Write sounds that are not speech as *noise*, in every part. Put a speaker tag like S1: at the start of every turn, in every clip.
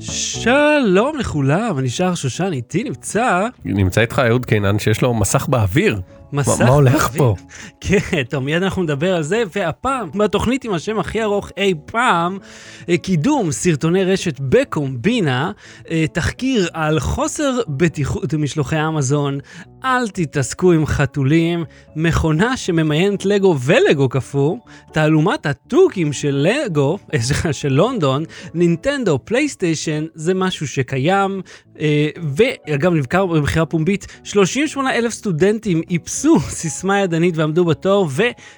S1: שלום לכולם, אני שער שושן, איתי נמצא
S2: נמצא איתך אהוד קינן שיש לו מסך באוויר.
S1: מסך...
S2: מה- מה הולך
S1: באוויר.
S2: פה?
S1: *laughs* כן, טוב, מיד אנחנו נדבר על זה, והפעם, בתוכנית עם השם הכי ארוך אי פעם, אה, קידום סרטוני רשת בקומבינה, אה, תחקיר על חוסר בטיחות במשלוחי אמזון, אל תתעסקו עם חתולים, מכונה שממיינת לגו ולגו קפוא, תעלומת התוכים של לגו, *laughs* אה, סליחה, של לונדון, נינטנדו, פלייסטיישן, זה משהו שקיים, אה, ואגב, נבחר במכירה פומבית, 38 אלף סטודנטים איפסו *laughs* סיסמה ידנית ועמדו בתור,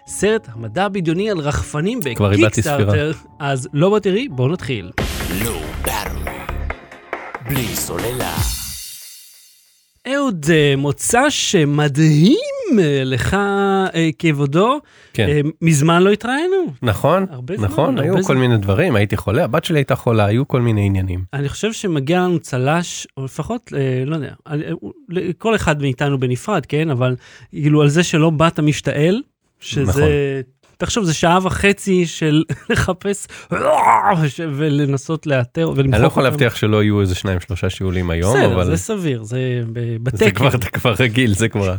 S1: וסרט המדע הבדיוני על רחפנים
S2: כבר איבדתי
S1: בקיקסטארטר, אז לא בתראי, בואו נתחיל.
S3: לא ברמי, בלי סוללה.
S1: אהוד, אה, מוצא שמדהים אה, לך אה, כבודו,
S2: כן.
S1: אה, מזמן לא התראינו.
S2: נכון,
S1: הרבה זמן,
S2: נכון,
S1: הרבה
S2: היו כל
S1: זמן.
S2: מיני דברים, הייתי חולה, הבת שלי הייתה חולה, היו כל מיני עניינים.
S1: אני חושב שמגיע לנו צל"ש, או לפחות, אה, לא יודע, על- אה, לכל אחד מאיתנו בנפרד, כן? אבל כאילו על זה שלא באת משתעל, שזה...
S2: נכון.
S1: תחשוב, זה שעה וחצי של *laughs* לחפש ש- ולנסות לאתר ולמחוק.
S2: אני לא יכול
S1: אותם.
S2: להבטיח שלא יהיו איזה שניים שלושה שיעולים היום,
S1: נכון. בסדר,
S2: אבל
S1: זה סביר, זה ב-
S2: זה
S1: בתקן.
S2: כבר אתה כבר רגיל, זה כבר...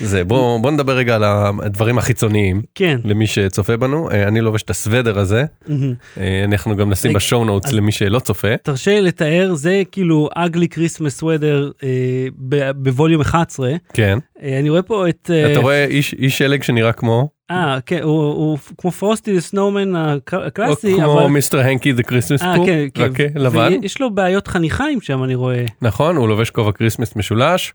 S2: זה, בוא בוא נדבר רגע על הדברים החיצוניים.
S1: כן.
S2: למי שצופה בנו, אה, אני לובש את הסוודר הזה,
S1: מהמם.
S2: אה, אנחנו גם נשים
S1: רגע,
S2: בשואו נוטס
S1: אז-
S2: למי שלא צופה.
S1: תרשה לי לתאר, זה כאילו אגלי כריסמס וודר אה, בווליום 11.
S2: כן.
S1: אה, אני רואה פה את... אה,
S2: אתה רואה איש איש שלג שנראה כמו,
S1: אה, כן, הוא, הוא כמו פרוסטי דה סנואומן הק-
S2: או
S1: הקלאסי, אבל...
S2: כמו מיסטר הנקי דה כריסמס
S1: אה,
S2: פור,
S1: כן, כן.
S2: רק לבן,
S1: ויש לו בעיות חניכיים שם, אני רואה.
S2: נכון, הוא לובש כובע כריסמס משולש,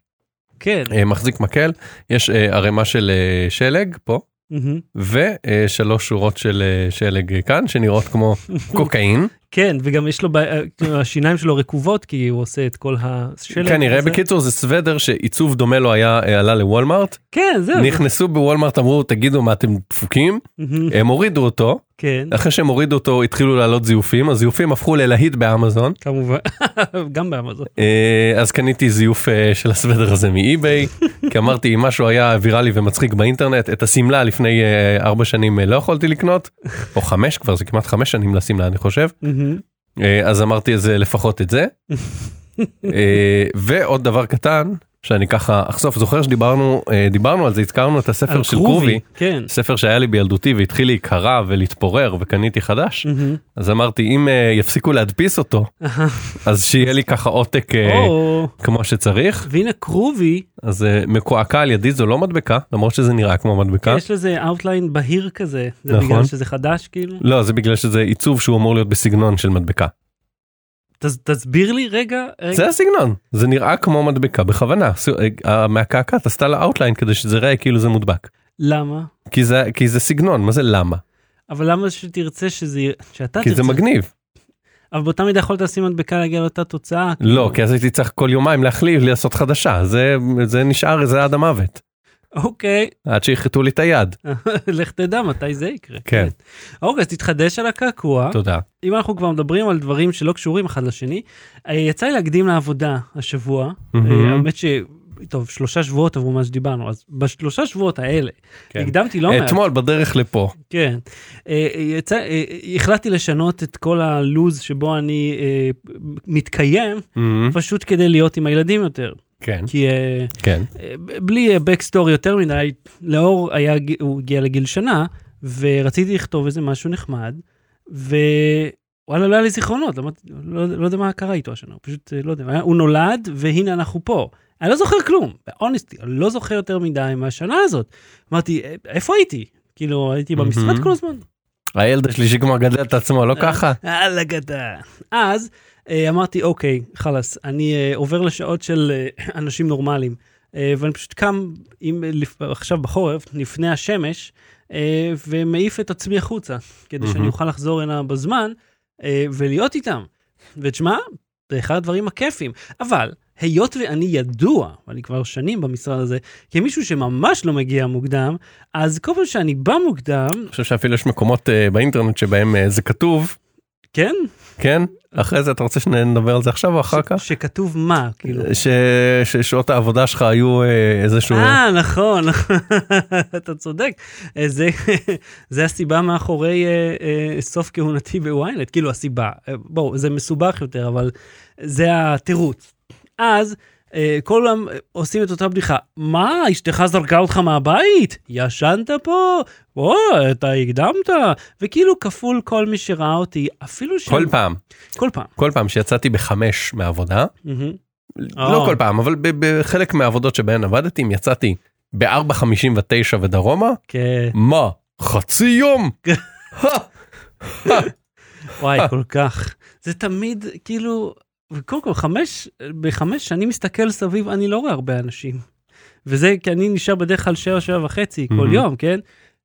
S1: כן.
S2: אה, מחזיק מקל, יש אה, ערימה של אה, שלג פה,
S1: מהמם.
S2: ושלוש שורות של אה, שלג אה, כאן, שנראות כמו קוקאין,
S1: כן, וגם יש לו, בעיה- כאילו, השיניים שלו רקובות, כי הוא עושה את כל השלג.
S2: כנראה.
S1: הזה.
S2: בקיצור, זה סוודר שעיצוב דומה לו היה, אה, עלה לוולמארט,
S1: כן, זהו.
S2: נכנסו בוולמארט, אמרו, תגידו מה אתם דפוקים,
S1: מהמם.
S2: הם הורידו אותו,
S1: כן,
S2: אחרי שהם הורידו אותו התחילו לעלות זיופים, הזיופים הפכו ללהיט באמזון,
S1: כמובן. *laughs* גם באמזון.
S2: אה, אז קניתי זיוף אה, של הסוודר הזה מאי-ביי,
S1: *laughs*
S2: כי אמרתי אם משהו היה ויראלי ומצחיק באינטרנט, את השמלה לפני אה, ארבע שנים אה, לא יכולתי לקנות, או חמש כבר, זה כמעט חמש שנים לשמלה אני חושב,
S1: מהמם.
S2: אה, אז אמרתי אז אה, לפחות את
S1: *laughs*
S2: זה. אה, ועוד דבר קטן, שאני ככה אחשוף, זוכר שדיברנו אה, דיברנו על זה, הזכרנו את הספר
S1: על
S2: של קרובי,
S1: כן.
S2: ספר שהיה לי בילדותי והתחיל להיקרע ולהתפורר וקניתי חדש,
S1: מהמם. *laughs*
S2: אז אמרתי אם אה, יפסיקו להדפיס אותו, אז שיהיה לי ככה עותק. אה,
S1: או,
S2: כמו שצריך
S1: והנה קרובי,
S2: אז אה, מקועקע על ידי זו לא מדבקה למרות שזה נראה כמו מדבקה
S1: יש לזה אאוטליין בהיר כזה. זה
S2: כן. נכון.
S1: בגלל שזה חדש, כאילו?
S2: לא זה בגלל שזה עיצוב שהוא אמור להיות בסגנון של מדבקה
S1: תס- תסביר לי רגע. רגע.
S2: זה הסגנון זה נראה כמו מדבקה בכוונה ס- אה, מהקעקעת עשתה לה אאוטליין כדי שזה יראה כאילו זה מודבק
S1: למה?
S2: כי זה כי זה סגנון מה זה למה
S1: אבל למה שתרצה שזה יהיה, שאתה
S2: כי
S1: תרצה,
S2: זה מגניב
S1: אבל באותה מידה יכולת לשים מדבקה להגיע לאותה תוצאה. כאילו.
S2: לא כי אז הייתי צריך כל יומיים להחליף לעשות חדשה זה זה נשאר זה עד המוות כן.
S1: אוקיי, *laughs*
S2: עד שיחטו לי את היד
S1: אה, לך תדע מתי זה יקרה.
S2: כן.
S1: אוקיי, אז תתחדש על הקעקוע.
S2: תודה
S1: אם אנחנו כבר מדברים על דברים שלא קשורים אחד לשני, אה, יצא לי להקדים לעבודה השבוע. אה,
S2: מהמם.
S1: האמת ש... טוב, שלושה שבועות עברו מאז שדיברנו, אז בשלושה שבועות האלה,
S2: כן.
S1: הקדמתי לא מעט.
S2: אתמול בדרך לפה
S1: כן. אה, אה, יצא, אה, אה, החלטתי לשנות את כל הלוז שבו אני אה, מתקיים,
S2: מהמם.
S1: פשוט כדי להיות עם הילדים יותר.
S2: כן
S1: כי אה,
S2: כן
S1: אה, ב- בלי בקסטורי יותר מדי, לאור היה, ג- הוא הגיע לגיל שנה, ורציתי לכתוב איזה משהו נחמד, ווואלה, לא היה לי זיכרונות, לא, לא, לא יודע מה קרה איתו השנה, הוא פשוט, אה, לא יודע, הוא נולד, והנה אנחנו פה. אני לא זוכר כלום, אונסטי, אני לא זוכר יותר מדי מהשנה הזאת. אמרתי, "אה, איפה הייתי? כאילו, הייתי במשרד
S2: מהמם.
S1: כל הזמן.
S2: הילד השלישי כבר גדל את עצמו
S1: אה.
S2: לא ככה
S1: אללה גדה. אז אה, אמרתי, אוקיי, חלאס, אני אה, עובר לשעות של אה, אנשים נורמליים, אה, ואני פשוט קם עם, אה, לפ- עכשיו בחורף, לפני השמש, אה, ומעיף את עצמי החוצה, כדי שאני
S2: מהמם.
S1: אוכל לחזור הנה בזמן אה, ולהיות איתם. ותשמע, זה אחד הדברים הכיפים. אבל, היות ואני ידוע, ואני כבר שנים במשרד הזה, כמישהו שממש לא מגיע מוקדם, אז כל פעם שאני בא מוקדם,
S2: אני חושב שאפילו יש מקומות אה, באינטרנט שבהם אה, זה כתוב
S1: כן?
S2: כן? אחרי זה אתה רוצה שנדבר על זה עכשיו או אחר כך?
S1: שכתוב מה, כאילו.
S2: ש- ששעות העבודה שלך היו אה, איזשהו...
S1: אה, נכון, נכון, אתה צודק. אה, זה, *laughs* זה הסיבה מאחורי אה, אה, סוף כהונתי בוויינט, כאילו הסיבה. אה, בואו, זה מסובך יותר, אבל זה התירוץ. אז אה, כולם אה, עושים את אותה בדיחה. מה, אשתך זרקה אותך מהבית? ישנת פה? או, אתה הקדמת. וכאילו כפול כל מי שראה אותי, אפילו ש...
S2: כל פעם,
S1: כל פעם.
S2: כל פעם שיצאתי בחמש מהעבודה,
S1: מהמם. אה.
S2: לא כל פעם, אבל ב- בחלק מהעבודות שבהן עבדתי, אם יצאתי ב-4.59 ודרומה,
S1: כן,
S2: מה? חצי יום?
S1: וואי, כל כך. זה תמיד, כאילו, קודם כל, חמש, בחמש שאני מסתכל סביב, אני לא רואה הרבה אנשים. וזה כי אני נשאר בדרך כלל שבע, שבע וחצי כל
S2: מהמם.
S1: יום, כן?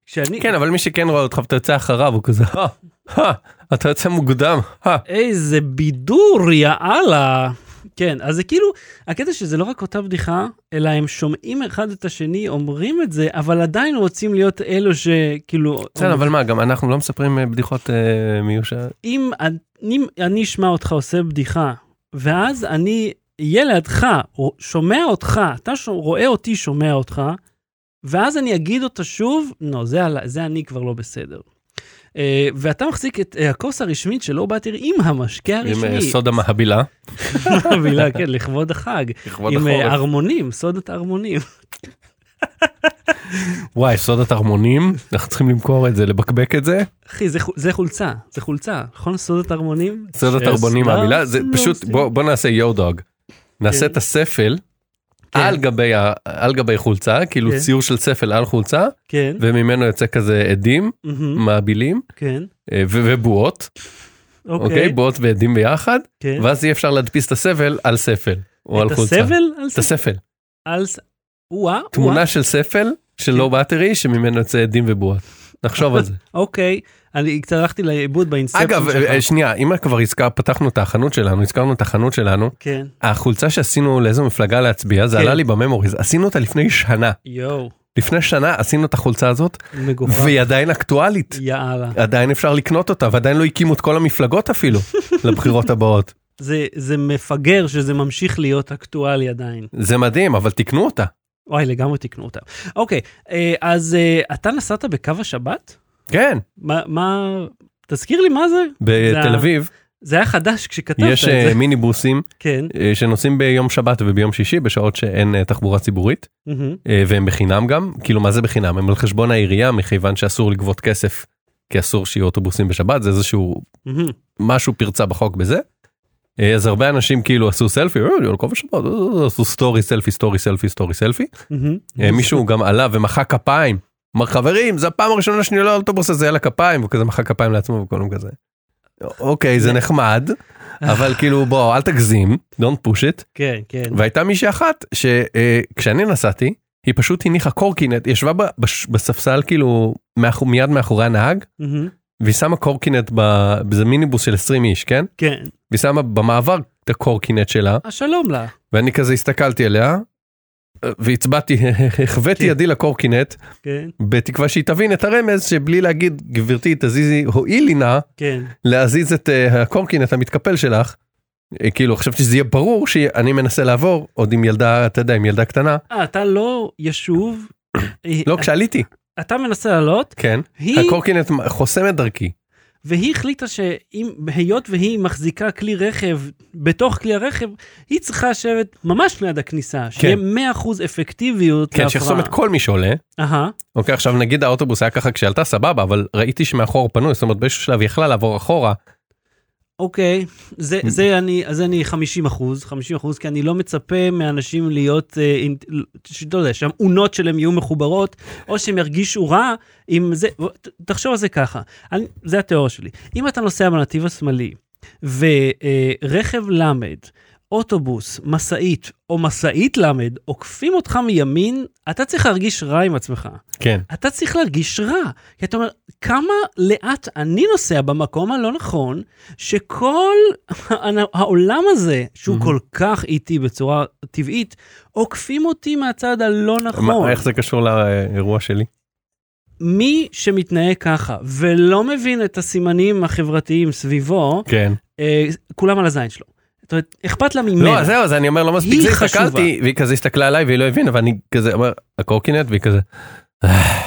S1: כשאני...
S2: כן, אבל מי שכן רואה אותך ואתה יוצא אחריו, הוא כזה, "אה, אה, אתה יוצא מוקדם, אה."
S1: איזה בידור, יא אללה. כן, אז זה כאילו, הקטע שזה לא רק אותה בדיחה, אלא הם שומעים אחד את השני, אומרים את זה, אבל עדיין רוצים להיות אלו שכאילו...
S2: בסדר, אבל מה, גם אנחנו לא מספרים אה, בדיחות אה, מיושע...
S1: אם אני, אני אשמע אותך עושה בדיחה, ואז אני אהיה לידך, או שומע אותך, אתה ש... רואה אותי שומע אותך, ואז אני אגיד אותה שוב, לא, זה, על- זה אני כבר לא בסדר. Uh, ואתה מחזיק את uh, הכוס הרשמית של אורבטר עם המשקה
S2: עם אה,
S1: הרשמי.
S2: סודה
S1: *laughs*
S2: מהבילה,
S1: המילה, כן, לכבוד
S2: *laughs*
S1: החג.
S2: לכבוד
S1: עם אה,
S2: החורף.
S1: ערמונים, סודת ערמונים.
S2: וואי, סודת ערמונים, אנחנו צריכים למכור את זה, לבקבק את זה.
S1: אחי, זה, חו- זה חולצה, זה חולצה, נכון? סודת ערמונים?
S2: סודת ערמונים
S1: שסודר,
S2: מהבילה, זה
S1: לא
S2: פשוט,
S1: עושים.
S2: בוא בוא נעשה יו דוג. נעשה את הספל
S1: כן.
S2: על גבי ה- על גבי חולצה, כאילו
S1: כן.
S2: ציור של ספל על חולצה,
S1: כן,
S2: וממנו יוצא כזה עדים,
S1: מהמם,
S2: מעבילים
S1: כן,
S2: אה, ו- ובועות, אוקיי?
S1: אוקיי,
S2: בועות ועדים ביחד,
S1: כן.
S2: ואז יהיה אפשר להדפיס את הסבל על ספל, או על
S1: את
S2: חולצה.
S1: הסבל? על
S2: את הספל.
S1: על ס... וואה, וואה.
S2: תמונה של ספל, של
S1: כן.
S2: לא באטרי, שממנו יוצא עדים ובועות. נחשוב על זה.
S1: אוקיי, אני קצת הלכתי לאיבוד באינספציה
S2: אגב,
S1: שלך.
S2: אה, שנייה, אם כבר הזכר- פתחנו את החנות שלנו, הזכרנו את החנות שלנו,
S1: כן,
S2: החולצה שעשינו לאיזו מפלגה להצביע זה
S1: כן.
S2: עלה לי בממוריז עשינו אותה לפני שנה
S1: יואו,
S2: לפני שנה עשינו את החולצה הזאת
S1: מגוחך.
S2: והיא עדיין אקטואלית
S1: יאללה.
S2: עדיין אפשר לקנות אותה ועדיין לא הקימו את כל
S1: *laughs*
S2: המפלגות אפילו לבחירות הבאות
S1: זה, זה מפגר שזה ממשיך להיות אקטואלי עדיין.
S2: זה מדהים אבל תקנו אותה
S1: וואי, לגמרי תיקנו אותה. אוקיי, אה, אז אה, אתה נסעת בקו השבת?
S2: כן
S1: מה, מה... תזכיר לי מה זה?
S2: בתל אביב
S1: זה היה חדש כשכתבת את
S2: יש אה,
S1: זה.
S2: מיניבוסים
S1: כן.
S2: אה, שנוסעים ביום שבת וביום שישי בשעות שאין אה, תחבורה ציבורית
S1: מהמם.
S2: אה, והם בחינם גם כאילו מה זה בחינם הם על חשבון העירייה מכיוון שאסור לגבות כסף כי אסור שיהיו אוטובוסים בשבת זה איזשהו
S1: מהמם.
S2: משהו פרצה בחוק בזה. אה, אז הרבה אנשים כאילו עשו סלפי, "אה, אני על כובע שבת, אה, אה, עשו סטורי סלפי סטורי סלפי סטורי סלפי.
S1: מהמם.
S2: אה, מישהו גם עלה ומחא כפיים. אמר חברים זו הפעם הראשונה שאני עולה על האוטובוס הזה על הכפיים וכזה מחא כפיים לעצמו וכולם כזה. אוקיי זה נחמד אבל כאילו בוא אל תגזים don't push it
S1: כן, כן.
S2: והייתה מישהי אחת שכשאני נסעתי היא פשוט הניחה קורקינט היא ישבה ב- בש- בספסל כאילו מאח- מיד מאחורי הנהג
S1: מהמם.
S2: והיא שמה קורקינט בזה מיניבוס של 20 איש כן
S1: כן.
S2: והיא שמה במעבר את הקורקינט שלה,
S1: אה, שלום לה.
S2: ואני כזה הסתכלתי עליה, והצבעתי, *laughs* החוויתי
S1: כן.
S2: ידי לקורקינט,
S1: כן,
S2: בתקווה שהיא תבין את הרמז, שבלי להגיד, גברתי, תזיזי, הואילי נא
S1: כן.
S2: להזיז את אה, הקורקינט המתקפל שלך. אה, כאילו, חשבתי שזה יהיה ברור שאני מנסה לעבור, עוד עם ילדה, אתה יודע, עם ילדה קטנה.
S1: אה, אתה לא ישוב. אה,
S2: לא, כשעליתי,
S1: אתה מנסה לעלות,
S2: כן.
S1: היא,
S2: הקורקינט חוסם את דרכי. כן,
S1: והיא החליטה שאם, היות והיא מחזיקה כלי רכב בתוך כלי הרכב, היא צריכה לשבת ממש ליד הכניסה, שיהיה 100% אפקטיביות
S2: כן, שיחסום את כל מי שעולה.
S1: אהה,
S2: אוקיי, עכשיו נגיד האוטובוס היה ככה כשעלתה, סבבה, אבל ראיתי שמאחור פנוי, זאת אומרת באיזשהו שלב היא יכלה לעבור אחורה,
S1: אוקיי. זה, זה אני, אז אני 50 אחוז, 50 אחוז, כי אני לא מצפה מאנשים להיות, אה, אינט- שלא יודע, שהאונות שלהם יהיו מחוברות, או שהם ירגישו רע עם זה, ו- ת- תחשוב על זה ככה, אני, זה התיאוריה שלי. אם אתה נוסע בנתיב השמאלי, ורכב למד, אוטובוס, משאית, או משאית למד, עוקפים אותך מימין, אתה צריך להרגיש רע עם עצמך.
S2: כן.
S1: אתה צריך להרגיש רע. כי אתה אומר, כמה לאט אני נוסע במקום הלא נכון, שכל העולם הזה, שהוא
S2: Mhm.
S1: כל כך איטי בצורה טבעית, עוקפים אותי מהצד הלא נכון.
S2: מה, איך זה קשור לאירוע שלי?
S1: מי שמתנהג ככה ולא מבין את הסימנים החברתיים סביבו,
S2: כן.
S1: אה, כולם על הזין שלו. זאת אומרת, אכפת לה ממנו.
S2: לא, אז זהו, אז אני אומר, לא מספיק
S1: היא
S2: זה,
S1: חשובה.
S2: הסתכלתי, והיא כזה הסתכלה עליי והיא לא הבינה, ואני כזה אומר, הקורקינט, והיא כזה אה.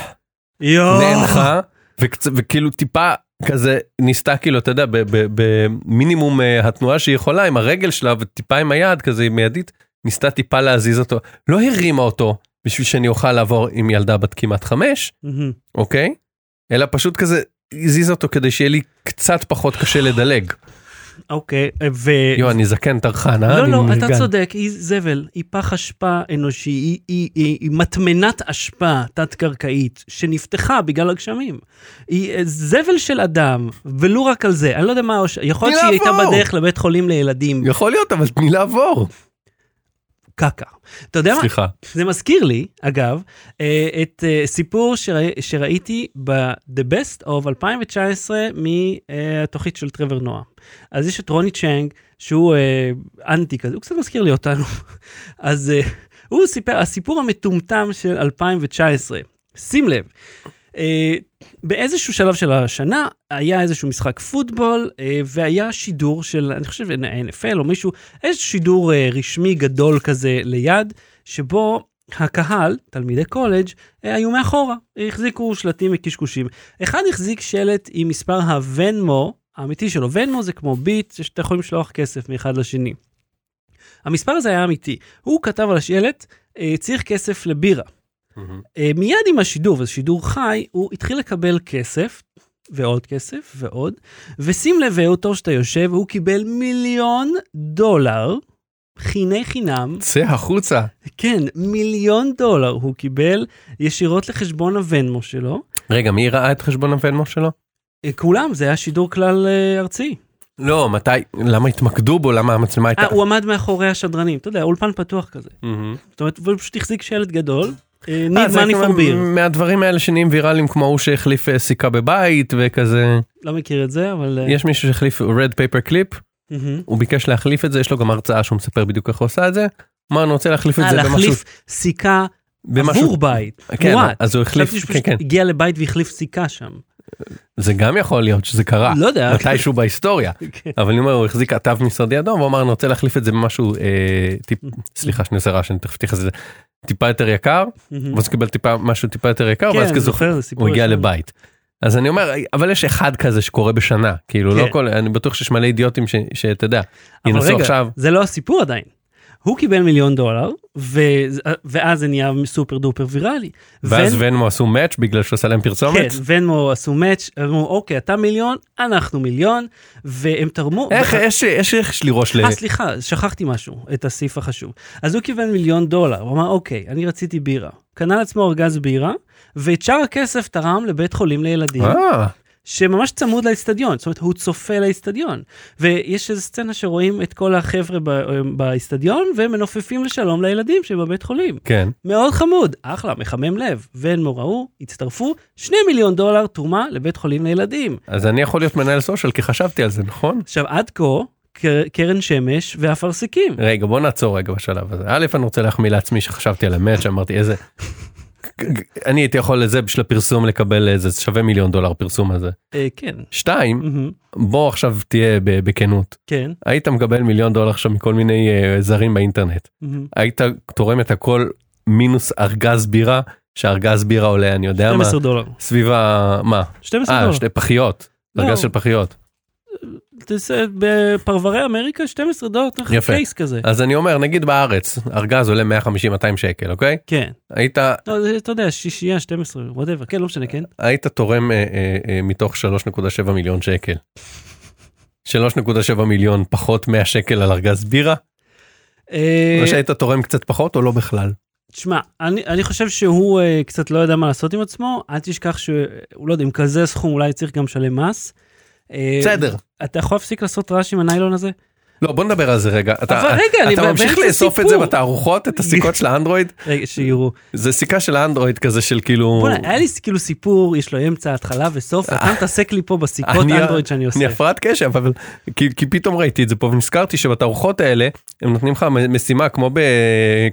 S1: יואו.
S2: נאנחה, וקצ- וכאילו טיפה כזה ניסתה, כאילו, אתה יודע, ב- ב- במינימום אה, התנועה שהיא יכולה, עם הרגל שלה וטיפה עם היד, כזה עם מיידית, ניסתה טיפה להזיז אותו, לא הרימה אותו בשביל שאני אוכל לעבור עם ילדה בת כמעט חמש,
S1: מהמם.
S2: אוקיי? אלא פשוט כזה הזיז אותו כדי שיהיה לי קצת פחות קשה לדלג.
S1: אוקיי, ו...
S2: יואו, אני זקן טרחן, אה?
S1: לא,
S2: אני
S1: לא, אתה
S2: נרגן.
S1: צודק, היא זבל, היא פח אשפה אנושי, היא- היא- היא היא מטמנת אשפה תת-קרקעית שנפתחה בגלל הגשמים. היא אה, זבל של אדם, ולו רק על זה, אני לא יודע מה, הוש- יכול להיות
S2: תני
S1: שהיא הייתה
S2: לעבור.
S1: בדרך לבית חולים לילדים,
S2: יכול להיות, אבל תני לעבור.
S1: קקה. אתה יודע מה?
S2: סליחה.
S1: זה מזכיר לי, אגב, אה, את אה, סיפור שרא- שראיתי ב-The Best of 2019 מהתוכנית אה, של טרוור נועה. אז יש את רוני צ'נג, שהוא אה, אנטי כזה, הוא קצת מזכיר לי אותנו. *laughs* אז אה, הוא סיפר, הסיפור המטומטם של 2019. שים לב, אה, באיזשהו שלב של השנה היה איזשהו משחק פוטבול אה, והיה שידור של, אני חושב, NFL או מישהו, איזשהו שידור אה, רשמי גדול כזה ליד, שבו הקהל, תלמידי קולג', אה, היו מאחורה, החזיקו שלטים מקשקושים. אחד החזיק שלט עם מספר הוונמו האמיתי שלו, ונמו זה כמו ביט, שאתה יכול לשלוח כסף מאחד לשני. המספר הזה היה אמיתי, הוא כתב על השלט, אה, צריך כסף לבירה. אה, מיד עם השידור, וזה שידור חי, הוא התחיל לקבל כסף, ועוד כסף, ועוד, ושים לב, אותו שאתה יושב, הוא קיבל מיליון דולר, חיני חינם,
S2: צא החוצה.
S1: כן, מיליון דולר הוא קיבל ישירות לחשבון הוונמו שלו.
S2: רגע, מי ראה את חשבון הוונמו שלו?
S1: אה, כולם, זה היה שידור כלל אה, ארצי.
S2: לא, מתי? למה התמקדו בו? למה המצלמה הייתה?
S1: אה, הוא עמד מאחורי השדרנים, אתה יודע, אולפן פתוח כזה.
S2: מהמם.
S1: זאת אומרת, הוא פשוט החזיק שלט גדול, אה,
S2: אה,
S1: need
S2: זה
S1: money
S2: כאילו
S1: for beer.
S2: מהדברים האלה שנהיים ויראליים כמו הוא שהחליף אה, סיכה בבית וכזה.
S1: לא מכיר את זה, אבל... אה,
S2: יש מישהו שהחליף רד פייפר קליפ,
S1: מהמם.
S2: הוא ביקש להחליף את זה, יש לו גם הרצאה שהוא מספר בדיוק איך הוא עשה את זה. אמר אני רוצה להחליף את
S1: אה,
S2: זה במשהו.
S1: להחליף סיכה
S2: במשהו-
S1: עבור בית.
S2: כן,
S1: וואט.
S2: אז הוא החליף,
S1: חשבתי שהוא
S2: כן,
S1: פשוט
S2: כן.
S1: הגיע לבית והחליף סיכה שם.
S2: זה גם יכול להיות שזה קרה.
S1: לא יודע.
S2: מתישהו בהיסטוריה.
S1: *laughs* כן.
S2: אבל אני אומר, הוא החזיק כתב משרדי אדום, והוא אמר, אני רוצה להחליף את זה במשהו, אה, טיפ,
S1: *laughs*
S2: סליחה שאני עושה רעש, אני תכף אתייחס לזה, טיפה יותר יקר,
S1: מהמם.
S2: ואז הוא קיבל טיפה, משהו טיפה יותר יקר, ואז
S1: כן,
S2: כזה
S1: זוכר, זה סיפור.
S2: הוא הגיע
S1: ישן.
S2: לבית. אז אני אומר, אבל יש אחד כזה שקורה בשנה, כאילו, לא
S1: כן.
S2: כל, אני בטוח שיש מלא אידיוטים ש- שאתה יודע,
S1: אבל
S2: ינסו
S1: רגע,
S2: עכשיו,
S1: זה לא הסיפור עדיין. הוא קיבל מיליון דולר, ו- ואז זה נהיה סופר דופר ויראלי.
S2: ואז לא
S1: ון-
S2: ונמו עשו מאץ' בגלל שהוא עשה להם
S1: כן,
S2: פרסומת.
S1: ונמו עשו מאץ', אמרו, אוקיי, אתה מיליון, אנחנו מיליון, והם תרמו...
S2: איך,
S1: ו-
S2: יש, יש, יש לי ראש ל...
S1: אה, סליחה, שכחתי משהו, את הסעיף החשוב. אז הוא קיבל מיליון דולר, הוא אמר, אוקיי, אני רציתי בירה. קנה לעצמו ארגז בירה, ואת שאר הכסף תרם לבית חולים לילדים.
S2: אה,
S1: שממש צמוד לאיצטדיון, זאת אומרת הוא צופה לאיצטדיון. ויש איזו סצנה שרואים את כל החבר'ה ב- אה, באיצטדיון ומנופפים לשלום לילדים שבבית חולים.
S2: כן.
S1: מאוד חמוד, אחלה, מחמם לב. ואין מוראו, הצטרפו, שני מיליון דולר תרומה לבית חולים לילדים.
S2: אז אני יכול להיות מנהל סושיאל, כי חשבתי על זה, נכון?
S1: עכשיו עד כה, קר- קרן שמש ואפרסקים.
S2: רגע בוא נעצור רגע בשלב הזה. א' אני רוצה להחמיא לעצמי שחשבתי על המאץ' שאמרתי איזה. אני הייתי יכול לזה בשביל הפרסום לקבל איזה זה שווה מיליון דולר פרסום הזה.
S1: אה, כן.
S2: שתיים
S1: מהמם,
S2: בוא עכשיו תהיה ב- בכנות
S1: כן.
S2: היית מקבל מיליון דולר עכשיו מכל מיני אה, זרים באינטרנט
S1: מהמם.
S2: היית תורם את הכל מינוס ארגז בירה שארגז בירה עולה אני יודע מה
S1: 12 דולר.
S2: סביב ה... מה
S1: 12
S2: אה,
S1: דולר.
S2: שתי פחיות
S1: לא.
S2: ארגז של פחיות
S1: תעשה בפרברי אמריקה 12 דולר, אתה לך
S2: יפה.
S1: קייס כזה.
S2: אז אני אומר נגיד בארץ ארגז עולה 150 200 שקל אוקיי
S1: כן.
S2: היית
S1: לא, זה- אתה יודע, שישייה, 12, וואטאבר, כן, לא משנה, כן.
S2: היית תורם אה, אה, אה, מתוך 3.7 מיליון שקל. 3.7 מיליון פחות 100 שקל על ארגז בירה,
S1: אה,
S2: או שהיית תורם קצת פחות או לא בכלל.
S1: תשמע, אני, אני חושב שהוא אה, קצת לא יודע מה לעשות עם עצמו, אל תשכח שהוא לא יודע, עם כזה סכום אולי צריך גם לשלם מס. אה,
S2: בסדר.
S1: אתה יכול להפסיק לעשות רעש עם הניילון הזה?
S2: לא, בוא נדבר על זה רגע. אתה,
S1: אבל רגע, אני
S2: אתה
S1: באמצע
S2: ממשיך לאסוף את זה
S1: סיפור.
S2: בתערוכות, את הסיכות של האנדרואיד?
S1: רגע,
S2: *laughs*
S1: שיראו.
S2: זה סיכה של האנדרואיד כזה של כאילו...
S1: בוא'נה, היה לי כאילו סיפור, יש לו אמצע, התחלה וסוף, ואתה מתעסק לי פה בסיכות
S2: אה. אני-
S1: אנדרואיד שאני
S2: אני
S1: עושה.
S2: הפרעת קשב, אבל כי, כי פתאום ראיתי את זה פה ונזכרתי שבתערוכות האלה הם נותנים לך משימה כמו, ב,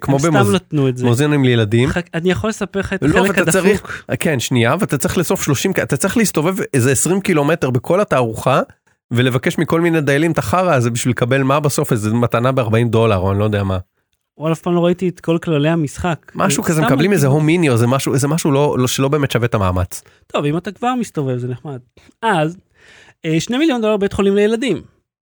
S2: כמו
S1: הם סתם נתנו את זה.
S2: במוזיאונים לילדים.
S1: חכה, אני יכול לספר לך את
S2: לא,
S1: החלק
S2: ואתה
S1: הדפוק.
S2: צריך, כן, שנייה, ואתה צריך לאסוף 30, אתה צריך להסתובב איזה 20 קילומטר בכל התערוכה ולבקש מכל מיני דיילים את החרא הזה בשביל לקבל מה בסוף, איזה מתנה ב-40 דולר או אני לא יודע מה.
S1: וואלה, אף פעם לא ראיתי את כל כללי המשחק. אה,
S2: משהו
S1: סתם
S2: כזה, מקבלים
S1: אני-
S2: איזה הום מיני או איזה משהו, איזה משהו לא, לא, שלא באמת שווה את המאמץ.
S1: טוב, אם אתה כבר מסתובב, זה נחמד. אז, אה, שני מיליון דולר בית חולים לילדים.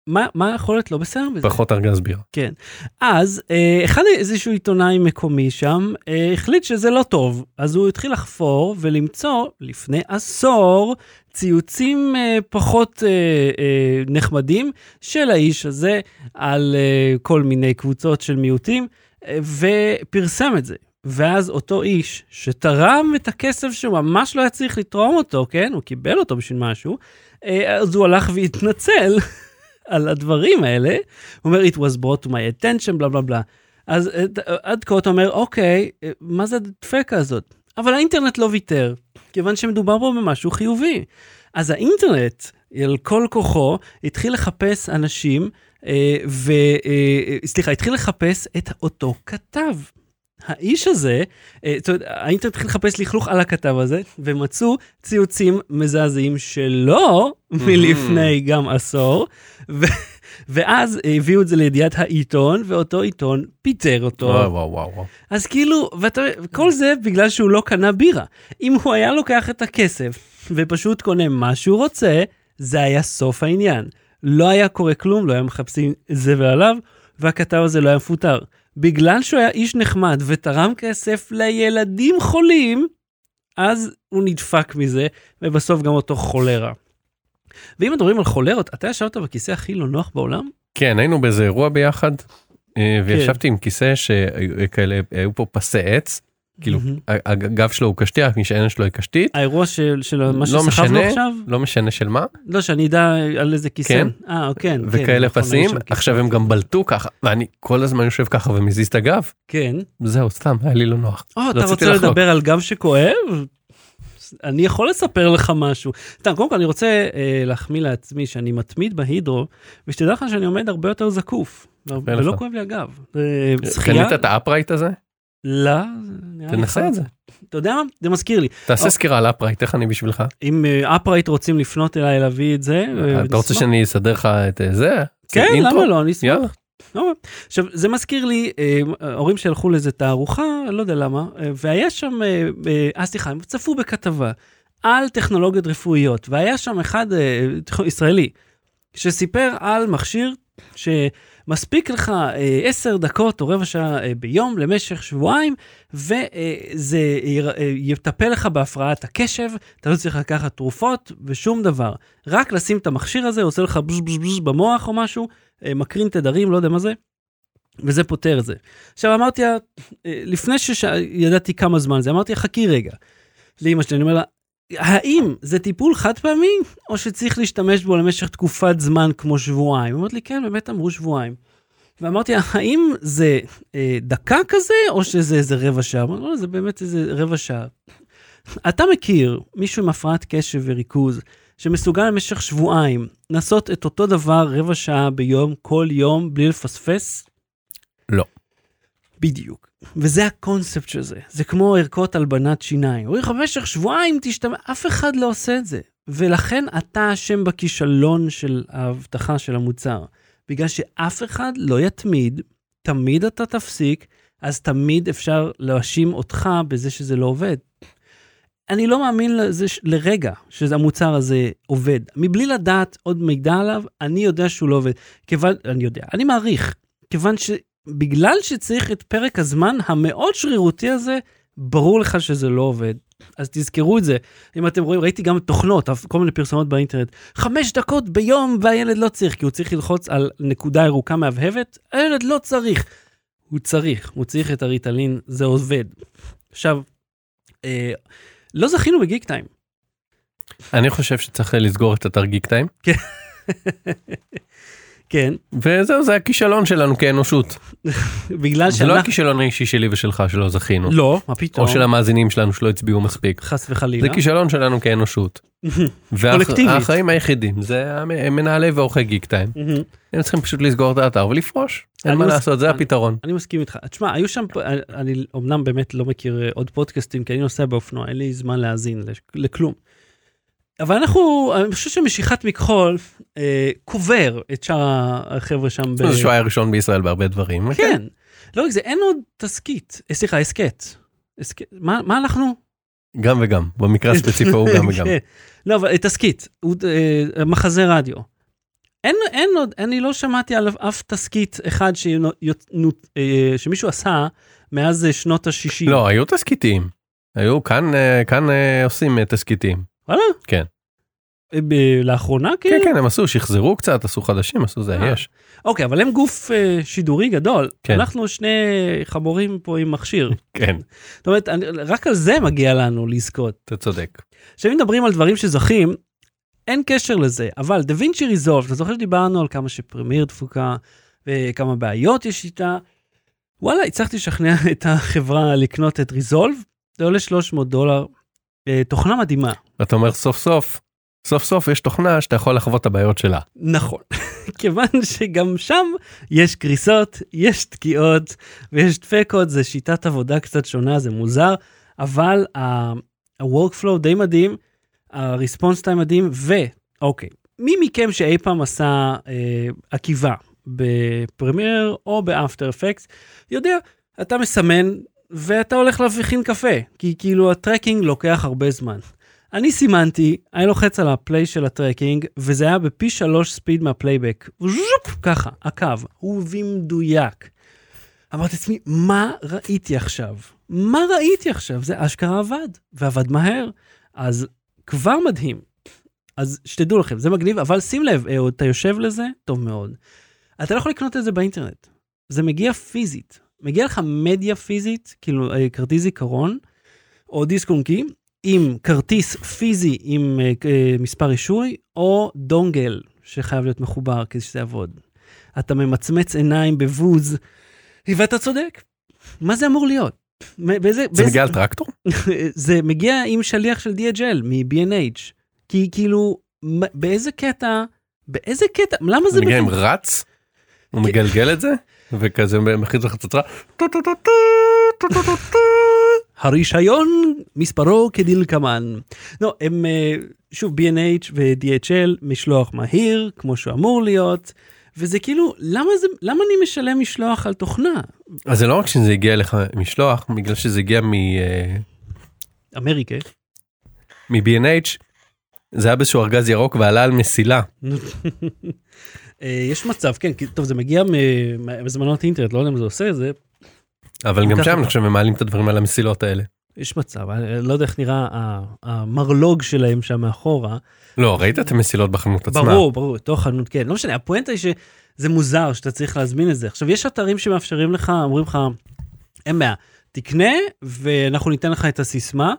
S1: מה מה יכול להיות לא בסדר בזה?
S2: פחות ארגז בירה.
S1: כן. אז אה, אחד איזשהו עיתונאי מקומי שם אה, החליט שזה לא טוב, אז הוא התחיל לחפור ולמצוא לפני עשור ציוצים אה, פחות אה, אה, נחמדים של האיש הזה על אה, כל מיני קבוצות של מיעוטים, אה, ופרסם את זה. ואז אותו איש שתרם את הכסף שממש לא היה צריך לתרום אותו, כן? הוא קיבל אותו בשביל משהו, אה, אז הוא הלך והתנצל על הדברים האלה. הוא אומר, it was brought to my attention, בלה בלה בלה. אז אה, ד- אה, עד כה אתה אומר, אוקיי, אה, מה זה הדפקה הזאת? אבל האינטרנט לא ויתר, כיוון שמדובר פה במשהו חיובי. אז האינטרנט, על כל כוחו, התחיל לחפש אנשים, אה, ו... אה, אה, סליחה, התחיל לחפש את אותו כתב. האיש הזה, אה, זאת אומרת, האינטרנט התחיל לחפש לכלוך על הכתב הזה, ומצאו ציוצים מזעזעים שלו מלפני גם עשור, ו- ואז הביאו את זה לידיעת העיתון, ואותו עיתון פיטר אותו.
S2: וואו וואו וואו. וואו.
S1: אז כאילו, ואתה, כל זה בגלל שהוא לא קנה בירה. אם הוא היה לוקח את הכסף ופשוט קונה מה שהוא רוצה, זה היה סוף העניין. לא היה קורה כלום, לא היה מחפשים זה ועליו, והכתב הזה לא היה מפוטר. בגלל שהוא היה איש נחמד ותרם כסף לילדים חולים, אז הוא נדפק מזה, ובסוף גם אותו חולרה. ואם מדברים על חולרות, אתה ישבת בכיסא הכי לא נוח בעולם?
S2: כן, היינו באיזה אירוע ביחד,
S1: כן.
S2: אה, וישבתי עם כיסא שכאלה, היו פה פסי עץ, כאילו,
S1: מהמם.
S2: ה- הגב שלו הוא קשתי, המשענת שלו היא קשתית,
S1: האירוע של, של מה
S2: לא
S1: שסחבנו
S2: משנה.
S1: עכשיו?
S2: לא משנה של מה,
S1: לא, שאני אדע על איזה כיסא.
S2: כן.
S1: אה, כן. כן,
S2: וכאלה
S1: נכון,
S2: פסים,
S1: היו שם כיסא.
S2: עכשיו הם גם בלטו ככה, ואני כל הזמן יושב ככה ומזיז את הגב,
S1: כן.
S2: זהו, סתם, היה לי לא נוח.
S1: או, אתה
S2: רציתי
S1: רוצה
S2: לחלוק.
S1: לדבר על גב שכואב? אני יכול לספר לך משהו. סתם, קודם כל אני רוצה אה, להחמיא לעצמי שאני מתמיד בהידרו, ושתדע לך שאני עומד הרבה יותר זקוף. ולא
S2: לך.
S1: כואב לי הגב. אה, שחייה?
S2: קנית את האפרייט הזה?
S1: לא. זה נראה לי
S2: תנסה
S1: חרטא.
S2: את זה.
S1: אתה יודע מה? זה מזכיר לי.
S2: תעשה סקירה על אפרייט, איך אני בשבילך?
S1: אם אפרייט רוצים לפנות אליי להביא את זה, אה,
S2: אתה רוצה
S1: נשמח.
S2: שאני אסדר לך את אה, זה?
S1: כן,
S2: אינטרו?
S1: למה לא? אני אשמח.
S2: יאללה.
S1: עכשיו, זה מזכיר לי, אה, הורים שהלכו לאיזה תערוכה, אני לא יודע למה, אה, והיה שם, אה, אה, אה, סליחה, הם צפו בכתבה על טכנולוגיות רפואיות, והיה שם אחד אה, טכ- ישראלי, שסיפר על מכשיר שמספיק לך אה, עשר דקות או רבע שעה אה, ביום למשך שבועיים, וזה יר- אה, יטפל לך בהפרעת הקשב, אתה לא צריך לקחת תרופות ושום דבר. רק לשים את המכשיר הזה, עושה לך בז בז בז במוח או משהו, אה, מקרין תדרים, לא יודע מה זה, וזה פותר את זה. עכשיו אמרתי לה, אה, לפני שידעתי כמה זמן זה, אמרתי לה, חכי רגע. לאמא שלי, אני אומר לה, האם זה טיפול חד פעמי, או שצריך להשתמש בו למשך תקופת זמן כמו שבועיים? היא אומרת לי, כן, באמת אמרו שבועיים. ואמרתי לה, האם זה אה, דקה כזה, או שזה איזה רבע שעה? אמרתי, לא, זה באמת איזה רבע שעה. אתה מכיר מישהו עם הפרעת קשב וריכוז, שמסוגל במשך שבועיים לעשות את אותו דבר רבע שעה ביום, כל יום, בלי לפספס?
S2: לא.
S1: בדיוק. וזה הקונספט של זה. זה כמו ערכות הלבנת שיניים. אומרים לך, במשך שבועיים תשתמש, אף אחד לא עושה את זה. ולכן אתה אשם בכישלון של ההבטחה של המוצר. בגלל שאף אחד לא יתמיד, תמיד אתה תפסיק, אז תמיד אפשר להאשים אותך בזה שזה לא עובד. אני לא מאמין לזה, ש- לרגע שהמוצר הזה עובד. מבלי לדעת עוד מידע עליו, אני יודע שהוא לא עובד. כיוון, אני יודע, אני מעריך, כיוון שבגלל שצריך את פרק הזמן המאוד שרירותי הזה, ברור לך שזה לא עובד. אז תזכרו את זה. אם אתם רואים, ראיתי גם תוכנות, אף- כל מיני פרסומות באינטרנט. חמש דקות ביום והילד לא צריך, כי הוא צריך ללחוץ על נקודה ירוקה מהבהבת, הילד לא צריך. הוא צריך, הוא צריך את הריטלין, זה עובד. עכשיו, אה, לא זכינו בגיק טיים.
S2: אני חושב שצריך לסגור את אתר גיק טיים.
S1: כן,
S2: וזהו, זה הכישלון שלנו כאנושות.
S1: בגלל
S2: זה לא
S1: שאנחנו...
S2: הכישלון האישי שלי ושלך שלא זכינו.
S1: לא, מה פתאום?
S2: או של המאזינים שלנו שלא הצביעו מספיק.
S1: חס וחלילה.
S2: זה כישלון
S1: *laughs*
S2: שלנו כאנושות.
S1: קולקטיבית.
S2: והחיים היחידים זה המ- הם מנהלי ועורכי גיק טיים.
S1: מהמם.
S2: הם צריכים פשוט לסגור את האתר ולפרוש. אין
S1: אני
S2: מה
S1: מס-
S2: לעשות, זה
S1: אני-
S2: הפתרון.
S1: אני מסכים איתך. תשמע, היו שם, פ- אני- אני אמנם באמת לא מכיר אה, עוד פודקאסטים, כי אני נוסע באופנוע, אין לי זמן להאזין לש- לכלום. אבל אנחנו, אני חושב שמשיכת מכחול אה, קובר את שאר החבר'ה שם. ב-
S2: זה שהוא היה ראשון בישראל בהרבה דברים.
S1: כן. לא רק זה, אין עוד תסכית, אה, סליחה, הסכת. הסכת- מה מה אנחנו?
S2: גם וגם. במקרה הספציפי הוא
S1: *laughs*
S2: גם וגם.
S1: כן. לא, אבל אה, תסכית, הוא, אה, מחזה רדיו. אין, אין עוד, אני לא שמעתי על אף תסכית אחד שינו- יות- נו- אה, שמישהו עשה מאז אה, שנות ה-60.
S2: לא, היו תסכיתיים. היו כאן, אה, כאן אה, עושים אה, תסכיתיים.
S1: וואלה?
S2: כן.
S1: אה, ב- לאחרונה
S2: כן,
S1: כאילו?
S2: כן, הם עשו, שחזרו קצת, עשו חדשים, עשו זה,
S1: אה.
S2: יש.
S1: אוקיי, אבל הם גוף אה, שידורי גדול.
S2: כן.
S1: אנחנו שני חמורים פה עם מכשיר.
S2: כן,
S1: זאת אומרת, אני, רק על זה מגיע לנו לזכות.
S2: אתה צודק.
S1: כשאם מדברים על דברים שזכים, אין קשר לזה, אבל דה וינצ'י ריזולף, אתה זוכר שדיברנו על כמה שפרמייר תפוקה וכמה בעיות יש איתה? וואלה, הצלחתי לשכנע את החברה לקנות את ריזולף, זה עולה 300 דולר, אה, תוכנה מדהימה.
S2: ואתה אומר סוף סוף, סוף סוף יש תוכנה שאתה יכול לחוות את הבעיות שלה.
S1: נכון, *laughs* כיוון שגם שם יש קריסות, יש תקיעות ויש דפקות, זה שיטת עבודה קצת שונה, זה מוזר, אבל ה-workflow די מדהים, ה-response time מדהים, ואוקיי, מי מכם שאי פעם עשה אה, עקיבה בפרמייר או באפטר אפקט, יודע, אתה מסמן ואתה הולך להכין קפה, כי כאילו הטרקינג לוקח הרבה זמן. אני סימנתי, אני לוחץ על הפליי של הטרקינג, וזה היה בפי שלוש ספיד מהפלייבק. ז'ופ, ככה, הקו, ובמדויק. אמרתי לעצמי, מה ראיתי עכשיו? מה ראיתי עכשיו? זה אשכרה עבד, ועבד מהר. אז כבר מדהים. אז שתדעו לכם, זה מגניב, אבל שים לב, אהוד, אתה יושב לזה, טוב מאוד. אתה לא יכול לקנות את זה באינטרנט. זה מגיע פיזית. מגיע לך מדיה פיזית, כאילו אה, כרטיס זיכרון, או דיסק און-קי, עם כרטיס פיזי עם אה, אה, מספר רישוי, או דונגל שחייב להיות מחובר כדי שזה יעבוד. אתה ממצמץ עיניים בבוז, ואתה צודק. מה זה אמור להיות? מ- באיזה...
S2: זה
S1: באיזה-
S2: מגיע על טרקטור?
S1: זה מגיע עם שליח של DHL מ-B&H. כי כאילו, מה- באיזה קטע, באיזה קטע, למה זה כן.
S2: זה מגיע עם
S1: בכלל-
S2: רץ? הוא מגלגל את זה? וכזה מכריז לחצוצרה?
S1: הרישיון מספרו כדלקמן. לא, הם, אה, שוב, B&H ו-DHL, משלוח מהיר, כמו שהוא אמור להיות, וזה כאילו, למה, זה, למה אני משלם משלוח על תוכנה?
S2: אז זה לא רק שזה הגיע לך משלוח, בגלל שזה הגיע מ... אה,
S1: אמריקה. *laughs*
S2: מ-B&H, זה היה באיזשהו ארגז ירוק ועלה על מסילה.
S1: אה, יש מצב, כן, כי- טוב, זה מגיע מ- מהזמנות אינטרנט, לא יודע אם זה עושה את זה,
S2: אבל גם
S1: ככה.
S2: שם אני חושב הם מעלים את הדברים על המסילות האלה.
S1: יש מצב, אני לא יודע איך נראה ה- המרלוג שלהם שם מאחורה.
S2: לא, ראית את המסילות בחנות עצמה?
S1: ברור, ברור, תוך חנות, כן. לא משנה, הפואנטה היא שזה מוזר שאתה צריך להזמין את זה. עכשיו, יש אתרים שמאפשרים לך, אומרים לך, אין בעיה, תקנה ואנחנו ניתן לך את הסיסמה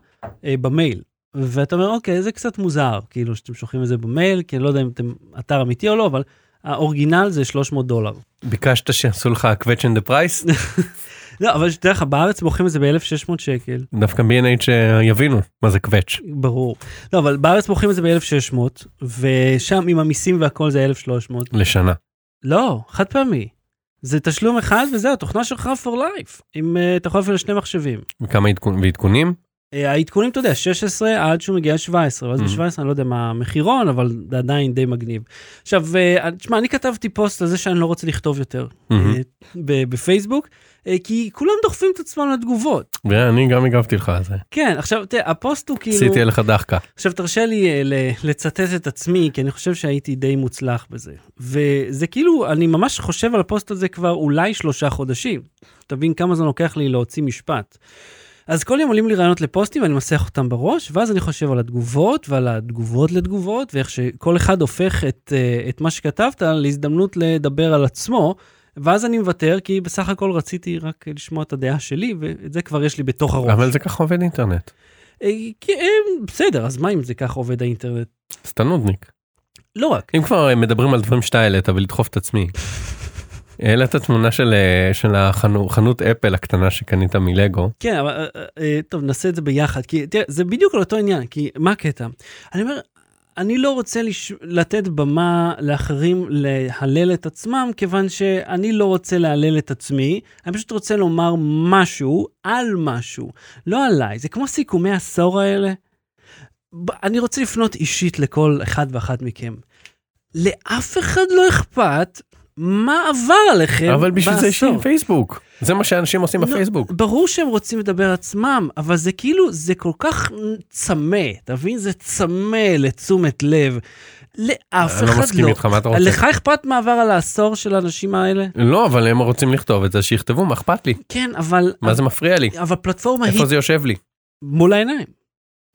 S1: אה, במייל. ואתה אומר, אוקיי, זה קצת מוזר, כאילו, שאתם שולחים את זה במייל, כי אני לא יודע אם אתם אתר אמיתי או לא, אבל האורגינל זה 300 דולר.
S2: ביקשת שיעשו לך קווצ'ן דה פרייס?
S1: *laughs* לא, אבל שתדע לך, בארץ מוכרים את זה ב-1,600 שקל.
S2: דווקא B&H אה, יבינו מה זה קוואץ'.
S1: ברור. לא, אבל בארץ מוכרים את זה ב-1,600, ושם עם המיסים והכל זה 1,300.
S2: לשנה.
S1: לא, חד פעמי. זה תשלום אחד וזהו, תוכנה שלך for life. אם uh, אתה יכול אפילו שני מחשבים.
S2: וכמה עדכון- ועדכונים?
S1: Uh, העדכונים, אתה יודע, 16 עד שהוא מגיע ל-17, ואז
S2: Mhm.
S1: ב-17 אני לא יודע מה המחירון, אבל זה עדיין די מגניב. עכשיו, אה, תשמע, אני כתבתי פוסט על זה שאני לא רוצה לכתוב יותר
S2: מהמם.
S1: אה, ב- בפייסבוק, אה, כי כולם דוחפים את עצמם לתגובות.
S2: ואני גם הגבתי לך על זה.
S1: כן, עכשיו, תראה, הפוסט הוא כאילו...
S2: עשיתי עליך דחקה.
S1: עכשיו תרשה לי אה, ל- לצטט את עצמי, כי אני חושב שהייתי די מוצלח בזה. וזה כאילו, אני ממש חושב על הפוסט הזה כבר אולי שלושה חודשים. תבין כמה זמן לוקח לי להוציא משפט. אז כל יום עולים לי רעיונות לפוסטים, אני מסך אותם בראש, ואז אני חושב על התגובות ועל התגובות לתגובות, ואיך שכל אחד הופך את, אה, את מה שכתבת להזדמנות לדבר על עצמו, ואז אני מוותר, כי בסך הכל רציתי רק לשמוע את הדעה שלי, ואת זה כבר יש לי בתוך הראש.
S2: אבל זה ככה עובד אינטרנט.
S1: אה, כי, אה, בסדר, אז מה אם זה ככה עובד האינטרנט?
S2: אז אתה נודניק.
S1: לא רק.
S2: אם כבר אה, מדברים על דברים שאתה העלית ולדחוף את עצמי. העלית תמונה של, אה, של החנות חנות אפל הקטנה שקנית מלגו.
S1: כן, אבל אה, אה, אה, טוב, נעשה את זה ביחד, כי תראה, זה בדיוק על אותו עניין, כי מה הקטע? אני אומר, אני לא רוצה לש... לתת במה לאחרים להלל את עצמם, כיוון שאני לא רוצה להלל את עצמי, אני פשוט רוצה לומר משהו על משהו, לא עליי. זה כמו סיכומי עשור האלה. ב- אני רוצה לפנות אישית לכל אחד ואחת מכם. לאף אחד לא אכפת מה עבר עליכם
S2: אבל בשביל זה יש
S1: בעשור.
S2: פייסבוק. זה מה שאנשים עושים
S1: לא,
S2: בפייסבוק.
S1: ברור שהם רוצים לדבר עצמם, אבל זה כאילו, זה כל כך צמא, אתה מבין? זה צמא לתשומת לב. לאף אחד
S2: אני
S1: לא.
S2: לא מסכים איתך, מה אתה רוצה?
S1: לך אכפת מה עבר על העשור של האנשים האלה?
S2: לא, אבל הם רוצים לכתוב את זה, שיכתבו, מה אכפת לי?
S1: כן, אבל...
S2: מה זה מפריע לי?
S1: אבל פלטפורמה אה, היא
S2: איפה זה יושב לי?
S1: מול העיניים.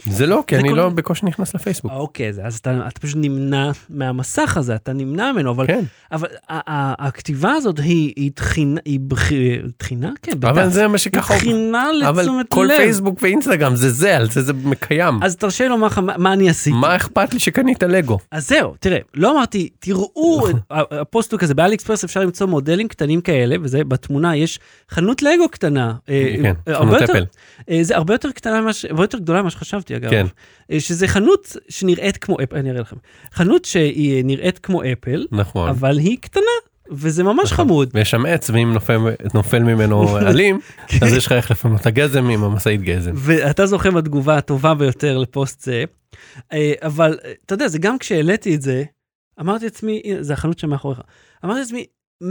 S2: זה לא, כי
S1: זה
S2: אני
S1: כל-
S2: לא בקושי נכנס לפייסבוק.
S1: אוקיי, זה- אז אתה, אתה פשוט נמנע מהמסך הזה, אתה נמנע ממנו, אבל,
S2: כן,
S1: אבל ה- ה- הכתיבה הזאת היא, היא תחינה, היא בח- תחינה? כן, בטח.
S2: אבל זה מה
S1: היא
S2: שככה...
S1: תחינה
S2: אבל
S1: לתשומת
S2: כל
S1: לב.
S2: פייסבוק ואינסטגרם זה זה, על זה זה קיים.
S1: אז תרשה לי לומר לך מה, מה אני עשיתי.
S2: מה אכפת לי שקנית לגו?
S1: אז זהו, תראה, לא אמרתי,
S2: נכון.
S1: תראו, את- ה- הפוסט הוא כזה, באליקספרס אפשר למצוא מודלים קטנים כאלה, וזה בתמונה, יש חנות לגו קטנה. אה,
S2: כן,
S1: אה,
S2: חנות
S1: הרבה יותר-
S2: אפל.
S1: אה, זה הרבה יותר קטנה, ממה ש- הרבה יותר גדולה ממה שחשבתי, אגב.
S2: כן.
S1: אה, שזה חנות שנראית כמו אפל, אני אראה לכם. חנות שהיא נראית כמו אפל,
S2: נכון.
S1: אבל היא קטנה, וזה ממש
S2: נכון.
S1: חמוד.
S2: ויש שם עץ, ואם נופל, נופל
S1: *laughs*
S2: ממנו
S1: כן.
S2: עלים, אז יש לך איך לפנות את הגזם עם המשאית גזם.
S1: ואתה זוכר בתגובה הטובה ביותר לפוסט זה, אה, אבל אה, אתה יודע, זה גם כשהעליתי את זה, אמרתי לעצמי, הנה, זה החנות שמאחוריך, אמרתי לעצמי, 100%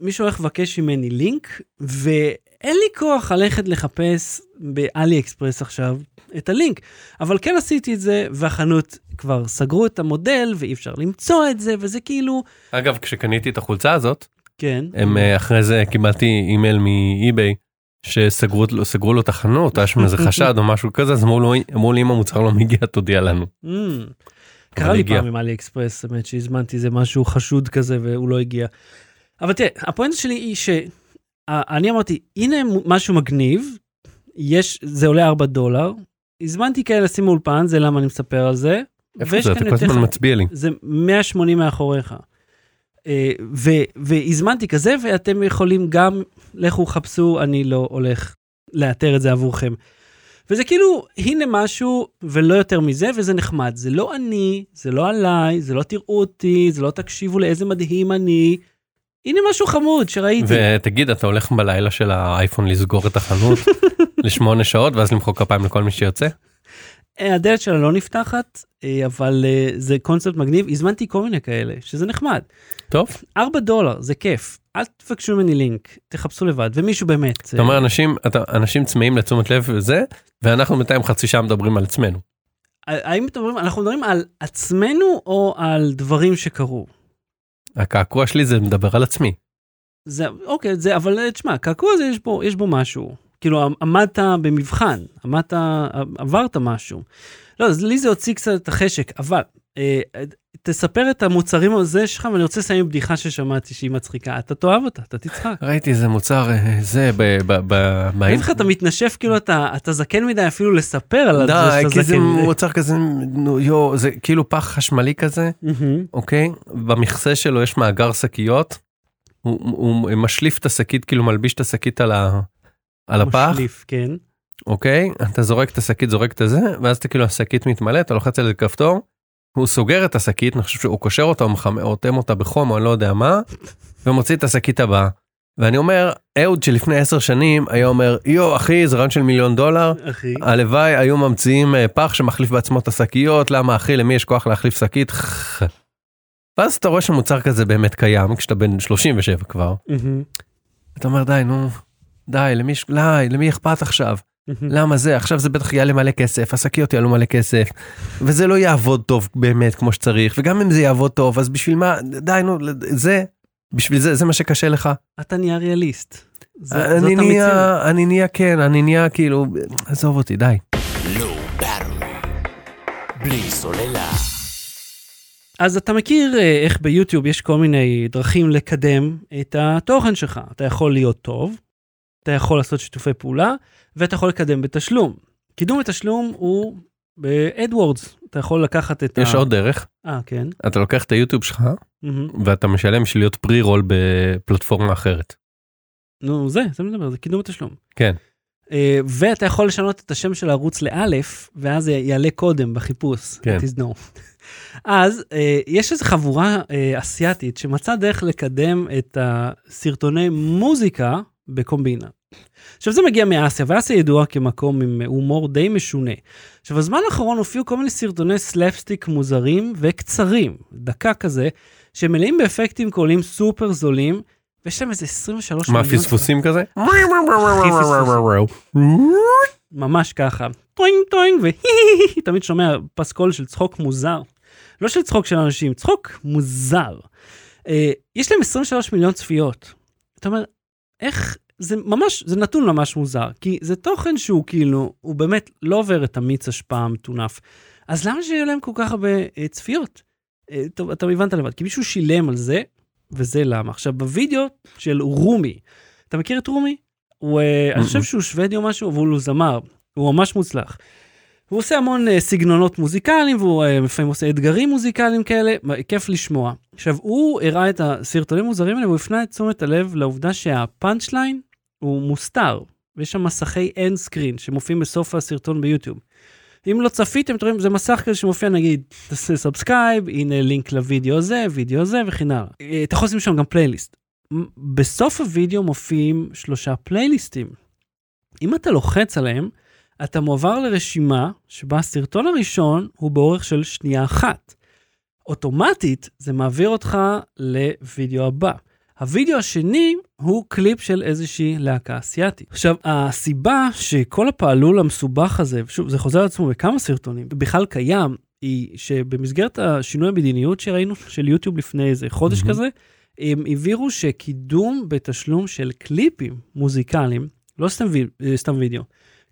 S1: מישהו הולך לבקש ממני לינק, ואין לי כוח ללכת לחפש באלי אקספרס עכשיו את הלינק. אבל כן עשיתי את זה, והחנות כבר סגרו את המודל, ואי אפשר למצוא את זה, וזה כאילו,
S2: אגב, כשקניתי את החולצה הזאת,
S1: כן.
S2: הם, אה, אחרי זה קיבלתי אימייל מאי-ביי, שסגרו לו- סגרו לו את החנות, היה
S1: *laughs*
S2: שם איזה חשד או משהו כזה, אז אמרו לו, אמרו לי אם המוצר לא מגיע, תודיע לנו.
S1: Mm. קרה לי
S2: אמ, הגיע.
S1: פעם עם אלי אקספרס, האמת שהזמנתי איזה משהו חשוד כזה והוא לא הגיע. אבל תראה, הפואנטה שלי היא שאני אמרתי, הנה מו- משהו מגניב, יש, זה עולה 4 דולר, הזמנתי כאלה שים אולפן, זה למה אני מספר על זה.
S2: איפה
S1: ויש
S2: זה?
S1: כאן
S2: אתה כל
S1: יותר-
S2: הזמן מצביע לי.
S1: זה 180 מאחוריך. אה, ו, והזמנתי כזה, ואתם יכולים גם, לכו חפשו, אני לא הולך לאתר את זה עבורכם. וזה כאילו, הנה משהו, ולא יותר מזה, וזה נחמד. זה לא אני, זה לא עליי, זה לא תראו אותי, זה לא תקשיבו לאיזה מדהים אני. הנה משהו חמוד שראיתי.
S2: ותגיד, אתה הולך בלילה של האייפון לסגור
S1: *laughs*
S2: את החנות לשמונה שעות, ואז למחוא כפיים לכל מי שיוצא?
S1: אה, הדלת שלה לא נפתחת, אה, אבל אה, זה קונספט מגניב. הזמנתי כל מיני כאלה, שזה נחמד.
S2: טוב.
S1: 4 דולר, זה כיף. אל תבקשו ממני לינק, תחפשו לבד, ומישהו באמת...
S2: אתה אומר, אנשים, אתה, אנשים צמאים לתשומת לב וזה, ואנחנו בינתיים חצי שעה מדברים על עצמנו.
S1: האם אתם אומרים, אנחנו מדברים על עצמנו או על דברים שקרו?
S2: הקעקוע שלי זה מדבר על עצמי.
S1: זה, אוקיי, זה, אבל אה, תשמע, קעקוע הזה יש בו, יש בו משהו. כאילו, עמ- עמדת במבחן, עמדת, עברת משהו. לא, אז לי זה הוציא קצת את החשק, אבל אה, אה, תספר את המוצרים הזה שלך, ואני רוצה לסיים עם בדיחה ששמעתי שהיא מצחיקה. אתה תאהב אותה, אתה תצחק.
S2: ראיתי איזה מוצר, אה, זה, ב... ב... ב...
S1: אני
S2: ב...
S1: אוהב איך אתה מתנשף, כאילו אתה, אתה זקן מדי אפילו לספר על זה כאילו-
S2: די,
S1: שאתה
S2: כי זה
S1: זקן.
S2: מוצר כזה, נו, יו, זה כאילו פח חשמלי כזה,
S1: מהמם.
S2: אוקיי? במכסה שלו יש מאגר שקיות, הוא, הוא משליף את השקית, כאילו מלביש את השקית על, ה, על הפח,
S1: משליף, כן.
S2: אוקיי? אתה זורק את השקית, זורק את הזה, ואז אתה כאילו השקית מתמלא, אתה לוחץ על כפתור, הוא סוגר את השקית, אני חושב שהוא קושר אותה, או מחמ- או אוטם אותה בחום, או אני לא יודע מה, ומוציא את השקית הבאה. ואני אומר, אהוד שלפני עשר שנים היה אומר, יו אחי, זה רעיון של מיליון דולר,
S1: אחי.
S2: הלוואי היו ממציאים אה, פח שמחליף בעצמו את השקיות, למה אחי, למי יש כוח להחליף שקית? *laughs* חח. ואז אתה רואה שמוצר כזה באמת קיים, כשאתה בן 37 כבר,
S1: מהמם.
S2: אתה אומר, די, נו, די, למי, יש- די, למי אכפת עכשיו?
S1: מהמם.
S2: למה זה עכשיו זה בטח יעלה מלא כסף השקיות יעלו מלא כסף וזה לא יעבוד טוב באמת כמו שצריך וגם אם זה יעבוד טוב אז בשביל מה די נו זה בשביל זה זה מה שקשה לך
S1: אתה נהיה ריאליסט. ז- זאת
S2: אה, אני
S1: המציאות.
S2: נהיה אני נהיה כן אני נהיה כאילו עזוב אותי די
S3: Low Battery. בלי סוללה.
S1: אז אתה מכיר אה, איך ביוטיוב יש כל מיני דרכים לקדם את התוכן שלך. אתה יכול להיות טוב, אתה יכול לעשות שיתופי פעולה, ואתה יכול לקדם בתשלום. קידום בתשלום הוא באדוורדס, אתה יכול לקחת את
S2: יש
S1: ה...
S2: עוד דרך,
S1: אה, כן.
S2: אתה לוקח את היוטיוב שלך
S1: מהמם.
S2: ואתה משלם בשביל להיות פרי רול בפלטפורמה אחרת.
S1: נו, זה, זה מדבר, זה קידום התשלום.
S2: כן.
S1: אה, ואתה יכול לשנות את השם של הערוץ לאלף, ואז זה יעלה קודם בחיפוש.
S2: כן.
S1: It is no. *laughs* אז אה, יש איזו חבורה אה, אסיאתית שמצאה דרך לקדם את הסרטוני מוזיקה בקומבינה. עכשיו זה מגיע מאסיה, ואסיה ידועה כמקום עם הומור די משונה. עכשיו, בזמן האחרון הופיעו כל מיני סרטוני סלפסטיק מוזרים וקצרים, דקה כזה, שמלאים באפקטים קוליים סופר זולים, ויש להם איזה 23
S2: מה
S1: מיליון
S2: פספוסים כזה?
S1: ממש ככה. טוינג טוינג והי תמיד שומע פסקול של צחוק מוזר. לא של צחוק של אנשים, צחוק מוזר. אה, יש להם 23 מיליון צפיות. אתה אומר, איך, זה ממש, זה נתון ממש מוזר, כי זה תוכן שהוא כאילו, הוא באמת לא עובר את המיץ השפעה המטונף. אז למה שיהיה להם כל כך הרבה אה, צפיות? אה, טוב, אתה הבנת לבד, כי מישהו שילם על זה, וזה למה. עכשיו, בווידאו של רומי, אתה מכיר את רומי? הוא, אה, אני חושב שהוא שוודי או משהו, והוא זמר, הוא ממש מוצלח. הוא עושה המון אה, סגנונות מוזיקליים, והוא אה, לפעמים עושה אתגרים מוזיקליים כאלה, מה- כיף לשמוע. עכשיו, הוא הראה את הסרטונים המוזרים האלה, והוא הפנה את תשומת הלב לעובדה שהפאנצ' ליין הוא מוסתר, ויש שם מסכי end screen שמופיעים בסוף הסרטון ביוטיוב. אם לא צפיתם, אתם רואים, זה מסך כזה שמופיע, נגיד, תעשה סאבסקייב, הנה לינק לוידאו הזה, וידאו זה, וכן הלאה. אה, אתה יכול לשים שם גם פלייליסט. מ- בסוף הוידאו מופיעים שלושה פלייליסטים. אם אתה לוחץ עליהם, אתה מועבר לרשימה שבה הסרטון הראשון הוא באורך של שנייה אחת. אוטומטית זה מעביר אותך לוידאו הבא. הוידאו השני הוא קליפ של איזושהי להקה אסיאתית. עכשיו, הסיבה שכל הפעלול המסובך הזה, ושוב, זה חוזר על עצמו בכמה סרטונים, בכלל קיים, היא שבמסגרת השינוי המדיניות שראינו של יוטיוב לפני איזה חודש
S2: מהמם.
S1: כזה, הם הבהירו שקידום בתשלום של קליפים מוזיקליים, לא סתם, ויד, אה, סתם וידאו,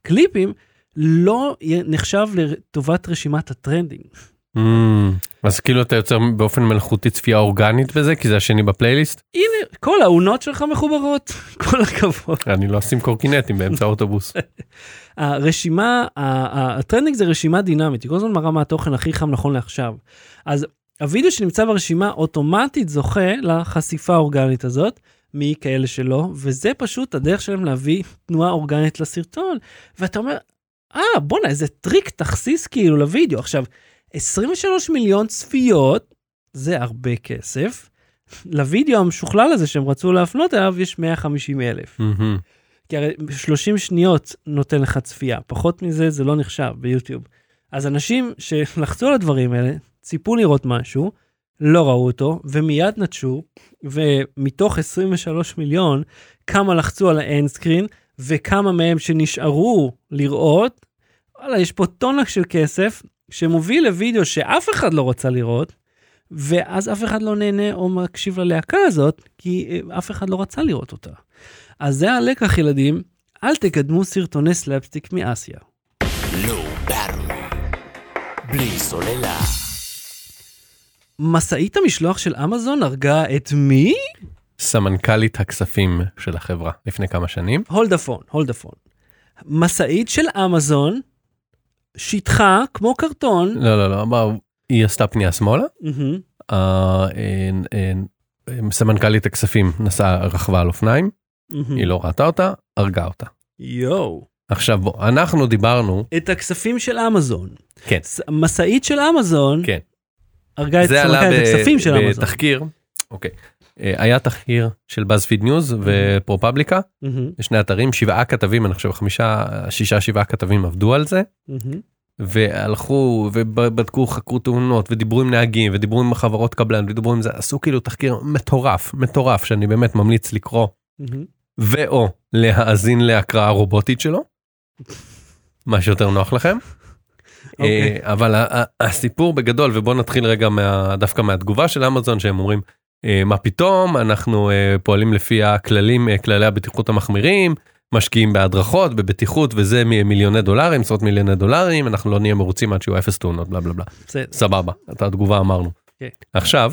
S1: קליפים לא י- נחשב לטובת רשימת הטרנדינג.
S2: אמ, אז כאילו אתה יוצר באופן מלאכותי צפייה אורגנית בזה כי זה השני בפלייליסט
S1: הנה, כל האונות שלך מחוברות, *laughs* כל הכבוד.
S2: אני לא אשים קורקינטים באמצע האוטובוס.
S1: הרשימה, ה- ה- הטרנדינג זה רשימה דינמית, היא כל הזמן מראה מה התוכן הכי חם נכון לעכשיו. אז הוידאו שנמצא ברשימה אוטומטית זוכה לחשיפה האורגנית הזאת, מכאלה שלא, וזה פשוט הדרך שלהם להביא תנועה אורגנית לסרטון. ואתה אומר, אה, בואנה, איזה טריק תכסיס כאילו לוידאו. עכשיו, 23 מיליון צפיות, זה הרבה כסף. לוידאו המשוכלל הזה שהם רצו להפנות אליו יש 150 אלף.
S2: מהמם.
S1: כי הרי 30 שניות נותן לך צפייה, פחות מזה זה לא נחשב ביוטיוב. אז אנשים שלחצו על הדברים האלה, ציפו לראות משהו, לא ראו אותו, ומיד נטשו, ומתוך 23 מיליון, כמה לחצו על האנד סקרין, וכמה מהם שנשארו לראות, וואלה, יש פה טונה של כסף, שמוביל לוידאו שאף אחד לא רצה לראות, ואז אף אחד לא נהנה או מקשיב ללהקה הזאת, כי אה, אף אחד לא רצה לראות אותה. אז זה הלקח, ילדים, אל תקדמו סרטוני סלאפסטיק מאסיה.
S3: Low Battery. לא בלי סוללה.
S1: משאית המשלוח של אמזון הרגה את מי?
S2: סמנכ"לית הכספים של החברה לפני כמה שנים
S1: הולדפון, הולדפון. משאית של אמזון שיטחה כמו קרטון.
S2: לא לא לא מה, היא עשתה פנייה שמאלה
S1: מהמם,
S2: אה, אין, אין, אה, סמנכ"לית הכספים נסעה רכבה על אופניים
S1: מהמם.
S2: היא לא ראתה אותה הרגה אותה.
S1: יואו.
S2: עכשיו בוא אנחנו דיברנו
S1: את הכספים של אמזון.
S2: כן.
S1: ס- משאית של אמזון
S2: כן.
S1: הרגה את
S2: זה עלה
S1: סמנכ"ל את הכספים של
S2: ב-
S1: אמזון.
S2: בתחקיר. אוקיי. אה, היה תחקיר של בזפיד ניוז ופרופבליקה
S1: מהמם,
S2: שני אתרים שבעה כתבים אני חושב חמישה שישה שבעה כתבים עבדו על זה
S1: מהמם,
S2: והלכו ובדקו חקרו תאונות ודיברו עם נהגים ודיברו עם חברות קבלן ודיברו עם זה עשו כאילו תחקיר מטורף מטורף שאני באמת ממליץ לקרוא
S1: מהמם.
S2: ואו להאזין להקראה רובוטית שלו. מה שיותר נוח לכם.
S1: אוקיי.
S2: אה, אבל ה- ה- הסיפור בגדול ובוא נתחיל רגע מה, דווקא מהתגובה של אמזון שהם אומרים אה, מה פתאום אנחנו אה, פועלים לפי הכללים אה, כללי הבטיחות המחמירים משקיעים בהדרכות בבטיחות וזה מ- מיליוני דולרים עשרות מיליוני דולרים אנחנו לא נהיה מרוצים עד שיהיו אפס תאונות בלה בלה בלה
S1: בסדר.
S2: סבבה את התגובה אמרנו.
S1: כן.
S2: עכשיו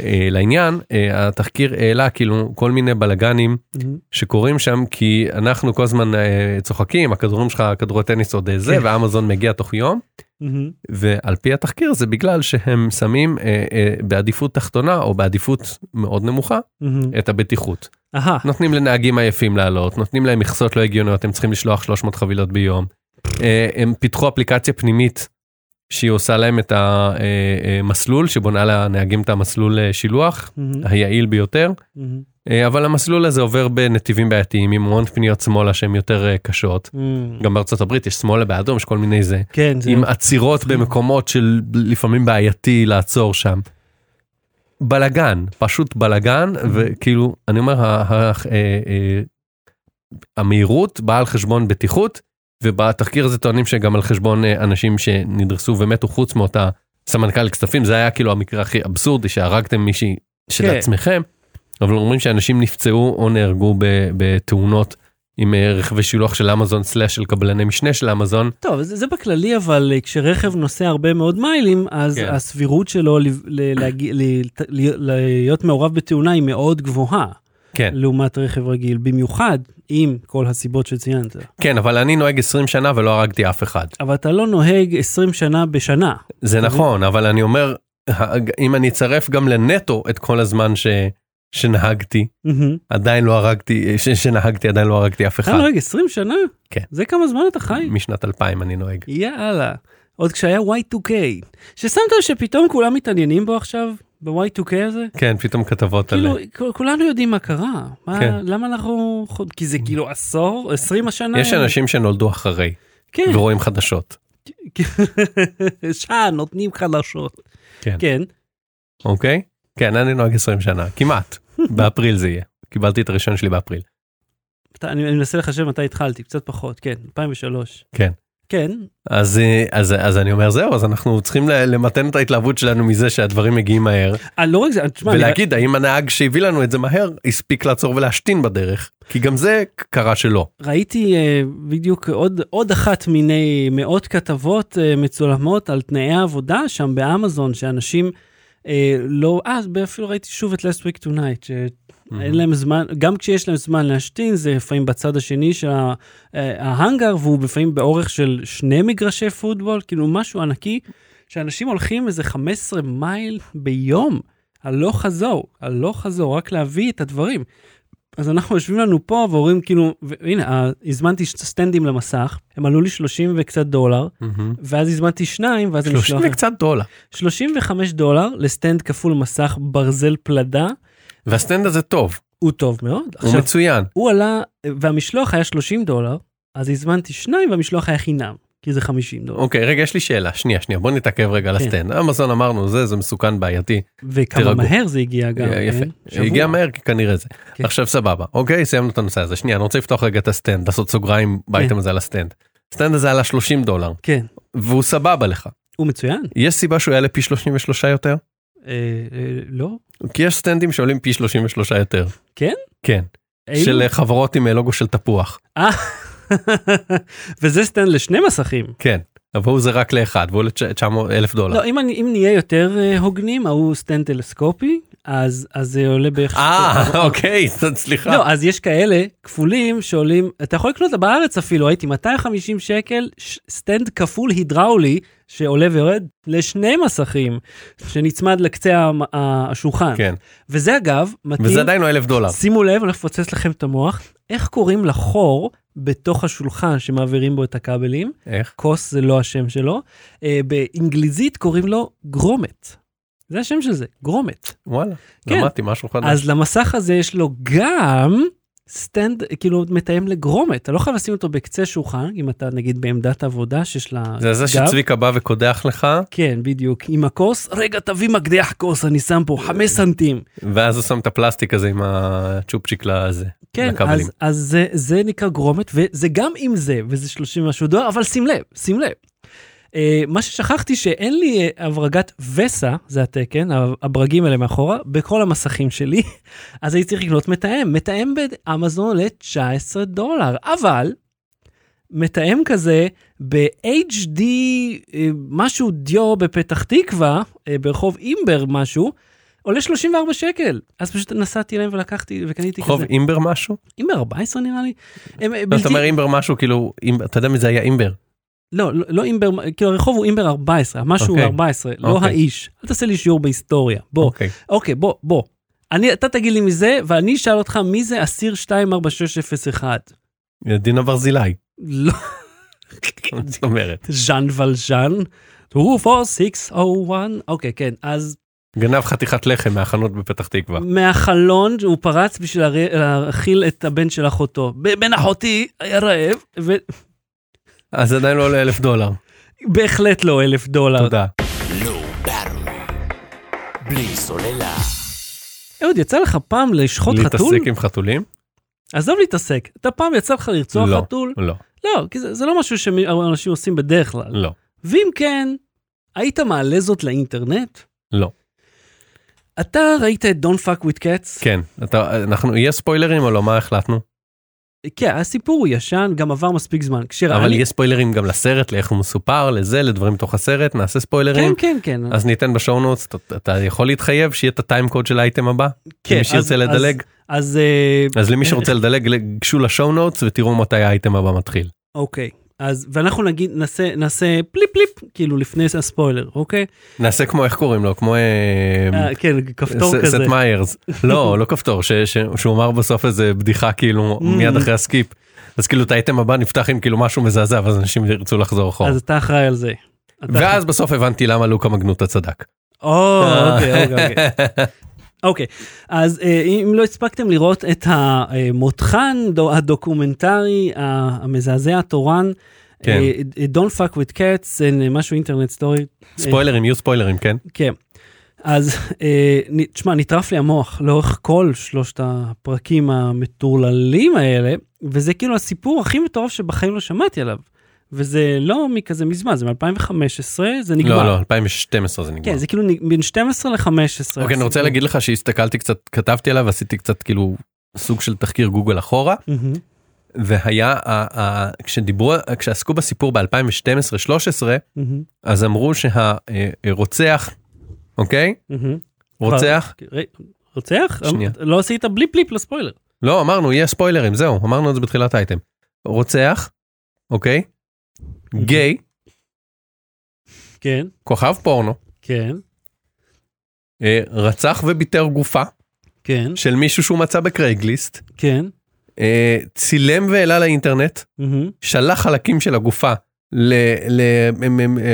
S2: אה, לעניין, אה, התחקיר העלה כאילו כל מיני בלאגנים שקורים שם כי אנחנו כל הזמן אה, צוחקים הכדורים שלך כדורי טניס עוד אה, זה
S1: כן.
S2: ואמזון מגיע תוך יום ועל פי התחקיר זה בגלל שהם שמים אה, אה, בעדיפות תחתונה או בעדיפות מאוד נמוכה את הבטיחות
S1: אהה,
S2: נותנים לנהגים עייפים לעלות נותנים להם מכסות לא הגיוניות הם צריכים לשלוח 300 חבילות ביום אה, הם פיתחו אפליקציה פנימית. שהיא עושה להם את המסלול שבונה לנהגים את המסלול אה, שילוח היעיל ביותר אה, אבל המסלול הזה עובר בנתיבים בעייתיים עם המון פניות שמאלה שהן יותר אה, קשות. גם בארצות הברית יש שמאלה באדום יש כל מיני זה
S1: כן, זה...
S2: עם עצירות במקומות של לפעמים בעייתי לעצור שם. בלגן פשוט בלגן וכאילו אני אומר ה- ה- אה, אה, המהירות באה על חשבון בטיחות ובתחקיר הזה טוענים שגם על חשבון אה, אנשים שנדרסו ומתו חוץ מאותה סמנכ"ל כספים זה היה כאילו המקרה הכי אבסורדי שהרגתם מישהי של
S1: כן.
S2: עצמכם. אבל אומרים שאנשים נפצעו או נהרגו ב- בתאונות עם אה, רכבי שילוח של אמזון סלאש של קבלני משנה של אמזון
S1: טוב, זה, זה בכללי, אבל אה, כשרכב נוסע הרבה מאוד מיילים, אז
S2: כן.
S1: הסבירות שלו ל, ל, להגיע, ל, ל, להיות מעורב בתאונה היא מאוד גבוהה,
S2: כן.
S1: לעומת רכב רגיל, במיוחד עם כל הסיבות שציינת.
S2: כן, אבל אני נוהג 20 שנה ולא הרגתי אף אחד.
S1: אבל אתה לא נוהג 20 שנה בשנה.
S2: זה נכון, אבל אני אומר, הג- אם אני אצרף גם לנטו את כל הזמן ש... שנהגתי,
S1: מהמם.
S2: עדיין לא הרגתי, ש... שנהגתי עדיין לא הרגתי אף
S1: אתה
S2: אחד.
S1: נוהג 20 שנה?
S2: כן.
S1: זה כמה זמן אתה חי?
S2: משנת 2000 אני נוהג.
S1: יאללה. עוד כשהיה Y2K. ששמת לב שפתאום כולם מתעניינים בו עכשיו, ב-Y2K הזה?
S2: כן, פתאום כתבות על...
S1: כאילו, כ- כולנו יודעים מה קרה. מה,
S2: כן.
S1: למה אנחנו... חוד- כי זה כאילו עשור, 20 השנה.
S2: יש אנשים שנולדו אחרי
S1: כן.
S2: ורואים חדשות.
S1: *laughs* שעה, נותנים חלשות.
S2: כן.
S1: כן.
S2: אוקיי? כן, אני נוהג 20 שנה, *laughs* כמעט. באפריל זה יהיה. קיבלתי את הראשון שלי באפריל.
S1: אתה- אני אני מנסה לחשב מתי התחלתי, קצת פחות, כן, 2003.
S2: כן.
S1: כן,
S2: אז, אה, אז, אז אני אומר זהו, אז אנחנו צריכים ל- למתן את ההתלהבות שלנו מזה שהדברים מגיעים מהר.
S1: אה, לא רק זה, תשמע, אני-
S2: ולהגיד האם הנהג שהביא לנו את זה מהר הספיק לעצור ולהשתין בדרך כי גם זה קרה שלא.
S1: ראיתי אה, בדיוק עוד, עוד אחת מיני מאות כתבות אה, מצולמות על תנאי העבודה שם באמזון, שאנשים אה, לא... אה, אפילו ראיתי שוב את Last Week Tonight, שאין להם זמן, גם כשיש להם זמן להשתין, זה לפעמים בצד השני של ה- אה, ההאנגר, והוא לפעמים באורך של שני מגרשי פוטבול, כאילו משהו ענקי, שאנשים הולכים איזה 15 מייל ביום, הלוך חזור, הלוך חזור, רק להביא את הדברים. אז אנחנו יושבים לנו פה ואומרים כאילו, והנה, אה, הזמנתי ש- סטנדים למסך, הם עלו לי 30 וקצת דולר, ואז הזמנתי שניים, ואז אני
S2: שלושים
S1: שלוח...
S2: וקצת דולר
S1: 35 דולר לסטנד כפול מסך ברזל פלדה,
S2: והסטנד הזה טוב
S1: הוא טוב מאוד.
S2: הוא
S1: עכשיו,
S2: מצוין
S1: הוא עלה, והמשלוח היה 30 דולר, אז הזמנתי שניים והמשלוח היה חינם, כי זה 50 דולר.
S2: אוקיי רגע יש לי שאלה שנייה שנייה בוא נתעכב רגע על
S1: כן.
S2: הסטנד אמזון אמרנו זה זה מסוכן בעייתי
S1: וכמה
S2: תירגעו.
S1: מהר זה הגיע גם,
S2: אה, אוקיי, יפה
S1: כן? שבוע.
S2: הגיע מהר כי כנראה זה
S1: כן.
S2: עכשיו סבבה אוקיי סיימנו את הנושא הזה שנייה אני רוצה לפתוח רגע את הסטנד לעשות סוגריים באייטם הזה על הסטנד. הסטנד הזה עלה 30 דולר
S1: כן,
S2: והוא סבבה לך
S1: הוא מצוין.
S2: יש סיבה שהוא יעלה פי 33 יותר
S1: אה, אה, לא?
S2: כי יש סטנדים שעולים פי 33 יותר
S1: כן?
S2: כן.
S1: אילו?
S2: של חברות עם לוגו של תפוח
S1: אה, *laughs* וזה סטנד לשני מסכים.
S2: כן אבל הוא זה רק לאחד והוא ל-900 אלף דולר.
S1: לא, אם, אני, אם נהיה יותר אה, הוגנים, ההוא סטנד טלסקופי, אז, אז זה עולה בערך...
S2: אה *laughs* אוקיי אז סליחה.
S1: לא, אז יש כאלה כפולים שעולים, אתה יכול לקנות בארץ אפילו, הייתי 250 שקל, ש- סטנד כפול הידראולי שעולה ויורד לשני מסכים, שנצמד לקצה המ- ה- השולחן.
S2: כן
S1: וזה אגב, מתאים,
S2: וזה עדיין לא אלף דולר.
S1: שימו לב, אני הולך לפוצץ לכם את המוח, איך קוראים לחור בתוך השולחן שמעבירים בו את הכבלים?
S2: איך?
S1: כוס זה לא השם שלו, אה, באנגליזית קוראים לו גרומט. זה השם של זה, גרומט.
S2: וואלה.
S1: כן.
S2: למדתי משהו חדש.
S1: אז למסך הזה יש לו גם סטנד, כאילו מתאם לגרומט. אתה לא חייב לשים אותו בקצה שולחן, אם אתה נגיד בעמדת עבודה שיש לה
S2: זה זה שצביקה בא וקודח לך
S1: כן, בדיוק. עם הכוס, רגע, תביא מקדח כוס, אני שם פה חמש סנטים.
S2: ואז הוא שם את הפלסטיק הזה עם הצ'ופצ'יק לזה.
S1: כן,
S2: לכבלים.
S1: אז, אז זה, זה נקרא גרומט, וזה גם עם זה, וזה 30 משהו דולר, אבל שים לב, שים לב. אה, מה ששכחתי שאין לי אה, הברגת וסה, זה התקן, ה- הברגים האלה מאחורה, בכל המסכים שלי, *laughs* אז הייתי צריך לקנות מתאם. מתאם באמזון עולה 19 דולר, אבל מתאם כזה ב-HD אה, משהו דיו בפתח תקווה, אה, ברחוב אימבר משהו, עולה 34 שקל. אז פשוט נסעתי אליהם ולקחתי וקניתי
S2: חוב
S1: כזה.
S2: אימבר משהו?
S1: אם ב-14 נראה לי. הם, אה,
S2: לא, אתה
S1: בלתי-
S2: אומר אימבר משהו כאילו, אם- אתה יודע מי זה היה אימבר?
S1: לא, לא- לא אימבר, כאילו הרחוב הוא אימבר 14, משהו
S2: אוקיי.
S1: 14, לא
S2: אוקיי.
S1: האיש. אל תעשה לי שיעור בהיסטוריה. בוא,
S2: אוקיי.
S1: אוקיי, בוא, בוא. אני, אתה תגיד לי מי זה, ואני אשאל אותך מי זה אסיר 24601.
S2: דינה ברזילי. *laughs*
S1: לא,
S2: זאת אומרת.
S1: ז'אן ולז'אן. 24601. אוקיי, כן, אז
S2: גנב חתיכת לחם מהחנות בפתח תקווה.
S1: מהחלון הוא פרץ בשביל להרי- להאכיל את הבן של אחותו. ב- בן אחותי היה רעב,
S2: אז זה עדיין לא עולה אלף דולר.
S1: אה, ובהחלט לא אלף דולר.
S2: תודה.
S3: Low Barm. בלי סוללה.
S1: אהוד, יצא לך פעם לשחוט חתול?
S2: להתעסק עם חתולים?
S1: עזוב להתעסק. אתה פעם יצא לך לרצוח
S2: לא.
S1: חתול?
S2: לא,
S1: לא, כי זה זה לא משהו שאנשים עושים בדרך כלל.
S2: לא,
S1: ואם כן, היית מעלה זאת לאינטרנט?
S2: לא.
S1: אתה ראית את Don't Fuck With Cats?
S2: כן, אתה, אנחנו, יהיה ספוילרים או לא? מה החלטנו?
S1: כן, הסיפור הוא ישן, גם עבר מספיק זמן. כשראה
S2: אבל
S1: לי...
S2: יהיה ספוילרים גם לסרט, לאיך הוא מסופר, לזה, לדברים בתוך הסרט, נעשה
S1: כן,
S2: ספוילרים.
S1: כן, כן.
S2: אז ניתן בשואו נוטס, אתה- אתה יכול להתחייב שיהיה את הטיים קוד של האייטם הבא?
S1: כן,
S2: למי שירצה
S1: אז-
S2: לדלג.
S1: אז אז, אה,
S2: אז למי
S1: *laughs*
S2: שרוצה לדלג, גשו לשואו נוטס ותראו מתי האייטם הבא מתחיל.
S1: אוקיי. אז, ואנחנו נגיד, נעשה, נעשה פליפ פליפ, כאילו לפני הספוילר, אוקיי?
S2: נעשה כמו, איך קוראים לו? כמו... אה,
S1: אה, כן, כפתור
S2: ס-
S1: כזה.
S2: סט
S1: *laughs*
S2: מיירס. לא, לא כפתור, ש- ש- שהוא אמר בסוף איזה בדיחה כאילו
S1: Mm.
S2: מיד אחרי הסקיפ. אז כאילו את האייטם הבא נפתח עם כאילו משהו מזעזע ואז אנשים ירצו לחזור אחורה.
S1: אז אתה אחראי על זה. אתה-
S2: ואז בסוף הבנתי למה לוקה מגנוטה צדק.
S1: או, אוקיי, אוקיי, אוקיי. אוקיי, אז אה, אם לא הספקתם לראות את המותחן דו- הדוקומנטרי ה- המזעזע התורן,
S2: כן.
S1: אה, אה, Don't fuck with cats, אה, משהו אינטרנט סטורי,
S2: ספוילרים, יהיו ספוילרים, כן?
S1: כן. אז אה, נ- תשמע, נטרף לי המוח לאורך כל שלושת הפרקים המטורללים האלה, וזה כאילו הסיפור הכי מטורף שבחיים לא שמעתי עליו. וזה לא מכזה מזמן, זה מ-2015, זה נגמר.
S2: לא, לא, 2012 זה נגמר.
S1: כן, זה כאילו נ- בין 12 ל-15.
S2: אוקיי, אני רוצה להגיד לך שהסתכלתי קצת, כתבתי עליו, עשיתי קצת כאילו סוג של תחקיר גוגל אחורה, והיה, ה- ה- כשדיברו, כשעסקו בסיפור ב-2012-2013, אז אמרו שהרוצח, אוקיי? רוצח?
S1: אוקיי, רוצח?
S2: שנייה.
S1: לא עשית בלי פליפ לספוילר.
S2: לא, אמרנו, יהיה ספוילרים, זהו, אמרנו את זה בתחילת האייטם. רוצח, אוקיי? גיי,
S1: כן,
S2: כוכב פורנו,
S1: כן,
S2: אה, רצח וביטר גופה
S1: כן,
S2: של מישהו שהוא מצא בקרייגליסט,
S1: כן.
S2: אה, צילם והעלה לאינטרנט,
S1: מהמם.
S2: שלח חלקים של הגופה
S1: אבל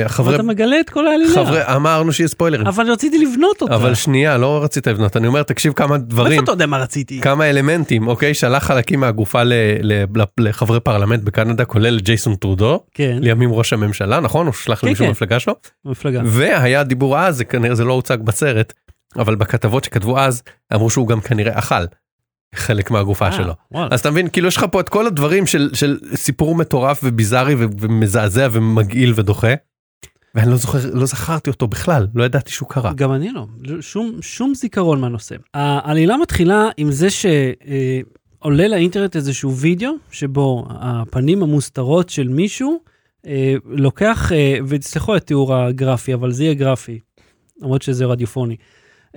S2: לחברי...
S1: אתה מגלה את כל העלילה.
S2: אה, אמרנו שיהיה ספוילרים.
S1: אבל רציתי לבנות אותה.
S2: אבל שנייה, לא רצית לבנות, אני אומר, תקשיב כמה
S1: מאיפה
S2: דברים,
S1: אתה יודע מה רציתי?
S2: כמה אלמנטים, אוקיי? שלח חלקים מהגופה ל- ל- ל- לחברי פרלמנט בקנדה, כולל ג'ייסון טרודו,
S1: כן,
S2: לימים ראש הממשלה, נכון? הוא שלח
S1: כן,
S2: למישהו
S1: כן.
S2: במפלגה שלו.
S1: מפלגה.
S2: והיה דיבור אז, זה כנראה זה לא הוצג בסרט, אבל בכתבות שכתבו אז, אמרו שהוא גם כנראה אכל חלק מהגופה שלו.
S1: אה, וואלה.
S2: אז אתה מבין, כאילו יש לך פה את כל הדברים של, של סיפור מטורף וביזארי ו- ומזעזע ומגעיל ודוחה. ואני לא זוכר, לא זכרתי אותו בכלל, לא ידעתי שהוא קרה.
S1: גם אני לא, שום, שום זיכרון מהנושא. העלילה מתחילה עם זה שעולה לאינטרנט איזשהו וידאו, שבו הפנים המוסתרות של מישהו אה, לוקח, אה, ותסלחו על התיאור הגרפי, אבל זה יהיה גרפי, למרות שזה רדיופוני.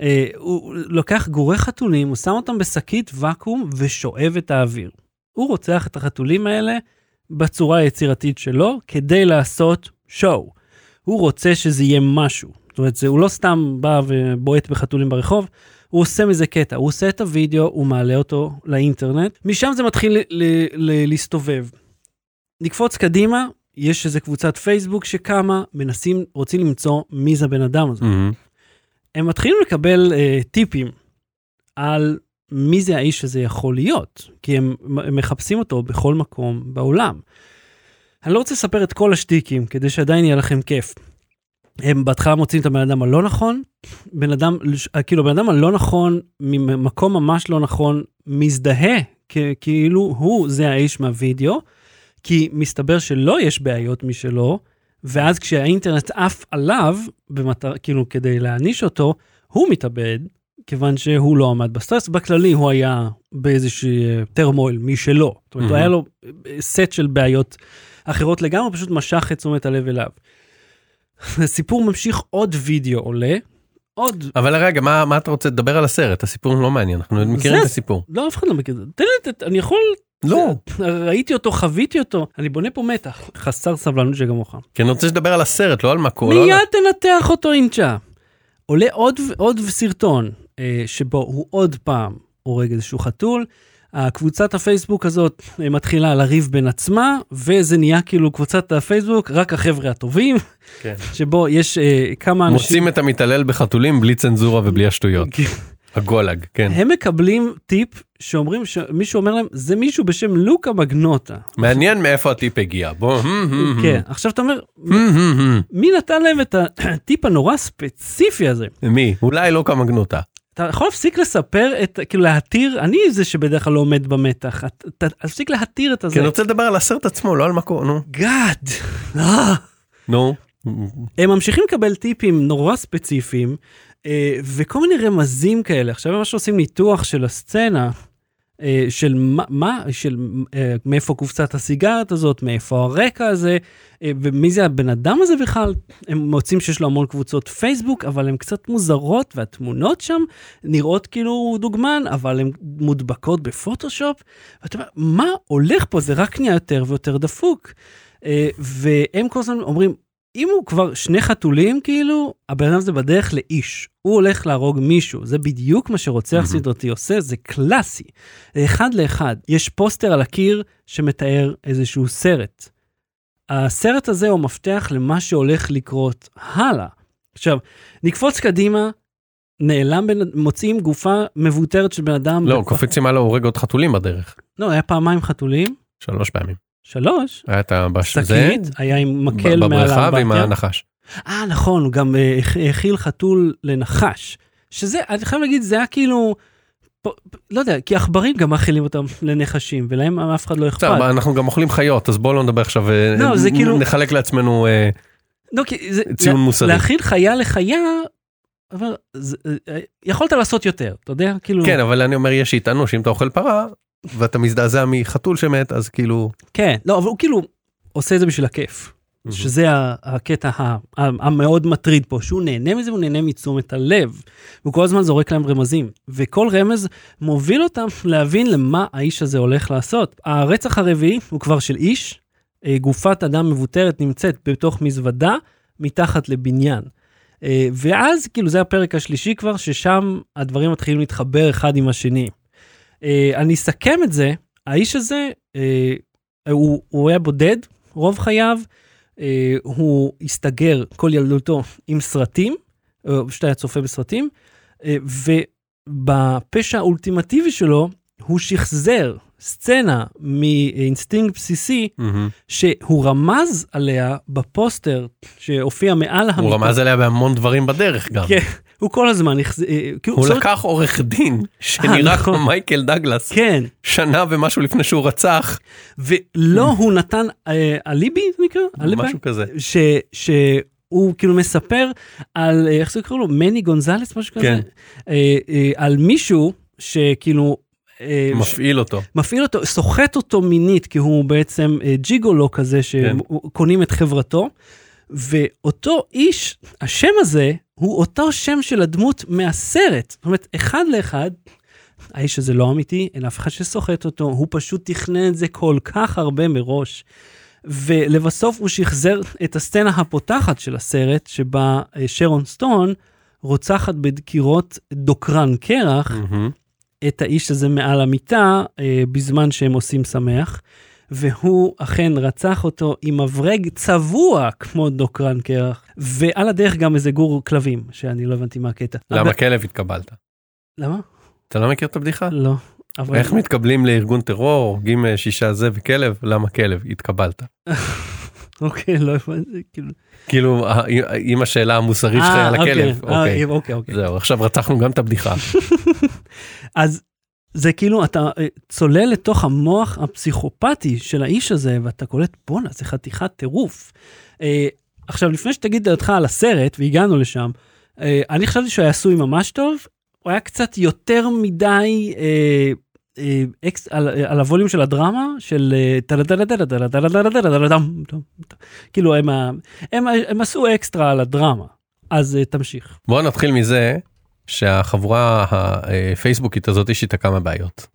S1: אה, הוא לוקח גורי חתולים, הוא שם אותם בשקית ואקום ושואב את האוויר. הוא רוצח את החתולים האלה בצורה היצירתית שלו, כדי לעשות שואו. הוא רוצה שזה יהיה משהו. זאת אומרת, זה, הוא לא סתם בא ובועט בחתולים ברחוב, הוא עושה מזה קטע. הוא עושה את הוידאו, הוא מעלה אותו לאינטרנט, משם זה מתחיל ל- ל- ל- להסתובב. נקפוץ קדימה, יש איזה קבוצת פייסבוק שקמה, מנסים, רוצים למצוא מי זה הבן אדם הזה.
S2: מהמם.
S1: הם מתחילים לקבל אה, טיפים על מי זה האיש שזה יכול להיות, כי הם, הם מחפשים אותו בכל מקום בעולם. אני לא רוצה לספר את כל השטיקים, כדי שעדיין יהיה לכם כיף. הם בהתחלה מוצאים את הבן אדם הלא נכון, בן אדם, כאילו, בן אדם הלא נכון, ממקום ממש לא נכון, מזדהה, כ- כאילו הוא זה האיש מהווידאו, כי מסתבר שלא יש בעיות משלו, ואז כשהאינטרנט עף עליו, במטר, כאילו כדי להעניש אותו, הוא מתאבד, כיוון שהוא לא עמד בסטרס. בכללי הוא היה באיזושהי אה, טרמויל משלו. זאת אומרת, הוא
S2: Mhm.
S1: היה לו אה, סט של בעיות אחרות לגמרי, *laughs* פשוט משך את תשומת הלב אליו. הסיפור ממשיך, עוד וידאו עולה, עוד...
S2: אבל רגע, מה, מה אתה רוצה לדבר על הסרט? הסיפור לא מעניין, אנחנו מכירים את הסיפור.
S1: לא, אף אחד לא מכיר את זה. תן לי, את- אני יכול...
S2: לא,
S1: ראיתי אותו, חוויתי אותו. אני בונה פה מתח. חסר סבלנות שכמוך.
S2: כי אני רוצה שתדבר על הסרט, לא על מה קורה. לא
S1: מיד
S2: על-
S1: תנתח אותו אינצ'ה. עולה עוד, ו- עוד סרטון אה, שבו הוא עוד פעם הורג איזשהו חתול. הקבוצת הפייסבוק הזאת אה, מתחילה לריב בין עצמה, וזה נהיה כאילו קבוצת הפייסבוק, רק החבר'ה הטובים,
S2: כן.
S1: *laughs* שבו יש אה, כמה אנשים...
S2: מוצאים את המתעלל בחתולים בלי צנזורה ובלי השטויות. הגולג, כן.
S1: הם מקבלים טיפ שאומרים, ש- מישהו אומר להם, זה מישהו בשם לוקה מגנוטה.
S2: מעניין מאיפה הטיפ הגיע. בוא, הם, הם,
S1: כן, עכשיו אתה אומר,
S2: הם, הם, הם.
S1: מי נתן להם את הטיפ הנורא ספציפי הזה?
S2: מי? אולי לא כמה גנותה.
S1: אתה יכול להפסיק לספר את, כאילו להתיר, אני זה שבדרך כלל לא עומד במתח, את- ת- תפסיק להתיר את
S2: כי
S1: הזה.
S2: אני רוצה לדבר על הסרט עצמו, לא על מה קורה, נו.
S1: גאד.
S2: נו.
S1: הם ממשיכים לקבל טיפים נורא ספציפיים, אה, וכל מיני רמזים כאלה. עכשיו ממש עושים ניתוח של הסצנה, אה, של מה, מה של אה, מאיפה קופסת הסיגרת הזאת, מאיפה הרקע הזה, אה, ומי זה הבן אדם הזה בכלל. הם מוצאים שיש לו המון קבוצות פייסבוק, אבל הן קצת מוזרות, והתמונות שם נראות כאילו דוגמן, אבל הן מודבקות בפוטושופ. ואתה אומר, מה הולך פה? זה רק נהיה יותר ויותר דפוק. אה, והם כל הזמן אומרים, אם הוא כבר שני חתולים, כאילו, הבן אדם הזה בדרך לאיש. הוא הולך להרוג מישהו. זה בדיוק מה שרוצח
S2: מהמם.
S1: סדרתי עושה, זה קלאסי. זה אחד לאחד. יש פוסטר על הקיר שמתאר איזשהו סרט. הסרט הזה הוא מפתח למה שהולך לקרות הלאה. עכשיו, נקפוץ קדימה, נעלם, בן, מוצאים גופה מבוטרת של בן אדם.
S2: לא,
S1: בפח-
S2: קופצים הלאה, הורג עוד חתולים בדרך.
S1: לא, היה פעמיים חתולים,
S2: שלוש פעמים.
S1: שלוש.
S2: היה את הבש...
S1: שקית, היה עם מקל מעל כן?
S2: בבריכה ועם
S1: האמבטיה.
S2: הנחש.
S1: אה, נכון, הוא גם אה, הכ- האכיל חתול לנחש. שזה, אני חייב להגיד, זה היה כאילו, פה- פה- לא יודע, כי עכברים גם מאכילים אותם לנחשים, ולהם אף אחד לא אכפת.
S2: בסדר, אנחנו גם אוכלים חיות, אז בואו לא נדבר עכשיו, אה,
S1: לא, זה
S2: נ-
S1: כאילו-
S2: נחלק לעצמנו אה,
S1: לא, כי זה,
S2: ציון מוסרי.
S1: להאכיל חיה לחיה, אבל זה, אה, יכולת לעשות יותר, אתה יודע? כאילו,
S2: כן, אבל אני אומר, יש שיטענו שאם אתה אוכל פרה, ואתה מזדעזע מחתול שמת, אז כאילו...
S1: כן, לא, אבל הוא כאילו עושה את זה בשביל הכיף. שזה ה- הקטע ה- ה- המאוד מטריד פה, שהוא נהנה מזה, הוא נהנה מתשומת הלב. הוא כל הזמן זורק להם רמזים, וכל רמז מוביל אותם להבין למה האיש הזה הולך לעשות. הרצח הרביעי הוא כבר של איש, אה, גופת אדם מבוטרת נמצאת בתוך מזוודה מתחת לבניין. אה, ואז, כאילו, זה הפרק השלישי כבר, ששם הדברים מתחילים להתחבר אחד עם השני. אה, אני אסכם את זה, האיש הזה, אה, הוא, הוא היה בודד רוב חייו, אה, הוא הסתגר כל ילדותו עם סרטים, אה, פשוט היה צופה בסרטים, אה, ובפשע האולטימטיבי שלו, הוא שחזר סצנה מאינסטינקט בסיסי,
S2: מהמם.
S1: שהוא רמז עליה בפוסטר שהופיע מעל המיטה.
S2: הוא רמז עליה בהמון דברים בדרך גם.
S1: כן, הוא כל הזמן, החז- אה, כאילו,
S2: הוא
S1: זאת-
S2: לקח עורך דין שנראה
S1: נכון.
S2: כמו מייקל דגלס
S1: כן,
S2: שנה ומשהו לפני שהוא רצח,
S1: ולא הוא נתן אה, אליבי, זה נקרא? אליבי?
S2: משהו כזה.
S1: ש, שהוא כאילו מספר על, אה, איך זה קוראים לו? מני גונזלס, משהו כזה?
S2: כן.
S1: אה, אה, על מישהו שכאילו... אה, ש-
S2: מפעיל אותו.
S1: מפעיל אותו, סוחט אותו מינית, כי הוא בעצם אה, ג'יגולו כזה שקונים את חברתו. ואותו איש, השם הזה, הוא אותו שם של הדמות מהסרט. זאת אומרת, אחד לאחד, האיש הזה לא אמיתי, אין אף אחד שסוחט אותו, הוא פשוט תכנן את זה כל כך הרבה מראש. ולבסוף הוא שחזר את הסצנה הפותחת של הסרט, שבה אה, שרון סטון רוצחת בדקירות דוקרן קרח,
S2: מהמם.
S1: את האיש הזה מעל המיטה אה, בזמן שהם עושים שמח, והוא אכן רצח אותו עם מברג צבוע כמו דוקרן קרח, ועל הדרך גם איזה גור כלבים, שאני לא הבנתי מה הקטע.
S2: למה
S1: אבל-
S2: כלב התקבלת?
S1: למה?
S2: אתה לא מכיר את הבדיחה?
S1: לא. אבל...
S2: איך מתקבלים לארגון טרור, הורגים אה, שישה זה וכלב, למה כלב? התקבלת.
S1: אוקיי, לא הבנתי, כאילו...
S2: כאילו, אה, אה, עם השאלה המוסרית שלך
S1: אה,
S2: על הכלב.
S1: אה,
S2: אוקיי.
S1: אוקיי, אוקיי.
S2: זהו, עכשיו רצחנו גם את הבדיחה.
S1: אז זה כאילו, אתה אה, צולל לתוך המוח הפסיכופתי של האיש הזה, ואתה קולט, בואנה, זה חתיכת טירוף. אה, עכשיו, לפני שתגיד דעתך על הסרט, והגענו לשם, אה, אני חשבתי שהוא היה עשוי ממש טוב, הוא היה קצת יותר מדי... אה, אה, אקס, על, אה, על הווליום של הדרמה של אה, טלדלדלדלדלדלדלדלדלדלדלדם, טום, טום. כאילו הם, ה- הם, ה- הם עשו אקסטרה על הדרמה אז אה, תמשיך.
S2: בואו נתחיל מזה שהחבורה הפייסבוקית הזאת יש איתה כמה בעיות,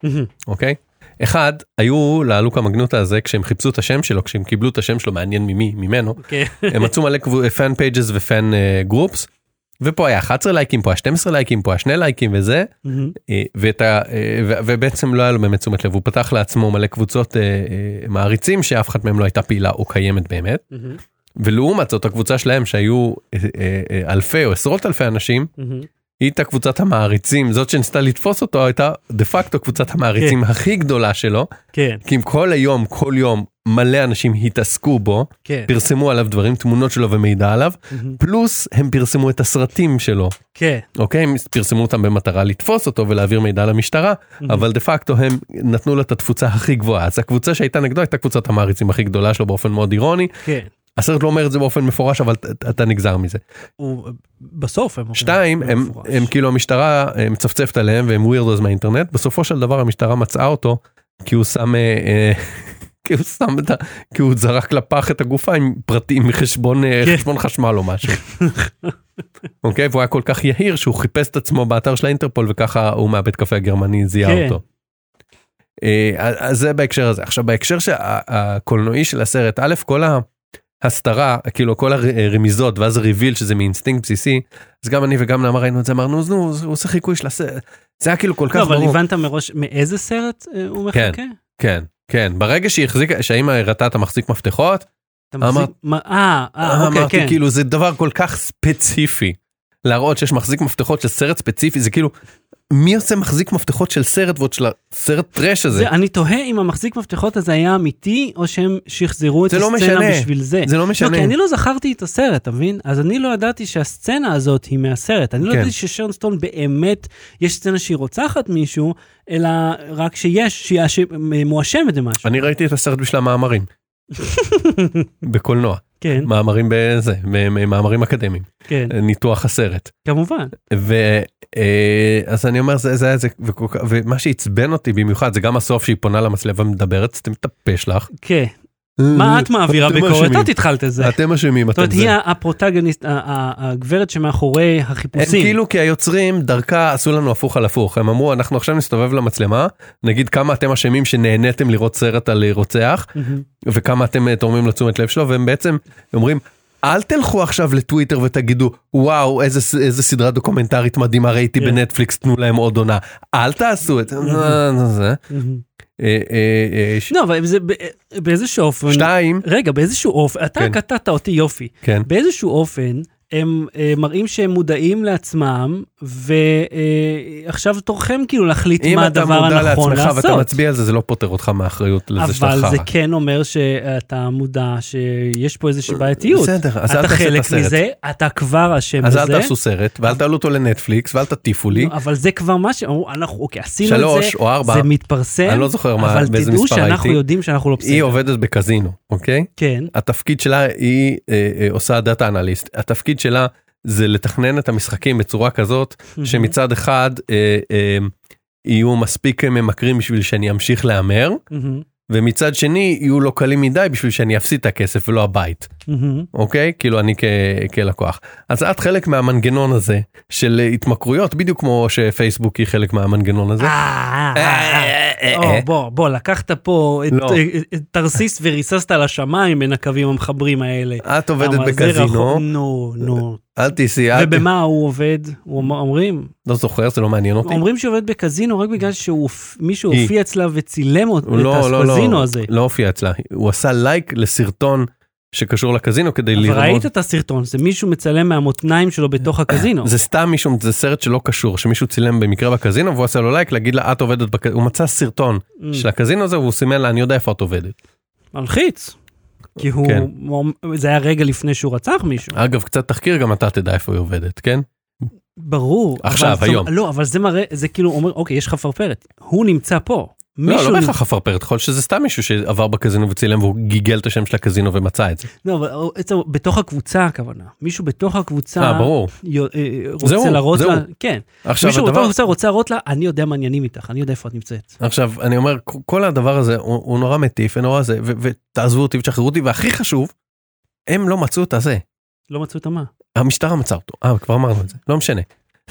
S2: אוקיי? אחד, היו לאלוקה מגנוטה הזה כשהם חיפשו את השם שלו, כשהם קיבלו את השם שלו, מעניין ממי, ממנו,
S1: כן.
S2: הם מצאו מלא פאן פייג'ס ופאן גרופס, אה, ופה היה 11 לייקים, פה היה 12 לייקים, פה היה 2 לייקים וזה, אה, ואת ה, אה, ו- ובעצם לא היה לו באמת תשומת לב, הוא פתח לעצמו מלא קבוצות אה, אה, מעריצים שאף אחת מהם לא הייתה פעילה או קיימת באמת, ולעומת זאת הקבוצה שלהם שהיו אה, אה, אה, אלפי או עשרות אלפי אנשים, היא הייתה קבוצת המעריצים, זאת שניסתה לתפוס אותו הייתה דה פקטו קבוצת המעריצים הכי גדולה שלו,
S1: כן,
S2: כי אם כל היום, כל יום, מלא אנשים התעסקו בו,
S1: כן,
S2: פרסמו עליו דברים, תמונות שלו ומידע עליו,
S1: מהמם.
S2: פלוס הם פרסמו את הסרטים שלו,
S1: כן.
S2: אוקיי? הם פרסמו אותם במטרה לתפוס אותו ולהעביר מידע למשטרה, אבל דה פקטו הם נתנו לו את התפוצה הכי גבוהה. אז הקבוצה שהייתה נגדו הייתה קבוצת המעריצים הכי גדולה שלו באופן מאוד אירוני.
S1: כן.
S2: הסרט לא אומר את זה באופן מפורש, אבל ת- אתה נגזר מזה.
S1: הוא- בסוף הם... אומרים
S2: שתיים, הם,
S1: במפורש.
S2: הם כאילו המשטרה אה, מצפצפת עליהם והם ווירדוס מהאינטרנט, בסופו של דבר המשטרה מצאה אותו כי הוא שם, אה, אה, *laughs* כי הוא שם את ה... כי הוא זרק לפח את הגופה עם פרטים מחשבון אה,
S1: כן.
S2: חשבון חשמל או
S1: *laughs*
S2: משהו. אוקיי, והוא היה כל כך יהיר שהוא חיפש את עצמו באתר של האינטרפול וככה הוא מהבית קפה הגרמני זיהה
S1: כן.
S2: אותו. אה, אז אז זה בהקשר הזה. עכשיו בהקשר שה- הקולנועי של הסרט, א', כל ההסתרה, כאילו כל הרמיזות ואז הריביל שזה מאינסטינקט בסיסי, אז גם אני וגם נעמה ראינו את זה, אמרנו, אז נו, הוא עושה חיקוי של הסרט. זה היה כאילו כל כך
S1: לא, אבל
S2: ברור.
S1: הבנת מראש מאיזה סרט אה, הוא
S2: כן.
S1: מחכה?
S2: כן, כן. ברגע שהיא החזיקה, שהאימא הראתה את המחזיק מפתחות,
S1: אתה מחזיק-
S2: אמרת-
S1: מה- אה, אה, אוקיי,
S2: אמרתי
S1: כן.
S2: כאילו זה דבר כל כך ספציפי. להראות שיש מחזיק מפתחות של סרט ספציפי, זה כאילו, מי עושה מחזיק מפתחות של סרט ועוד של הסרט טרש הזה?
S1: זה, אני תוהה אם המחזיק מפתחות הזה היה אמיתי, או שהם שחזרו את
S2: זה לא
S1: הסצנה
S2: משנה.
S1: בשביל זה.
S2: זה לא
S1: לא,
S2: משנה.
S1: כי אני לא זכרתי את הסרט, אתה מבין? אז אני לא ידעתי שהסצנה הזאת היא מהסרט. אני לא
S2: כן.
S1: ידעתי ששרון סטון באמת, יש סצנה שהיא רוצחת מישהו, אלא רק שיש, שהיא אש- מואשמת במשהו.
S2: אני ראיתי את הסרט בשביל
S1: *laughs*
S2: המאמרים. בקולנוע.
S1: כן,
S2: מאמרים בזה, מאמרים אקדמיים.
S1: כן,
S2: ניתוח הסרט.
S1: כמובן.
S2: ואז אה, אני אומר זה זה היה זה וכל כך- ומה שעצבן אותי במיוחד זה גם הסוף שהיא פונה למצלב ומדברת סתם את הפה שלך.
S1: כן. מה את מעבירה
S2: אתם
S1: ביקורת?
S2: אשמים.
S1: את התחלת את זה.
S2: אתם אשמים
S1: זאת אומרת,
S2: אתם זה.
S1: היא הפרוטגניסט, ה- ה- הגברת שמאחורי
S2: הם
S1: החיפושים.
S2: כאילו כי היוצרים דרכה עשו לנו הפוך על הפוך הם אמרו אנחנו עכשיו נסתובב למצלמה נגיד כמה אתם אשמים שנהניתם לראות סרט על אה, רוצח
S1: מהמם.
S2: וכמה אתם אה, תורמים לתשומת לב שלו והם בעצם אומרים אל תלכו עכשיו לטוויטר ותגידו וואו איזה, ס- איזה סדרה דוקומנטרית מדהימה ראיתי
S1: כן.
S2: בנטפליקס תנו להם עוד עונה אל תעשו את זה. זה.
S1: מהמם.
S2: אה, אה, אה, ש-
S1: לא, אבל זה ב- באיזשהו אופן...
S2: שתיים
S1: רגע, באיזשהו אופן, אתה
S2: כן.
S1: קטעת אותי יופי.
S2: כן
S1: באיזשהו אופן, הם אה, מראים שהם מודעים לעצמם, ועכשיו תורכם כאילו להחליט
S2: אם
S1: מה
S2: אתה
S1: הדבר
S2: מודע
S1: הנכון
S2: לעצמך
S1: לעשות.
S2: ואתה מצביע על זה זה לא פוטר אותך מהאחריות לזה שאתה
S1: אבל זה
S2: חרא.
S1: כן אומר שאתה מודע שיש פה איזושהי בעייתיות.
S2: בסדר אז אל
S1: אתה
S2: תעשה את
S1: חלק
S2: הסרט.
S1: מזה, אתה כבר אשם
S2: אז
S1: בזה.
S2: אל תעשו סרט ואל תעלו אותו לנטפליקס ואל תטיפו לי
S1: לא, אבל זה כבר מה שאמרו, אנחנו, אוקיי, עשינו את
S2: שלוש
S1: זה,
S2: או ארבע
S1: זה מתפרסם,
S2: אני לא זוכר מה-
S1: אבל
S2: באיזה
S1: תדעו
S2: מספר
S1: שאנחנו
S2: הייתי.
S1: יודעים שאנחנו לא
S2: היא
S1: בסדר.
S2: עובדת בקזינו אוקיי *laughs*
S1: כן,
S2: התפקיד שלה היא אה, אה, עושה דאטה אנליסט התפקיד שלה זה לתכנן את המשחקים בצורה כזאת שמצד אחד אה, אה, יהו מספיק ממכרים בשביל שאני אמשיך להמר
S1: מהמם,
S2: ומצד שני יהיו לו קלים מדי בשביל שאני אפסיד את הכסף ולא הבית.
S1: מהמם,
S2: אוקיי? כאילו אני כ- כלקוח. אז את חלק מהמנגנון הזה של התמכרויות, בדיוק כמו שפייסבוק היא חלק מהמנגנון הזה.
S1: אה, אה,
S2: אה,
S1: אה, אה.
S2: אה, אה,
S1: או,
S2: אה.
S1: בוא, בוא, לקחת פה את-
S2: לא.
S1: אה, את תרסיס וריססת על השמיים בין הקווים המחברים האלה.
S2: את עובדת
S1: למה, אה. לא, זה רחוק-
S2: בקזינו, אה,
S1: נו, נו.
S2: אל תיסעי, אל ת-
S1: ובמה הוא עובד? הוא אומר- אומרים,
S2: לא זוכר, זה לא מעניין אותי.
S1: אומרים שהוא עובד בקזינו רק בגלל שמישהו
S2: היא.
S1: הופיע אצלה וצילם אותו-
S2: הוא לא,
S1: את
S2: לא,
S1: הקזינו
S2: לא,
S1: הזה.
S2: לא הופיע אצלה. הוא עשה לייק לסרטון שקשור לקזינו כדי
S1: אבל
S2: לראות.
S1: ראית את הסרטון, זה מישהו מצלם מהמותניים שלו בתוך הקזינו.
S2: אה, זה סתם מישהו, זה סרט שלא קשור, שמישהו צילם במקרה בקזינו והוא עשה לו לייק להגיד לה את עובדת בקזינו, הוא מצא סרטון
S1: Mm,
S2: של הקזינו הזה והוא סימן לה אני יודע איפה את עובדת.
S1: מלחיץ. כי הוא,
S2: כן.
S1: זה היה רגע לפני שהוא רצח מישהו.
S2: אגב קצת תחקיר גם אתה תדע איפה היא עובדת, כן?
S1: ברור.
S2: עכשיו,
S1: אבל זאת-
S2: היום.
S1: לא, אבל זה מראה, זה כאילו אומר, אוקיי, יש חפרפרת, הוא נמצא פה.
S2: לא,
S1: מישהו
S2: לא
S1: נמצא-
S2: בהכרח חפרפרת, יכול להיות שזה סתם מישהו שעבר בקזינו וצילם והוא גיגל את השם של הקזינו ומצא את זה.
S1: לא, אבל או- עצם- בתוך הקבוצה הכוונה. מישהו בתוך הקבוצה...
S2: אה, ברור.
S1: יו- אה, רוצה
S2: הוא,
S1: להראות
S2: זה
S1: לה...
S2: הוא.
S1: כן.
S2: עכשיו
S1: מישהו בתוך
S2: הדבר,
S1: הקבוצה רוצה להראות לה, אני יודע מה העניינים איתך, אני יודע איפה את נמצאת.
S2: עכשיו אני אומר, כל הדבר הזה הוא הוא נורא מטיף ונורא זה, ו- ותעזבו אותי ותשחררו אותי, והכי חשוב, הם לא מצאו את הזה.
S1: לא מצאו את המה.
S2: המשטרה מצאה אותו, אה, כבר אמרנו את זה, לא משנה.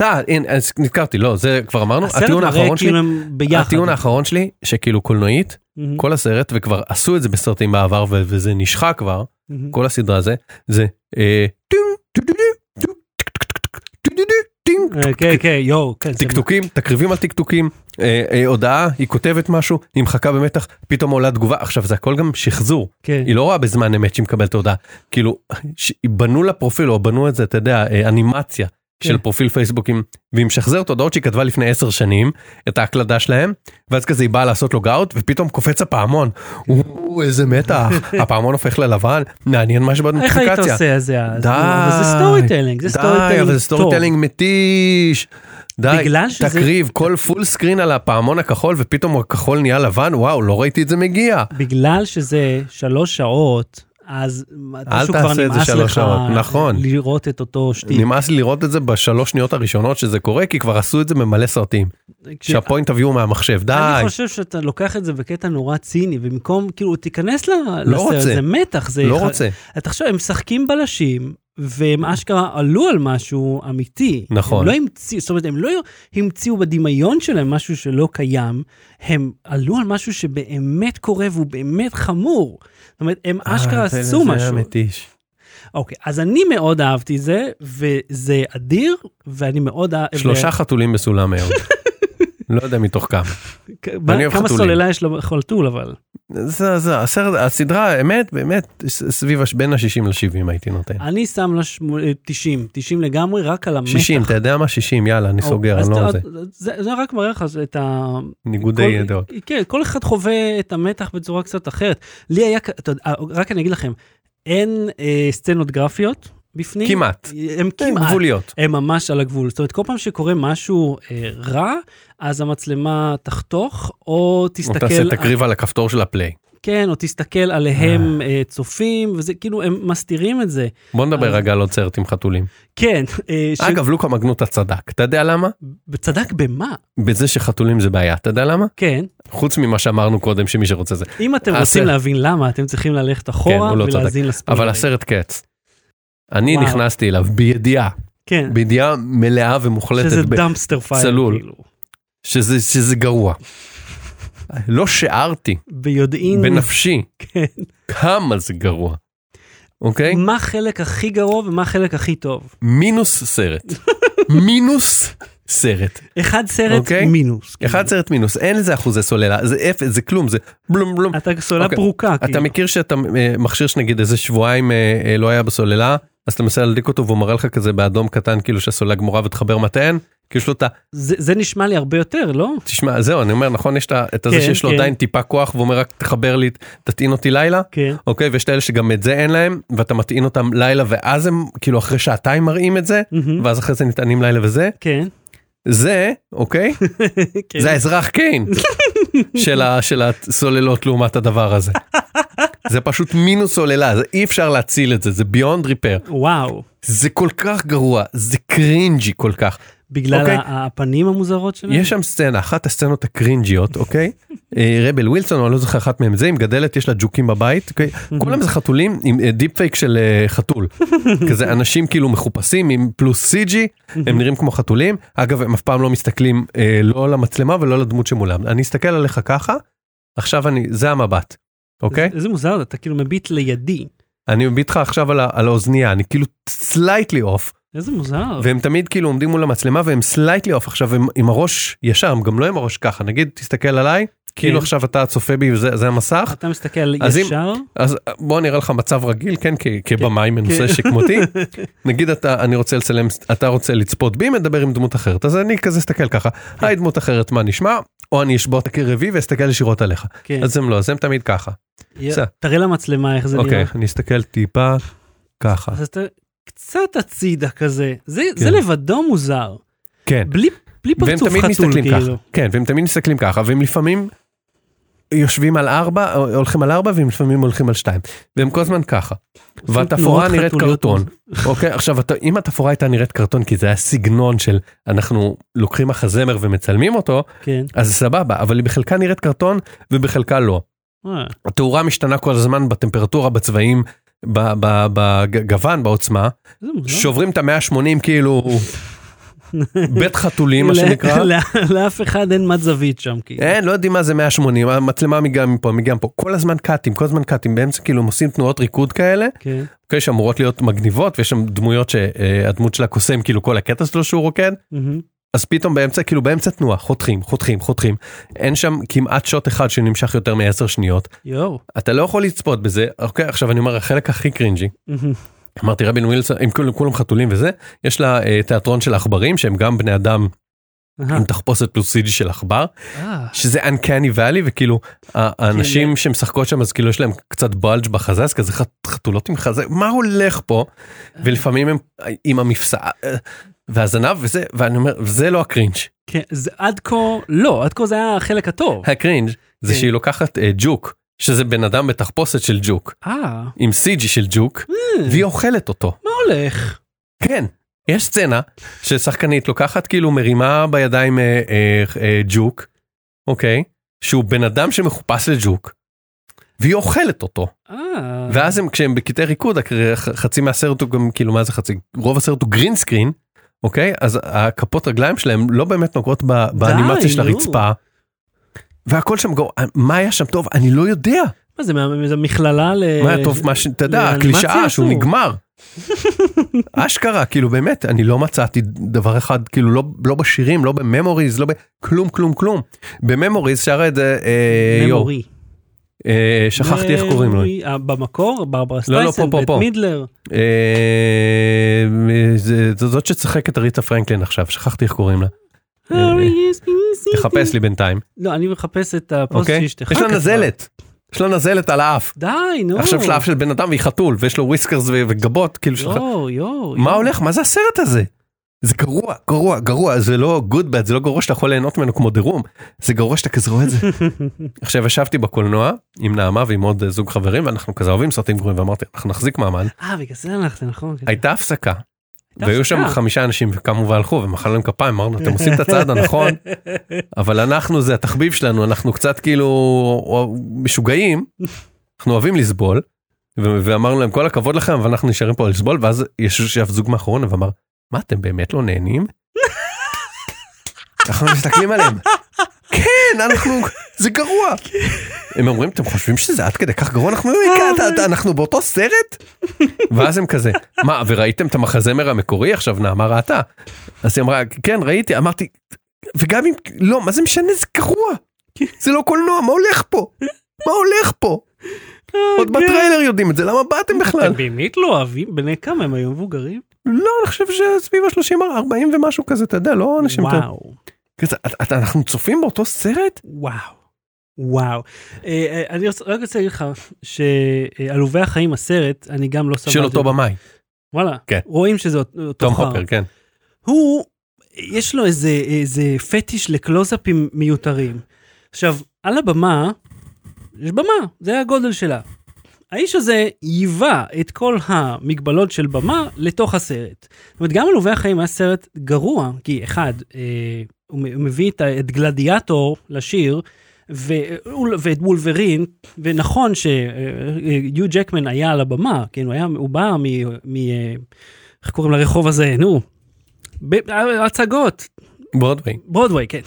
S2: אה, הנה, אז נזכרתי, לא, זה כבר אמרנו,
S1: הסרט
S2: הטיעון
S1: מראה
S2: האחרון שלי,
S1: כאילו הם ביחד.
S2: הטיעון האחרון שלי, שכאילו קולנועית,
S1: מהמם,
S2: כל הסרט, וכבר עשו את זה בסרטים בעבר, ו- וזה נשחק כבר,
S1: מהמם.
S2: כל הסדרה הזה, זה... אה, טים, טו, טו, טו, טו, טק, טק, טק, טק, טו, טו, טו, טים,
S1: אה, כן, כן, יואו, כן. זה-
S2: טקטוקים, תקריבים על טקטוקים, אה, אה, הודעה, היא כותבת משהו, היא מחכה במתח, פתאום עולה תגובה, עכשיו זה הכל גם שחזור,
S1: כן.
S2: היא לא רואה בזמן אמת שהיא מקבלת הודעה, כאילו, ש- בנו לה פרופיל, או בנו את זה, אתה יודע, אה, אנימציה
S1: כן.
S2: של פרופיל פייסבוקים, והיא משחזרת הודעות שהיא כתבה לפני עשר שנים, את ההקלדה שלהם, ואז כזה היא באה לעשות לוגאוט, ופתאום
S1: *laughs*
S2: קופץ הפעמון, או, איזה מתח, הפעמון הופך ללבן, מעניין מה
S1: איך היית
S2: שבנוטיפיקציה.
S1: עושה את זה אז?
S2: די.
S1: אבל זה סטורי טיילינג, זה סטורי
S2: די, אבל זה
S1: טיילינג
S2: סטורי טיילינג מתיש. די,
S1: בגלל שזה-
S2: תקריב כל פול סקרין על הפעמון הכחול ופתאום הכחול נהיה לבן, וואו, לא ראיתי את זה מגיע.
S1: בגלל שזה שלוש שעות, אז משהו כבר
S2: תעשה את זה
S1: נמאס
S2: שלוש
S1: לך
S2: שעות, נכון.
S1: לראות את אותו שטיק.
S2: נמאס לי לראות את זה בשלוש שניות הראשונות שזה קורה, כי כבר עשו את זה במלא סרטים.
S1: כש-
S2: שהפוינט אביו מהמחשב, די.
S1: כן. אני חושב שאתה לוקח את זה בקטע נורא ציני, ובמקום, כאילו, תיכנס ל-
S2: לא
S1: לסרט,
S2: רוצה.
S1: זה מתח, זה...
S2: לא
S1: ח-
S2: רוצה.
S1: אתה חושב, הם משחקים בלשים, והם אשכרה עלו על משהו אמיתי.
S2: נכון.
S1: הם לא המציאו, זאת אומרת, הם לא המציאו בדמיון שלהם משהו שלא קיים, הם עלו על משהו שבאמת קורה והוא באמת חמור. זאת אומרת, הם
S2: אה,
S1: אשכרה
S2: זה-
S1: עשו
S2: זה היה
S1: משהו.
S2: מתיש.
S1: אוקיי, אז אני מאוד אהבתי את זה, וזה אדיר, ואני מאוד אה, אהבתי...
S2: שלושה חתולים
S1: *laughs*
S2: בסולם היום. לא יודע מתוך כמה. אני אוהב
S1: כמה
S2: חתולים.
S1: סוללה יש לכל טול, אבל.
S2: זה, זה, הסרט, הסדרה, האמת, באמת, ס- סביב, הש- בין ה-60 ל-70 הייתי נותן.
S1: אני שם לה שמ- אה, 90, 90 לגמרי, רק על המתח.
S2: 60, אתה יודע מה? 60, יאללה, אני
S1: או,
S2: סוגר,
S1: אז
S2: אני לא
S1: אתה-
S2: על זה.
S1: זה. זה רק מראה לך את ה...
S2: ניגודי
S1: כל-
S2: דעות.
S1: כן, כל אחד חווה את המתח בצורה קצת אחרת. לי היה, כ- אתה יודע, אה, רק אני אגיד לכם, אין אה, סצנות גרפיות בפנים.
S2: כמעט. כן,
S1: הם כמעט.
S2: גבוליות.
S1: הם ממש על הגבול. זאת אומרת, כל פעם שקורה משהו אה, רע, אז המצלמה תחתוך, או
S2: או
S1: תסתכל...
S2: תעשה
S1: על-
S2: תקריב על הכפתור של הפליי.
S1: כן, או תסתכל עליהם אה, צופים, וזה כאילו, הם מסתירים את זה.
S2: בוא נדבר
S1: אז-
S2: רגע על עוד סרט עם חתולים.
S1: כן, אה, ש-
S2: אגב, לוקה מגנוטה צדק. אתה יודע למה?
S1: צדק במה?
S2: בזה שחתולים זה בעיה. אתה יודע למה?
S1: כן,
S2: חוץ ממה שאמרנו קודם, שמי שרוצה אה, זה.
S1: אם אתם
S2: הסרט-
S1: רוצים להבין למה, אתם צריכים ללכת אחורה
S2: הוא לא
S1: ולהאזין לספוילרים.
S2: אבל הסרט קץ. אני
S1: וואו.
S2: נכנסתי אליו בידיעה,
S1: כן,
S2: בידיעה מלאה ומוחלטת,
S1: שזה
S2: ב-
S1: דמפסטר פייר,
S2: צלול.
S1: כאילו.
S2: שזה, שזה גרוע. לא שיערתי
S1: ביודעין,
S2: בנפשי
S1: כן.
S2: כמה זה גרוע, אוקיי?
S1: מה החלק הכי גרוע ומה החלק הכי טוב.
S2: מינוס סרט. מינוס סרט.
S1: אחד סרט
S2: אוקיי.
S1: מינוס. כאילו.
S2: אחד סרט מינוס, אין לזה אחוזי סוללה, זה אפס, זה כלום, זה בלום בלום.
S1: אתה סוללה
S2: אוקיי.
S1: פרוקה,
S2: אתה
S1: כאילו.
S2: מכיר שאתה אה, מכשיר שנגיד איזה שבועיים אה, אה, לא היה בסוללה, אז אתה מנסה להדליק אותו והוא מראה לך כזה באדום קטן כאילו שהסוללה גמורה ותחבר מתן, כי יש לו את ה...
S1: זה זה נשמע לי הרבה יותר, לא?
S2: תשמע, זהו, אני אומר, נכון, יש את ה- את הזה
S1: כן,
S2: שיש לו
S1: כן.
S2: עדיין טיפה כוח והוא אומר רק תחבר לי, תטעין אותי לילה,
S1: כן.
S2: אוקיי, ויש את האלה שגם את זה אין להם, ואתה מטעין אותם לילה ואז הם כאילו אחרי שעתיים מראים את זה,
S1: מהמם.
S2: ואז אחרי זה נטענים לילה וזה,
S1: כן.
S2: זה, אוקיי?
S1: כן.
S2: זה האזרח קיין של, ה, של הסוללות לעומת הדבר הזה. זה פשוט מינוס סוללה, זה אי אפשר להציל את זה, זה ביונד ריפר.
S1: וואו.
S2: זה כל כך גרוע, זה קרינג'י כל כך.
S1: בגלל
S2: אוקיי.
S1: ה- הפנים המוזרות שלהם?
S2: יש שם סצנה, אחת הסצנות הקרינג'יות, אוקיי? אה, רבל ווילסון, אני לא זוכר אחת מהם, זה היא מגדלת, יש לה ג'וקים בבית, אוקיי? כולם זה חתולים עם אה, דיפ פייק של אה, חתול. כזה אנשים כאילו מחופשים עם פלוס סיג'י, הם נראים כמו חתולים. אגב, הם אף פעם לא מסתכלים אה, לא למצלמה ולא לדמות שמולם. אני אסתכל עליך ככה, עכשיו אני, זה המבט, אוקיי?
S1: איזה- איזה מוזר, אתה כאילו מביט לידי.
S2: אני מביט לך עכשיו על ה- על האוזנייה, אני כאילו סלייטלי אוף,
S1: איזה מוזר.
S2: והם תמיד כאילו עומדים מול המצלמה והם סלייטלי אוף עכשיו הם עם הראש ישר הם גם לא עם הראש ככה נגיד תסתכל עליי כאילו עכשיו אתה צופה בי וזה זה המסך
S1: כן. אתה מסתכל
S2: אז אם-
S1: ישר?
S2: אז בוא נראה לך מצב רגיל כן כ- כבמאי מנוסה
S1: כן. *laughs*
S2: שכמותי נגיד אתה אני רוצה לצלם אתה רוצה לצפות בי מדבר עם דמות אחרת אז אני כזה אסתכל ככה
S1: כן.
S2: היי דמות אחרת מה נשמע או אני אשבור את הקרבי ואסתכל ישירות עליך
S1: כן.
S2: אז הם לא אז הם תמיד ככה
S1: יא-
S2: בסדר.
S1: תראה למצלמה איך זה נראה.
S2: אוקיי אני אסתכל טיפה ככה
S1: אז אתה קצת הצידה כזה. זה זה
S2: כן.
S1: לבדו מוזר.
S2: כן.
S1: בלי בלי
S2: והם
S1: פרצוף
S2: תמיד
S1: חתול,
S2: מסתכלים ככה,
S1: כאילו.
S2: כן, והם תמיד מסתכלים ככה, והם לפעמים יושבים על ארבע, או- הולכים על ארבע, והם לפעמים הולכים על שתיים, והם כל הזמן ככה.
S1: עושים
S2: והתפאורה
S1: תנועות
S2: נראית
S1: חתוליות.
S2: קרטון, אוקיי? עכשיו, אתה- אם התפאורה הייתה נראית קרטון, כי זה היה סגנון של אנחנו לוקחים מחזמר ומצלמים אותו,
S1: כן.
S2: אז זה סבבה, אבל היא בחלקה נראית קרטון ובחלקה לא.
S1: אה,
S2: התאורה משתנה כל הזמן בטמפרטורה, בצבעים, בגוון, בעוצמה,
S1: זה מוזר.
S2: שוברים את ה-180 כאילו בית
S1: *laughs*
S2: חתולים, מה
S1: לא-
S2: שנקרא.
S1: לא- לאף אחד אין מת זווית שם, כאילו.
S2: אין, לא יודעים מה זה 180, המצלמה מגם מפה, מגם פה, כל הזמן קאטים, כל הזמן קאטים, באמצע כאילו הם עושים תנועות ריקוד כאלה,
S1: כן.
S2: כאלה שאמורות להיות מגניבות, ויש שם דמויות שהדמות שלה קוסם כאילו כל הקטע שלו שהוא רוקד,
S1: מהמם.
S2: אז פתאום באמצע, כאילו באמצע תנועה, חותכים, חותכים, חותכים, אין שם כמעט שוט אחד שנמשך יותר מ-10 שניות,
S1: יואו.
S2: אתה לא יכול לצפות בזה, אוקיי, עכשיו אני אומר, החלק הכי קרינג'י,
S1: מהמם.
S2: אמרתי רבין ווילסון, עם כולם, כולם חתולים וזה, יש לה אה, תיאטרון של עכברים שהם גם בני אדם עם תחפושת פלוס סידי של עכבר,
S1: אה,
S2: שזה Uncanny Valley וכאילו ה- האנשים שמשחקות שם אז כאילו יש להם קצת בלג' בחזה אז כזה חת- חתולות עם חזה מה הולך פה ולפעמים הם עם המפסע אה, והזנב וזה ואני אומר זה לא הקרינג'
S1: כן, זה עד כה, לא, עד כה זה היה החלק הטוב.
S2: הקרינג' זה
S1: כן.
S2: שהיא לוקחת אה, ג'וק שזה בן אדם בתחפושת של ג'וק
S1: אה,
S2: עם סיג'י של ג'וק והיא אוכלת אותו
S1: מה הולך?
S2: כן. יש סצנה ששחקנית לוקחת כאילו מרימה בידיים אה, אה, אה, ג'וק, אוקיי? שהוא בן אדם שמחופש לג'וק, והיא אוכלת אותו.
S1: אה,
S2: ואז הם, כשהם בקטעי ריקוד, הכ- חצי מהסרט הוא גם, כאילו מה זה חצי? רוב הסרט הוא גרין סקרין, אוקיי? אז הכפות רגליים שלהם לא באמת נוגעות ב- באנימציה של
S1: נו.
S2: הרצפה. והכל שם, גו- מה היה שם טוב? אני לא יודע.
S1: מה זה, מה- זה מכללה ל...
S2: מה היה טוב, מה ש... אתה יודע,
S1: אה, לאנימציה
S2: הקלישאה שהוא
S1: עשו.
S2: נגמר. אשכרה, כאילו באמת, אני לא מצאתי דבר אחד, כאילו לא, לא בשירים, לא בממוריז, לא ב... כלום, כלום, כלום. בממוריז שר את זה, אה, יו,
S1: ממורי.
S2: אה, שכחתי איך קוראים לו.
S1: ממורי, אה, במקור, ברברה
S2: לא, לא,
S1: סטייסן,
S2: פה, פה,
S1: בית
S2: פה.
S1: מידלר.
S2: אה, זה- זו- זאת שצחקת ריטה פרנקלין עכשיו, שכחתי איך קוראים לה. אה,
S1: Hurry, yes, please,
S2: תחפש לי בינתיים,
S1: לא, אני מחפש את הפוסט
S2: אוקיי?
S1: שאשתך.
S2: יש לה
S1: כתבה.
S2: נזלת, יש לה נזלת על האף.
S1: די, נו.
S2: עכשיו של האף של בן אדם והיא חתול, ויש לו וויסקרס ו- וגבות,
S1: לא.
S2: כאילו של
S1: יואו, יואו.
S2: מה
S1: יואו.
S2: הולך? מה זה הסרט הזה? זה גרוע, גרוע, גרוע, זה לא good bad, זה לא גרוע שאתה יכול ליהנות ממנו כמו דרום, זה גרוע שאתה כזה רואה
S1: *laughs*
S2: את זה. עכשיו ישבתי בקולנוע עם נעמה ועם עוד אה, זוג חברים ואנחנו כזה אוהבים סרטים גרועים ואמרתי אנחנו נחזיק מעמד.
S1: *laughs* אה, בגלל זה הלכת, נכון. כן.
S2: הייתה הפסקה והיו שם
S1: הפסקה.
S2: חמישה אנשים וקמו והלכו ומחאנו להם כפיים אמרנו אתם עושים את הצעד
S1: *laughs*
S2: הנכון
S1: אה,
S2: אבל אנחנו זה התחביב שלנו אנחנו קצת כאילו משוגעים אנחנו אוהבים לסבול ו- ואמרנו להם כל הכבוד לכם אבל אנחנו נשארים פה לסבול ואז יש ישב זוג מאחורינו ואמר מה אתם באמת לא נהנים? אנחנו מסתכלים עליהם כן אנחנו זה גרוע הם אומרים אתם חושבים שזה עד כדי כך גרוע אנחנו אומרים, "כן, אתה- אתה- אנחנו באותו סרט ואז הם כזה מה וראיתם את המחזמר המקורי עכשיו נעמה ראתה אז היא אמרה כן ראיתי אמרתי וגם אם לא מה זה משנה זה גרוע זה לא קולנוע מה הולך פה מה הולך פה עוד בטריילר יודעים את זה למה באתם בכלל
S1: כן. אתם באמת לא אוהבים? בני כמה הם היו מבוגרים?
S2: לא אני חושב שסביב ה-30 40 ומשהו כזה אתה יודע לא אנשים יותר-
S1: וואו.
S2: כזה, "את- את- אנחנו צופים באותו סרט
S1: וואו. וואו. אה, אה, אני רוצה- רק רוצה להגיד לך שעלובי החיים הסרט, אני גם לא סבלתי.
S2: של אותו
S1: אותו.
S2: במאי
S1: וואלה.
S2: כן.
S1: רואים שזה אותו אותו
S2: תום
S1: חרא.
S2: הופר כן
S1: הוא, יש לו איזה, איזה פטיש לקלוזאפים מיותרים. עכשיו, על הבמה, יש במה, זה הגודל שלה. האיש הזה ייבא את כל המגבלות של במה לתוך הסרט. זאת אומרת, גם עלובי החיים היה סרט גרוע, כי אחד, אה, הוא מ- הוא מביא את, ה- את גלדיאטור לשיר, ו, ואת וולברין, ונכון אה, שיו ג'קמן היה על הבמה, כן, הוא, היה, הוא בא מ... מ אה, איך קוראים לרחוב הזה? נו. ב- אה, הצגות,
S2: ברודווי
S1: ברודוויי, כן.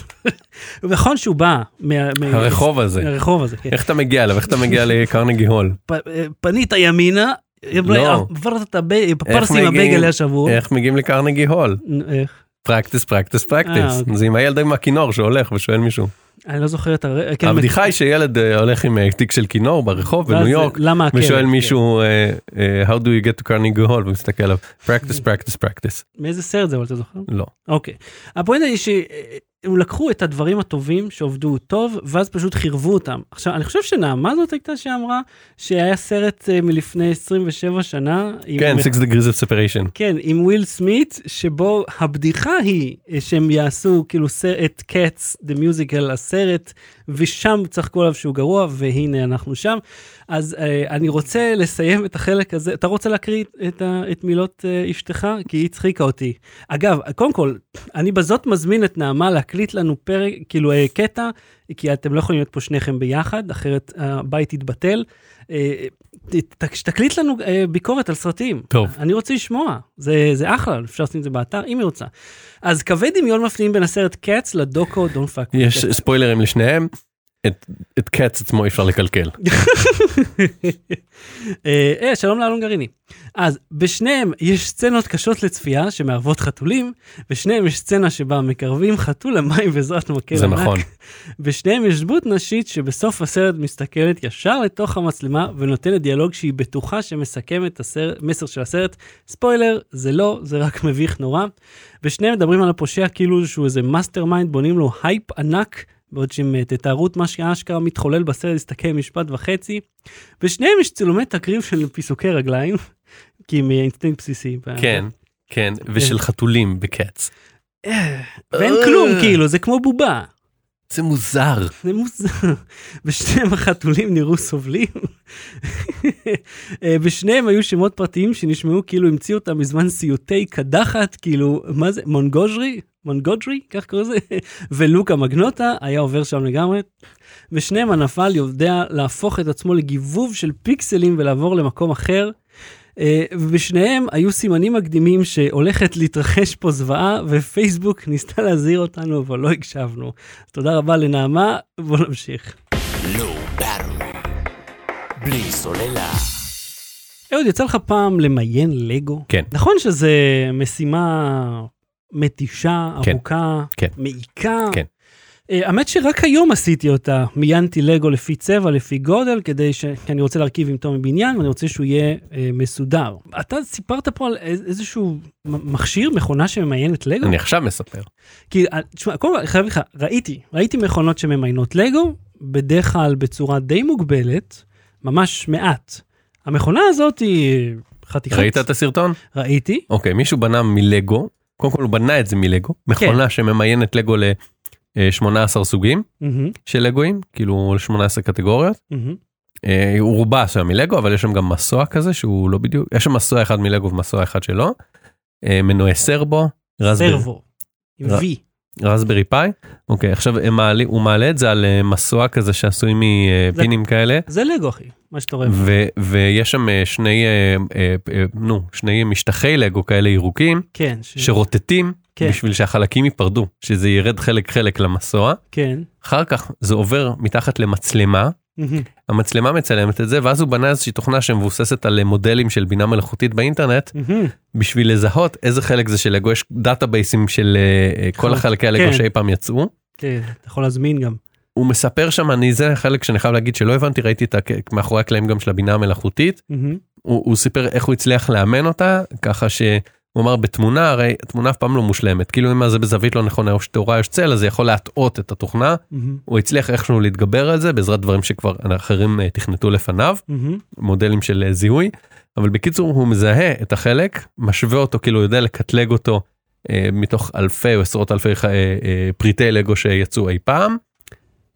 S1: נכון שהוא בא מה... מה-
S2: הרחוב הזה
S1: הרחוב הזה, כן.
S2: איך אתה מגיע אליו איך אתה מגיע לקרנגי הול
S1: פ- אה, פנית ימינה,
S2: לא.
S1: עברת את הבג- פרסים
S2: מגיעים?
S1: הבגל היה שבור.
S2: איך מגיעים לקרנגי הול
S1: איך?
S2: פרקטיס פרקטיס פרקטיס
S1: אוקיי.
S2: זה עם הילד עם הכינור שהולך ושואל מישהו
S1: אני לא זוכר את הר... כן,
S2: הבדיחה היא שילד אה, הולך עם אה, תיק של כינור ברחוב
S1: ואז
S2: בניו יורק
S1: למה הכלב?
S2: ושואל
S1: כן.
S2: מישהו אה, אה, how do you get to קרנגי הול ומסתכל עליו practice practice practice
S1: כן. מאיזה סרט זה, אבל אתה זוכר?
S2: לא
S1: אוקיי. הפואנטה היא שהם לקחו את הדברים הטובים שעובדו טוב, ואז פשוט חירבו אותם. עכשיו, אני חושב שנעמה זאת הייתה שאמרה שהיה סרט אה, מלפני 27 שנה. עם-
S2: כן 6 degrees of separation
S1: כן, עם וויל סמית, שבו הבדיחה היא אה, שהם יעשו כאילו סר- את קץ, דה מיוזיקל, הסרט, ושם צחקו עליו שהוא גרוע, והנה אנחנו שם. אז אה, אני רוצה לסיים את החלק הזה. אתה רוצה להקריא את, ה, את מילות אה, אשתך? כי היא הצחיקה אותי. אגב, קודם כל, אני בזאת מזמין את נעמה להק... להקליט לנו פרק, כאילו אה, קטע, כי אתם לא יכולים להיות פה שניכם ביחד, אחרת הבית יתבטל. אה, ת- ת- תקליט לנו אה, ביקורת על סרטים.
S2: טוב.
S1: אני רוצה לשמוע, זה, זה אחלה, אפשר לשים את זה באתר אם היא רוצה. אז קווי דמיון מפנים בין הסרט קץ לדוקו דון פאק.
S2: יש ספוילרים לשניהם, את- את קץ עצמו אי אפשר לקלקל.
S3: אוקיי.
S1: אה, אה, שלום לאלון גרעיני. אז בשניהם יש סצנות קשות לצפייה שמערבות חתולים, בשניהם יש סצנה שבה מקרבים חתול למים בעזרת מקל
S2: זה
S1: ענק.
S2: נכון.
S1: בשניהם יש דמות נשית שבסוף הסרט מסתכלת ישר לתוך המצלמה ונותנת דיאלוג שהיא בטוחה שמסכם את המסר של הסרט. ספוילר, זה לא, זה רק מביך נורא. ושניהם מדברים על הפושע כאילו שהוא איזה מאסטר מיינד, בונים לו הייפ ענק. בעוד שהם אה, תתארו את מה שאשכרה מתחולל בסרט, יסתכל משפט וחצי. בשניהם יש צילומי תקריב של פיסוקי רגליים, כי הם אה, אינסטינקט בסיסי.
S2: כן, כן, ושל חתולים בקץ.
S1: ואין כלום, כאילו, זה כמו בובה.
S2: זה מוזר.
S1: זה מוזר. *laughs* בשניהם החתולים נראו סובלים. *laughs* אה, בשניהם היו שמות פרטיים שנשמעו כאילו המציאו אותם מזמן סיוטי קדחת, כאילו, מה זה, מונגוז'רי? מונגוג'רי? כך קוראים לזה? *laughs* ולוקה מגנוטה היה עובר שם לגמרי. בשניהם הנפל יודע להפוך את עצמו לגיבוב של פיקסלים ולעבור למקום אחר. אה, ובשניהם היו סימנים מקדימים שהולכת להתרחש פה זוועה, ופייסבוק ניסתה להזהיר אותנו, אבל לא הקשבנו. אז תודה רבה לנעמה, בואו נמשיך.
S3: לא battle. בלי סוללה.
S1: אהוד, יצא לך פעם למיין לגו?
S2: כן.
S1: נכון שזה משימה מתישה,
S2: כן.
S1: ארוכה,
S2: כן.
S1: מעיקה?
S2: כן.
S1: אה, האמת שרק היום עשיתי אותה, מיינתי לגו לפי צבע, לפי גודל, כדי ש... כי אני רוצה להרכיב עם תומי בניין, ואני רוצה שהוא יהיה אה, מסודר. אתה סיפרת פה על איז- איזשהו מ- מכשיר, מכונה שממיינת לגו?
S2: אני עכשיו מספר.
S1: כי, אה, תשמע, קודם כל, אני חייב לך, ראיתי, ראיתי מכונות שממיינות לגו, בדרך כלל בצורה די מוגבלת, ממש מעט. המכונה הזאת היא חתיכת...
S2: ראית את הסרטון?
S1: ראיתי.
S2: אוקיי, מישהו בנה מלגו, קודם כל הוא בנה את זה מלגו, מכונה שממיינת לגו ל-18 סוגים
S1: מהמם,
S2: של לגויים, כאילו ל-18 קטגוריות.
S1: מהמם.
S2: אה, הוא רובה עשויה מלגו אבל יש שם גם מסוע כזה שהוא לא בדיוק יש שם מסוע אחד מלגו ומסוע אחד שלא. אה, מנועי סרבו רזברי-
S1: סרבו. עם
S2: ר-
S1: וי.
S2: רזברי פאי אוקיי עכשיו הם מעלי, הוא מעלה את זה על אה, מסוע כזה שעשוי
S1: זה-
S2: מפינים כאלה
S1: זה לגו, אחי, מה שאתה רואה.
S2: ו, ויש שם אה, שני אה, אה, אה, נו שני משטחי לגו כאלה ירוקים
S1: כן, ש...
S2: שרוטטים
S1: כן.
S2: בשביל שהחלקים ייפרדו שזה ירד חלק חלק למסוע
S1: כן.
S2: אחר כך זה עובר מתחת למצלמה
S1: מהמם.
S2: המצלמה מצלמת את זה ואז הוא בנה איזושהי תוכנה שמבוססת על אה, מודלים של בינה מלאכותית באינטרנט
S1: מהמם.
S2: בשביל לזהות איזה חלק זה של לגו יש דאטאבייסים של אה, אה, כל
S1: חלק,
S2: החלקי
S1: כן.
S2: הלגו שאי פעם יצאו.
S1: כן, אתה יכול להזמין גם.
S2: הוא מספר שם אני זה חלק שאני חייב להגיד שלא הבנתי ראיתי את הכ- מאחורי הקלעים גם של הבינה המלאכותית
S1: מהמם.
S2: הוא, הוא סיפר איך הוא הצליח לאמן אותה ככה שהוא אמר בתמונה הרי תמונה אף פעם לא מושלמת כאילו אם זה בזווית לא נכונה או שטהורה יש צל אז זה יכול להטעות את התוכנה
S1: מהמם.
S2: הוא הצליח איכשהו להתגבר על זה בעזרת דברים שכבר אחרים אה, תכנתו לפניו.
S1: מהמם.
S2: מודלים של אה, זיהוי אבל בקיצור הוא מזהה את החלק משווה אותו כאילו הוא יודע לקטלג אותו אה, מתוך אלפי או עשרות אלפי אה, אה, פריטי לגו שיצאו אי פעם.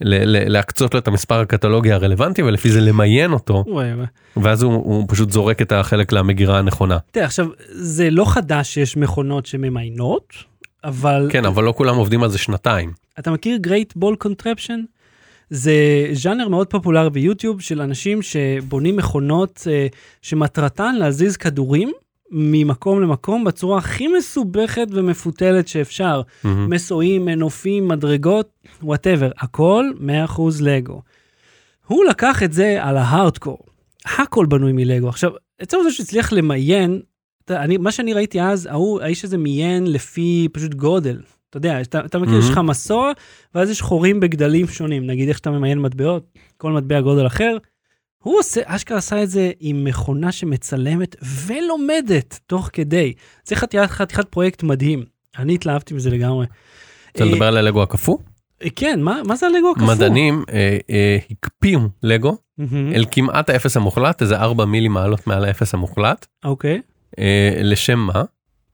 S2: ל- ל- להקצות לו את המספר הקטלוגי הרלוונטי ולפי זה למיין אותו
S1: וואי, וואי.
S2: ואז הוא, הוא פשוט זורק את החלק למגירה הנכונה
S1: תראה, עכשיו, זה לא חדש שיש מכונות שממיינות, אבל...
S2: כן אבל לא כולם עובדים על זה שנתיים
S1: אתה מכיר Great Ball Contraption? זה ז'אנר מאוד פופולרי ביוטיוב של אנשים שבונים מכונות אה, שמטרתן להזיז כדורים ממקום למקום בצורה הכי מסובכת ומפותלת שאפשר.
S2: מהמם.
S1: מסועים, מנופים, מדרגות, וואטאבר, הכל 100% לגו. הוא לקח את זה על ההארדקור. הכל בנוי מלגו. עכשיו, עצם זה שהוא הצליח למיין, אתה, אני, מה שאני ראיתי אז, ההוא, האיש הזה מיין לפי פשוט גודל. אתה יודע, אתה, אתה מכיר, יש לך
S2: מהמם.
S1: מסוע, ואז יש חורים בגדלים שונים. נגיד איך שאתה ממיין מטבעות, כל מטבע גודל אחר. הוא עושה, אשכרה עשה את זה עם מכונה שמצלמת ולומדת תוך כדי. זה חתיכת, חתיכת פרויקט מדהים. אני התלהבתי מזה לגמרי.
S2: רוצה
S1: אה,
S2: לדבר על הלגו הקפוא
S1: אה, כן, מה, מה זה הלגו הקפוא?
S2: מדענים אה, אה, הקפיאו לגו
S1: מהמם,
S2: אל כמעט האפס המוחלט איזה 4 מילי מעלות מעל האפס המוחלט
S1: אוקיי,
S2: אה, לשם מה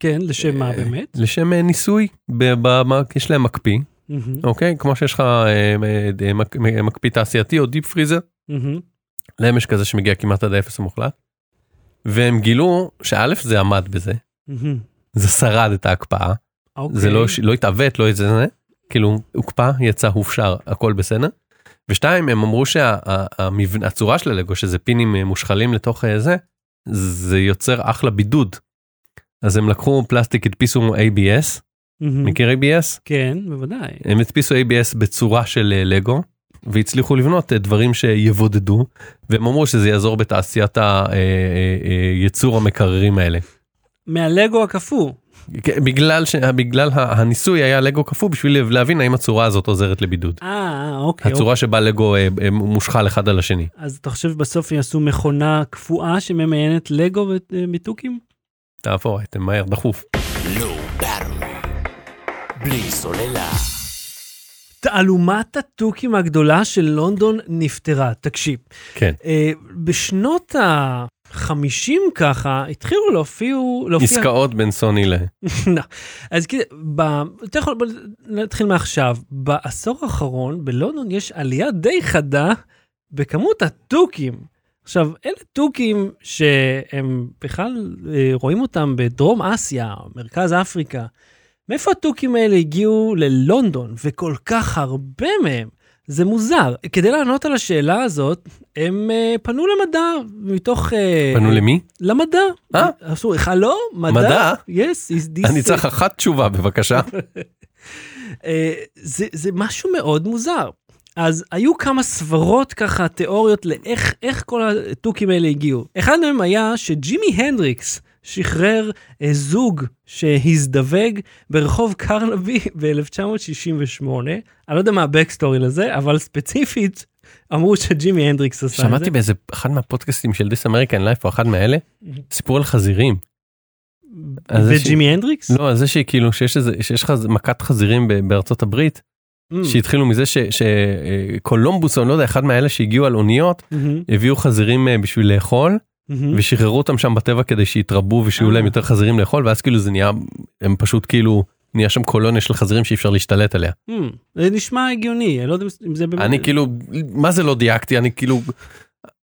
S1: כן, לשם מה באמת?
S2: לשם אה, ניסוי, ב- ב- מה- יש להם מקפיא,
S1: מהמם,
S2: אוקיי? כמו שיש לך אה, אה, אה, מק- אה, מקפיא תעשייתי או דיפ פריזר,
S1: מהמם,
S2: להם יש כזה שמגיע כמעט עד האפס המוחלט. והם גילו שא' זה עמד בזה,
S1: מהמם,
S2: זה שרד את ההקפאה,
S1: אוקיי.
S2: זה לא ש- לא התעוות, לא איזה זה, כאילו, הוקפא, יצא, הופשר, הכל בסדר. ושתיים, הם אמרו שהצורה של הלגו, שזה פינים אה, מושחלים לתוך אה, זה, זה יוצר אחלה בידוד. אז הם לקחו פלסטיק, הדפיסו ABS,
S1: מהמם.
S2: מכיר ABS?
S1: כן, בוודאי.
S2: הם הדפיסו ABS בצורה של אה, לגו והצליחו לבנות אה, דברים שיבודדו והם אמרו שזה יעזור בתעשיית אה, הייצור אה, המקררים האלה.
S1: מהלגו הקפוא.
S2: כן, בגלל, ש... בגלל ה- הניסוי היה לגו קפוא בשביל להבין האם הצורה הזאת עוזרת לבידוד.
S1: אה, אוקיי.
S2: הצורה שבה לגו אה, אה, מושחל אחד על השני.
S1: אוקיי. אז אתה חושב בסוף יעשו מכונה קפואה שממיינת לגו אה, ומיתוקים?
S2: תעבור, אתם מהר, דחוף.
S3: Low Battery. בלי סוללה.
S1: תעלומת התוכים הגדולה של לונדון נפתרה. תקשיב,
S2: כן.
S1: אה, בשנות ה-50 ככה התחילו להופיעו- להופיע...
S2: עסקאות בין סוני ל...
S1: לא. אז כאילו, ב- אתה יכול, בוא נתחיל מעכשיו. בעשור האחרון בלונדון יש עלייה די חדה בכמות התוכים. עכשיו, אלה תוכים שהם בכלל אה, רואים אותם בדרום אסיה, מרכז אפריקה. מאיפה התוכים האלה הגיעו ללונדון, וכל כך הרבה מהם? זה מוזר. כדי לענות על השאלה הזאת, הם אה, פנו למדע, מתוך... אה,
S2: פנו למי?
S1: למדע.
S2: אה?
S1: עשו, הלו? מדע?
S2: מדע?
S1: יס, yes, is this...
S2: אני צריך אחת
S1: *laughs*
S2: תשובה בבקשה.
S1: אה, זה, זה משהו מאוד מוזר. אז היו כמה סברות ככה, תיאוריות לאיך איך כל התוכים האלה הגיעו. אחד מהם היה שג'ימי הנדריקס שחרר אה, זוג שהזדווג ברחוב קרנבי ב-1968. אני לא יודע מה הבקסטורי לזה, אבל ספציפית אמרו שג'ימי הנדריקס עשה את זה.
S2: שמעתי באיזה אחד מהפודקאסטים של This American Life או אחד מאלה, סיפור על חזירים. על זה
S1: וג'ימי הנדריקס?
S2: לא, על זה שכאילו שיש איזה, שיש חז, מכת חזירים ב- בארצות הברית,
S1: Mm.
S2: שהתחילו מזה שקולומבוס, או אני לא יודע, אחד מאלה שהגיעו על אוניות,
S1: מהמם,
S2: הביאו חזירים אה, בשביל לאכול,
S1: מהמם.
S2: ושחררו אותם שם בטבע כדי שיתרבו ושיהיו
S1: Mm. אה.
S2: להם יותר חזירים לאכול, ואז כאילו זה נהיה, הם פשוט כאילו, נהיה שם קולוניה של חזירים שאי אפשר להשתלט עליה.
S1: Hmm, זה נשמע הגיוני, אני לא יודע אם זה באמת...
S2: אני כאילו, מה זה לא דייקתי, אני כאילו,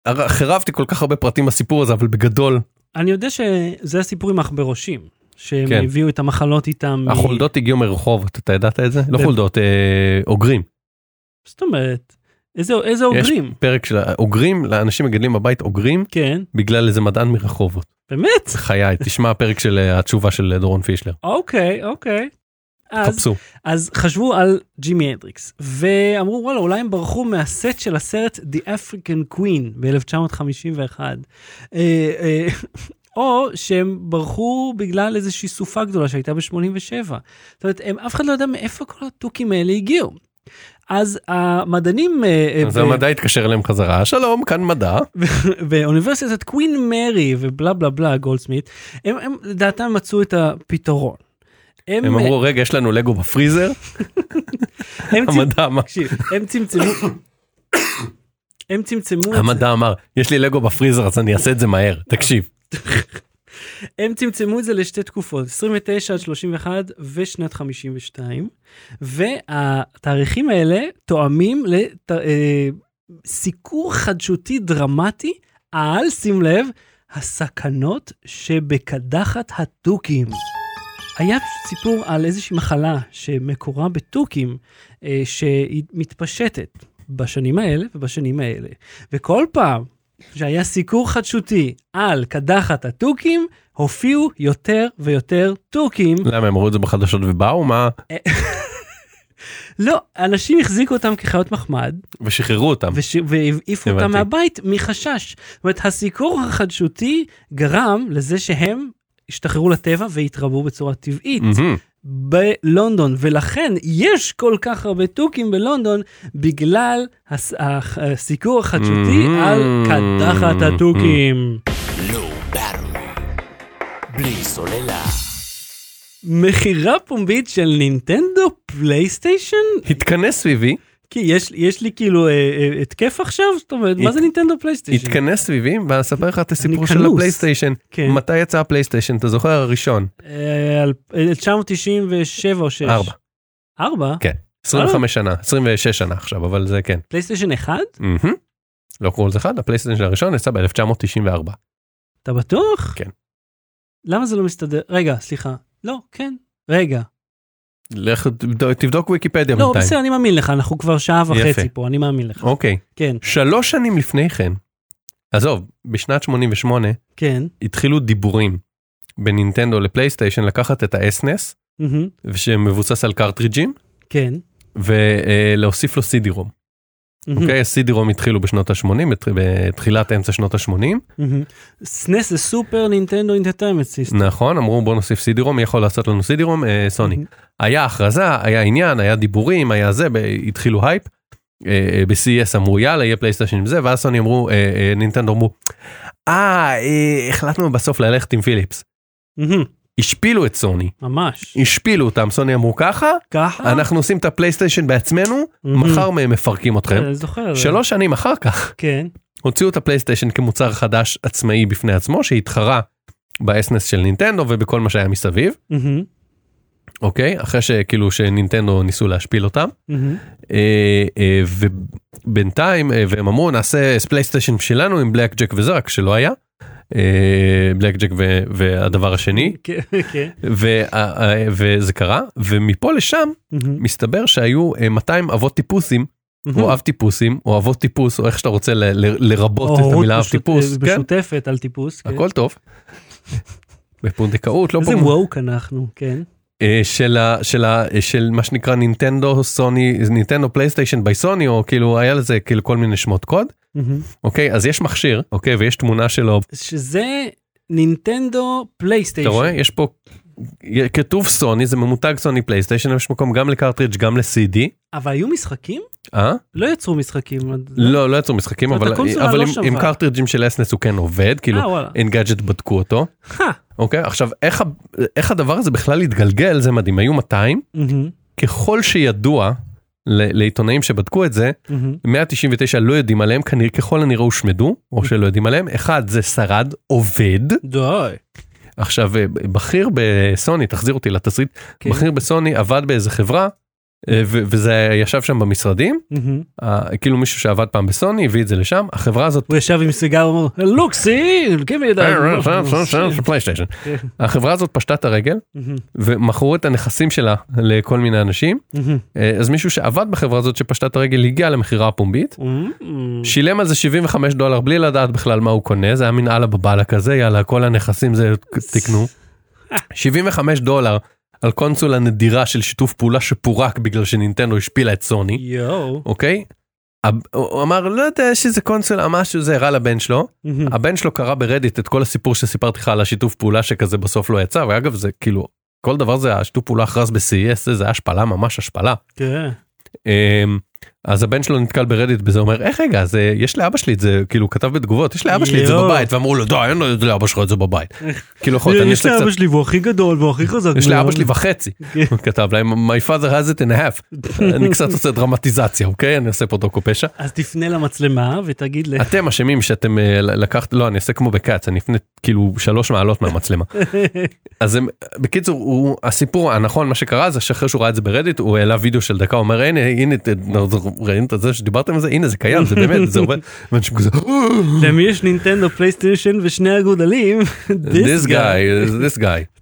S2: הר- חירבתי כל כך הרבה פרטים בסיפור הזה, אבל בגדול,
S1: אני יודע שזה הסיפור עם עכברושים, שהם
S2: כן.
S1: הביאו את המחלות איתם. מ-
S2: החולדות הגיעו מרחובות, אתה ידעת את זה? לא
S1: ב-
S2: חולדות, אה, אוגרים.
S1: זאת אומרת, איזה איזה
S2: יש
S1: אוגרים.
S2: פרק של אוגרים, לאנשים מגדלים בבית אוגרים,
S1: כן,
S2: בגלל איזה מדען מרחובות.
S1: באמת?
S2: בחיי, *laughs* תשמע הפרק של אה, התשובה של דורון פישלר.
S1: אוקיי, אוקיי. אז,
S2: חפשו.
S1: אז חשבו על ג'ימי הנדריקס, ואמרו וואלה, אולי הם ברחו מהסט של הסרט The African Queen ב-1951. אה, *laughs* או שהם ברחו בגלל איזושהי סופה גדולה שהייתה ב-87. זאת אומרת, הם, אף אחד לא יודע מאיפה כל התוכים האלה הגיעו. אז המדענים... אה,
S2: אז
S1: ב-
S2: המדע התקשר אליהם חזרה, שלום, כאן מדע.
S1: באוניברסיטת קווין מרי ובלה בלה בלה גולדסמית, הם, הם לדעתם מצאו את הפתרון. הם,
S2: הם אמרו, רגע, יש לנו לגו
S1: *laughs*
S2: בפריזר,
S1: הם, צמצ... *laughs*
S2: המדע אמר.
S1: תקשיב, הם צמצמו, הם צמצמו, את זה,
S2: המדע אמר, יש לי לגו בפריזר אז אני אעשה את זה מהר, תקשיב.
S1: הם צמצמו את זה לשתי תקופות, 29 עד 31 ושנת 52, והתאריכים האלה תואמים לת... אה, סיקור חדשותי דרמטי על, שים לב, הסכנות שבקדחת התוכים. היה פשוט סיפור על איזושהי מחלה שמקורה בתוכים, אה, שהיא מתפשטת בשנים האלה ובשנים האלה. וכל פעם שהיה סיקור חדשותי על קדחת התוכים, הופיעו יותר ויותר תוכים.
S2: למה הם ראו את זה בחדשות ובאו, מה?
S1: לא, אנשים החזיקו אותם כחיות מחמד,
S2: ושחררו אותם.
S1: וש... והעיפו אותם
S2: הבנתי.
S1: מהבית מחשש. זאת אומרת, הסיקור החדשותי גרם לזה שהם השתחררו לטבע והתרבו בצורה טבעית.
S2: מהמם.
S1: בלונדון, ולכן יש כל כך הרבה תוכים בלונדון בגלל הס... הח- הסיקור החדשותי
S2: Mm.
S1: על קדחת התוכים.
S3: Low Battery. בלי סוללה.
S1: מכירה פומבית של נינטנדו פלייסטיישן?
S2: התכנס סביבי,
S1: כי יש, יש לי כאילו אה, אה, התקף עכשיו? זאת אומרת, מה
S2: הת-
S1: זה נינטנדו פלייסטיישן?
S2: התכנס סביבי, ואני אספר לך את הסיפור של
S1: כנוס.
S2: הפלייסטיישן.
S1: כן.
S2: מתי יצא הפלייסטיישן, אתה זוכר? הראשון.
S1: אה, אל- 1997 או 6.
S2: ארבע.
S1: 4?
S2: כן. 25
S1: אה?
S2: שנה, 26 שנה עכשיו, אבל זה כן.
S1: פלייסטיישן 1?
S2: מהמם. לא קראו לזה אחד, הפלייסטיישן הראשון יצא ב-1994.
S1: אתה בטוח?
S2: כן.
S1: למה זה לא מסתדר? רגע, סליחה. לא, כן. רגע.
S2: לך תבדוק- תבדוק ויקיפדיה
S1: לא,
S2: בינתיים.
S1: בסדר, אני מאמין לך, אנחנו כבר שעה וחצי פה, אני מאמין לך.
S2: אוקיי.
S1: כן,
S2: שלוש שנים לפני כן, עזוב, בשנת 88
S1: כן.
S2: התחילו דיבורים בין נינטנדו לפלייסטיישן לקחת את האסנס,
S1: מהמם,
S2: שמבוסס על קרטריג'ים,
S1: כן.
S2: ולהוסיף לו CD-ROM.
S1: מהמם,
S2: אוקיי, CD-ROM התחילו בשנות ה-80, בתחילת אמצע שנות ה-80,
S1: מהמם. סנס זה סופר נינטנדו אינטרטיימנט סיסטם.
S2: נכון, אמרו בוא נוסיף CD-ROM, מי יכול לעשות לנו CD-ROM? אה, סוני. היה הכרזה, היה עניין, היה דיבורים, היה זה, ב- התחילו הייפ. אה, אה, ב-CES אמרו יאללה יהיה פלייסטיישן עם זה ואז סוני אמרו אה, אה, נינטנדו אמרו אה אה, החלטנו בסוף ללכת עם פיליפס
S1: מהמם,
S2: השפילו את סוני
S1: ממש.
S2: השפילו אותם סוני אמרו ככה
S1: ככה?
S2: אנחנו עושים את הפלייסטיישן בעצמנו
S1: אה. מהמם. אה.
S2: מחר מהם מפרקים אתכם
S1: אני זוכר.
S2: שלוש שנים אחר כך
S1: כן.
S2: הוציאו את הפלייסטיישן כמוצר חדש עצמאי בפני עצמו שהתחרה באסנס של נינטנדו ובכל מה שהיה מסביב
S1: מהמם,
S2: אוקיי אחרי שכאילו שנינטנדו ניסו להשפיל אותם
S1: מהמם,
S2: אה, אה, ובינתיים אה, והם אמרו נעשה פלייסטיישן שלנו עם בלק ג'ק וזה רק שלא היה. אה, בלק ג'ק ו- והדבר השני
S1: *laughs* כן, כן.
S2: וה- אה, וזה קרה ומפה לשם
S1: מהמם,
S2: מסתבר שהיו אה, 200 אבות טיפוסים
S1: מהמם.
S2: או אב טיפוסים או אבות טיפוס או איך שאתה רוצה ל- ל- לרבות את
S1: הורות
S2: המילה אב
S1: משותפת-
S2: טיפוס כן
S1: משותפת על טיפוס. אה, כן.
S2: הכל טוב. בפונדקאות לא
S1: איזה
S2: פונדקאות
S1: וואוק אנחנו, כן.
S2: של ה- של ה- של מה שנקרא נינטנדו סוני נינטנדו פלייסטיישן בי סוני או כאילו היה לזה כאילו כל מיני שמות קוד
S1: מהמם.
S2: אוקיי אז יש מכשיר אוקיי ויש תמונה שלו
S1: שזה נינטנדו
S2: אתה
S1: פלייסטיישן.
S2: רואה יש פה כתוב סוני זה ממותג סוני פלייסטיישן יש מקום גם לקרטריג' גם לסידי.
S1: אבל היו משחקים?
S2: אה?
S1: לא יצרו משחקים.
S2: לא לא יצאו משחקים
S1: זאת אומרת,
S2: אבל
S1: הקונסולה
S2: אבל
S1: לא
S2: עם-
S1: שווה.
S2: עם קרטריג'ים של אסנס הוא כן עובד כאילו
S1: אה, וואלה.
S2: אינגאדג'ט בדקו אותו
S1: אה,
S2: אוקיי עכשיו איך ה- איך הדבר הזה בכלל התגלגל זה מדהים היו 200
S1: מהמם,
S2: ככל שידוע ל- לעיתונאים שבדקו את זה
S1: מהמם,
S2: 199 לא יודעים עליהם כנראה ככל הנראה הושמדו או שלא יודעים עליהם אחד זה שרד עובד
S1: די.
S2: עכשיו אה, בכיר בסוני תחזיר אותי לתסריט
S1: כן.
S2: בכיר בסוני עבד באיזה חברה אה, ו- וזה ישב שם במשרדים
S1: מהמם.
S2: אה, כאילו מישהו שעבד פעם בסוני הביא את זה לשם החברה הזאת.
S1: הוא ישב עם סיגר ואומר, look, see, give me
S2: אה,
S1: אה, that.
S2: פלייסטיישן.
S1: כן.
S2: החברה הזאת פשטה את הרגל
S1: מהמם,
S2: ומכרו את הנכסים שלה לכל מיני אנשים
S1: מהמם,
S2: אה, אז מישהו שעבד בחברה הזאת שפשטה את הרגל הגיע למכירה הפומבית
S1: מהמם.
S2: שילם על זה 75 דולר בלי לדעת בכלל מה הוא קונה זה היה מין אללה בבאללה כזה יאללה כל הנכסים זה תקנו. 75 דולר על קונסולה נדירה של שיתוף פעולה שפורק בגלל שנינטנדו השפילה את סוני
S1: יואו.
S2: אוקיי. הב- הוא אמר לא יודע יש איזה קונסולה משהו זה הראה לבן שלו
S1: מהמם,
S2: הבן שלו קרא ברדיט את כל הסיפור שסיפרתי לך על השיתוף פעולה שכזה בסוף לא יצא ואגב זה כאילו כל דבר זה השיתוף פעולה הכרז ב-CES זה- זה השפלה ממש השפלה.
S1: כן.
S2: אמ, אז הבן שלו נתקל ברדיט בזה אומר איך רגע אז אה, יש לאבא שלי את זה כאילו הוא כתב בתגובות יש לאבא שלי את זה
S1: יואו.
S2: בבית ואמרו לו די אין לו- לאבא שלך את זה
S1: *laughs*
S2: בבית. כאילו יכול להיות אני
S1: יש
S2: יש לי
S1: לאבא
S2: קצת
S1: שלי והוא הכי גדול והוא הכי חזק.
S2: יש
S1: בעולם."
S2: לאבא שלי וחצי
S1: *laughs* כן.
S2: הוא כתב להם my father has it in half
S1: *laughs*
S2: אני קצת עושה דרמטיזציה אוקיי אני עושה פה דוקו פשע
S1: אז תפנה למצלמה ותגיד לה,
S2: אתם אשמים שאתם אה, לקחת לא אני אעשה כמו בכץ אני אפנה כאילו שלוש מעלות *laughs* מהמצלמה אז הם בקיצור הוא הסיפור הנכון מה שקרה זה שאחרי שהוא ראה את זה ברדיט הוא העלה וידאו של דקה הוא אומר הנה הנה ת- ראינו את זה שדיברתם על זה הנה זה קיים זה באמת זה *laughs* עובד. ואנשים כזה "Oh,
S1: למי יש נינטנדו פלייסטיישן ושני הגודלים?
S2: this guy this guy.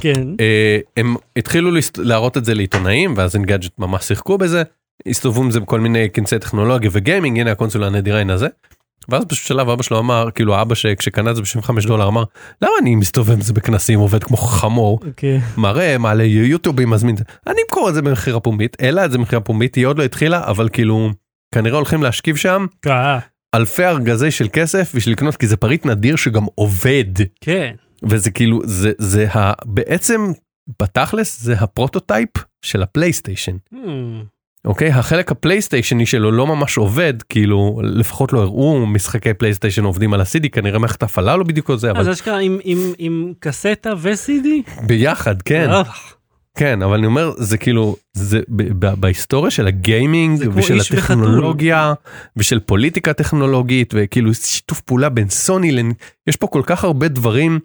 S1: כן.
S2: אה, הם התחילו להסת- להראות את זה לעיתונאים ואז אינגאדג'ט ממש שיחקו בזה הסתובבו עם זה בכל מיני כנסי טכנולוגיה וגיימינג הנה הקונסולה הנדירה הנה זה. ואז בשלב אבא שלו אמר כאילו האבא שכשקנה את זה ב-75 דולר אמר למה אני מסתובב עם זה בכנסים עובד כמו חמור
S1: אוקיי.
S2: מראה מעלה יוטיובים מזמין את זה. אני אמכור את זה במחיר הפומבית העלה את זה במחיר הפומבית היא עוד לא התחילה אבל כאילו כנראה הולכים להשכיב שם
S1: אה,
S2: אלפי ארגזי של כסף בשביל לקנות כי זה פריט נדיר שגם עובד
S1: כן.
S2: וזה כאילו זה זה ה, בעצם בתכלס זה הפרוטוטייפ של הפלייסטיישן
S1: Hmm.
S2: אוקיי החלק הפלייסטיישני שלו לא ממש עובד כאילו לפחות לא הראו משחקי פלייסטיישן עובדים על הסידי כנראה מערכת הפעלה לא בדיוק זה
S1: אז
S2: אבל
S1: אשכרה עם- עם- עם קסטה ו-CD?
S2: ביחד כן.
S1: אה,
S2: כן אבל אני אומר זה כאילו זה ב- ב- בהיסטוריה של הגיימינג
S1: זה כמו
S2: ושל
S1: איש וחתול.
S2: הטכנולוגיה ושל פוליטיקה טכנולוגית וכאילו שיתוף פעולה בין סוני לנ... יש פה כל כך הרבה דברים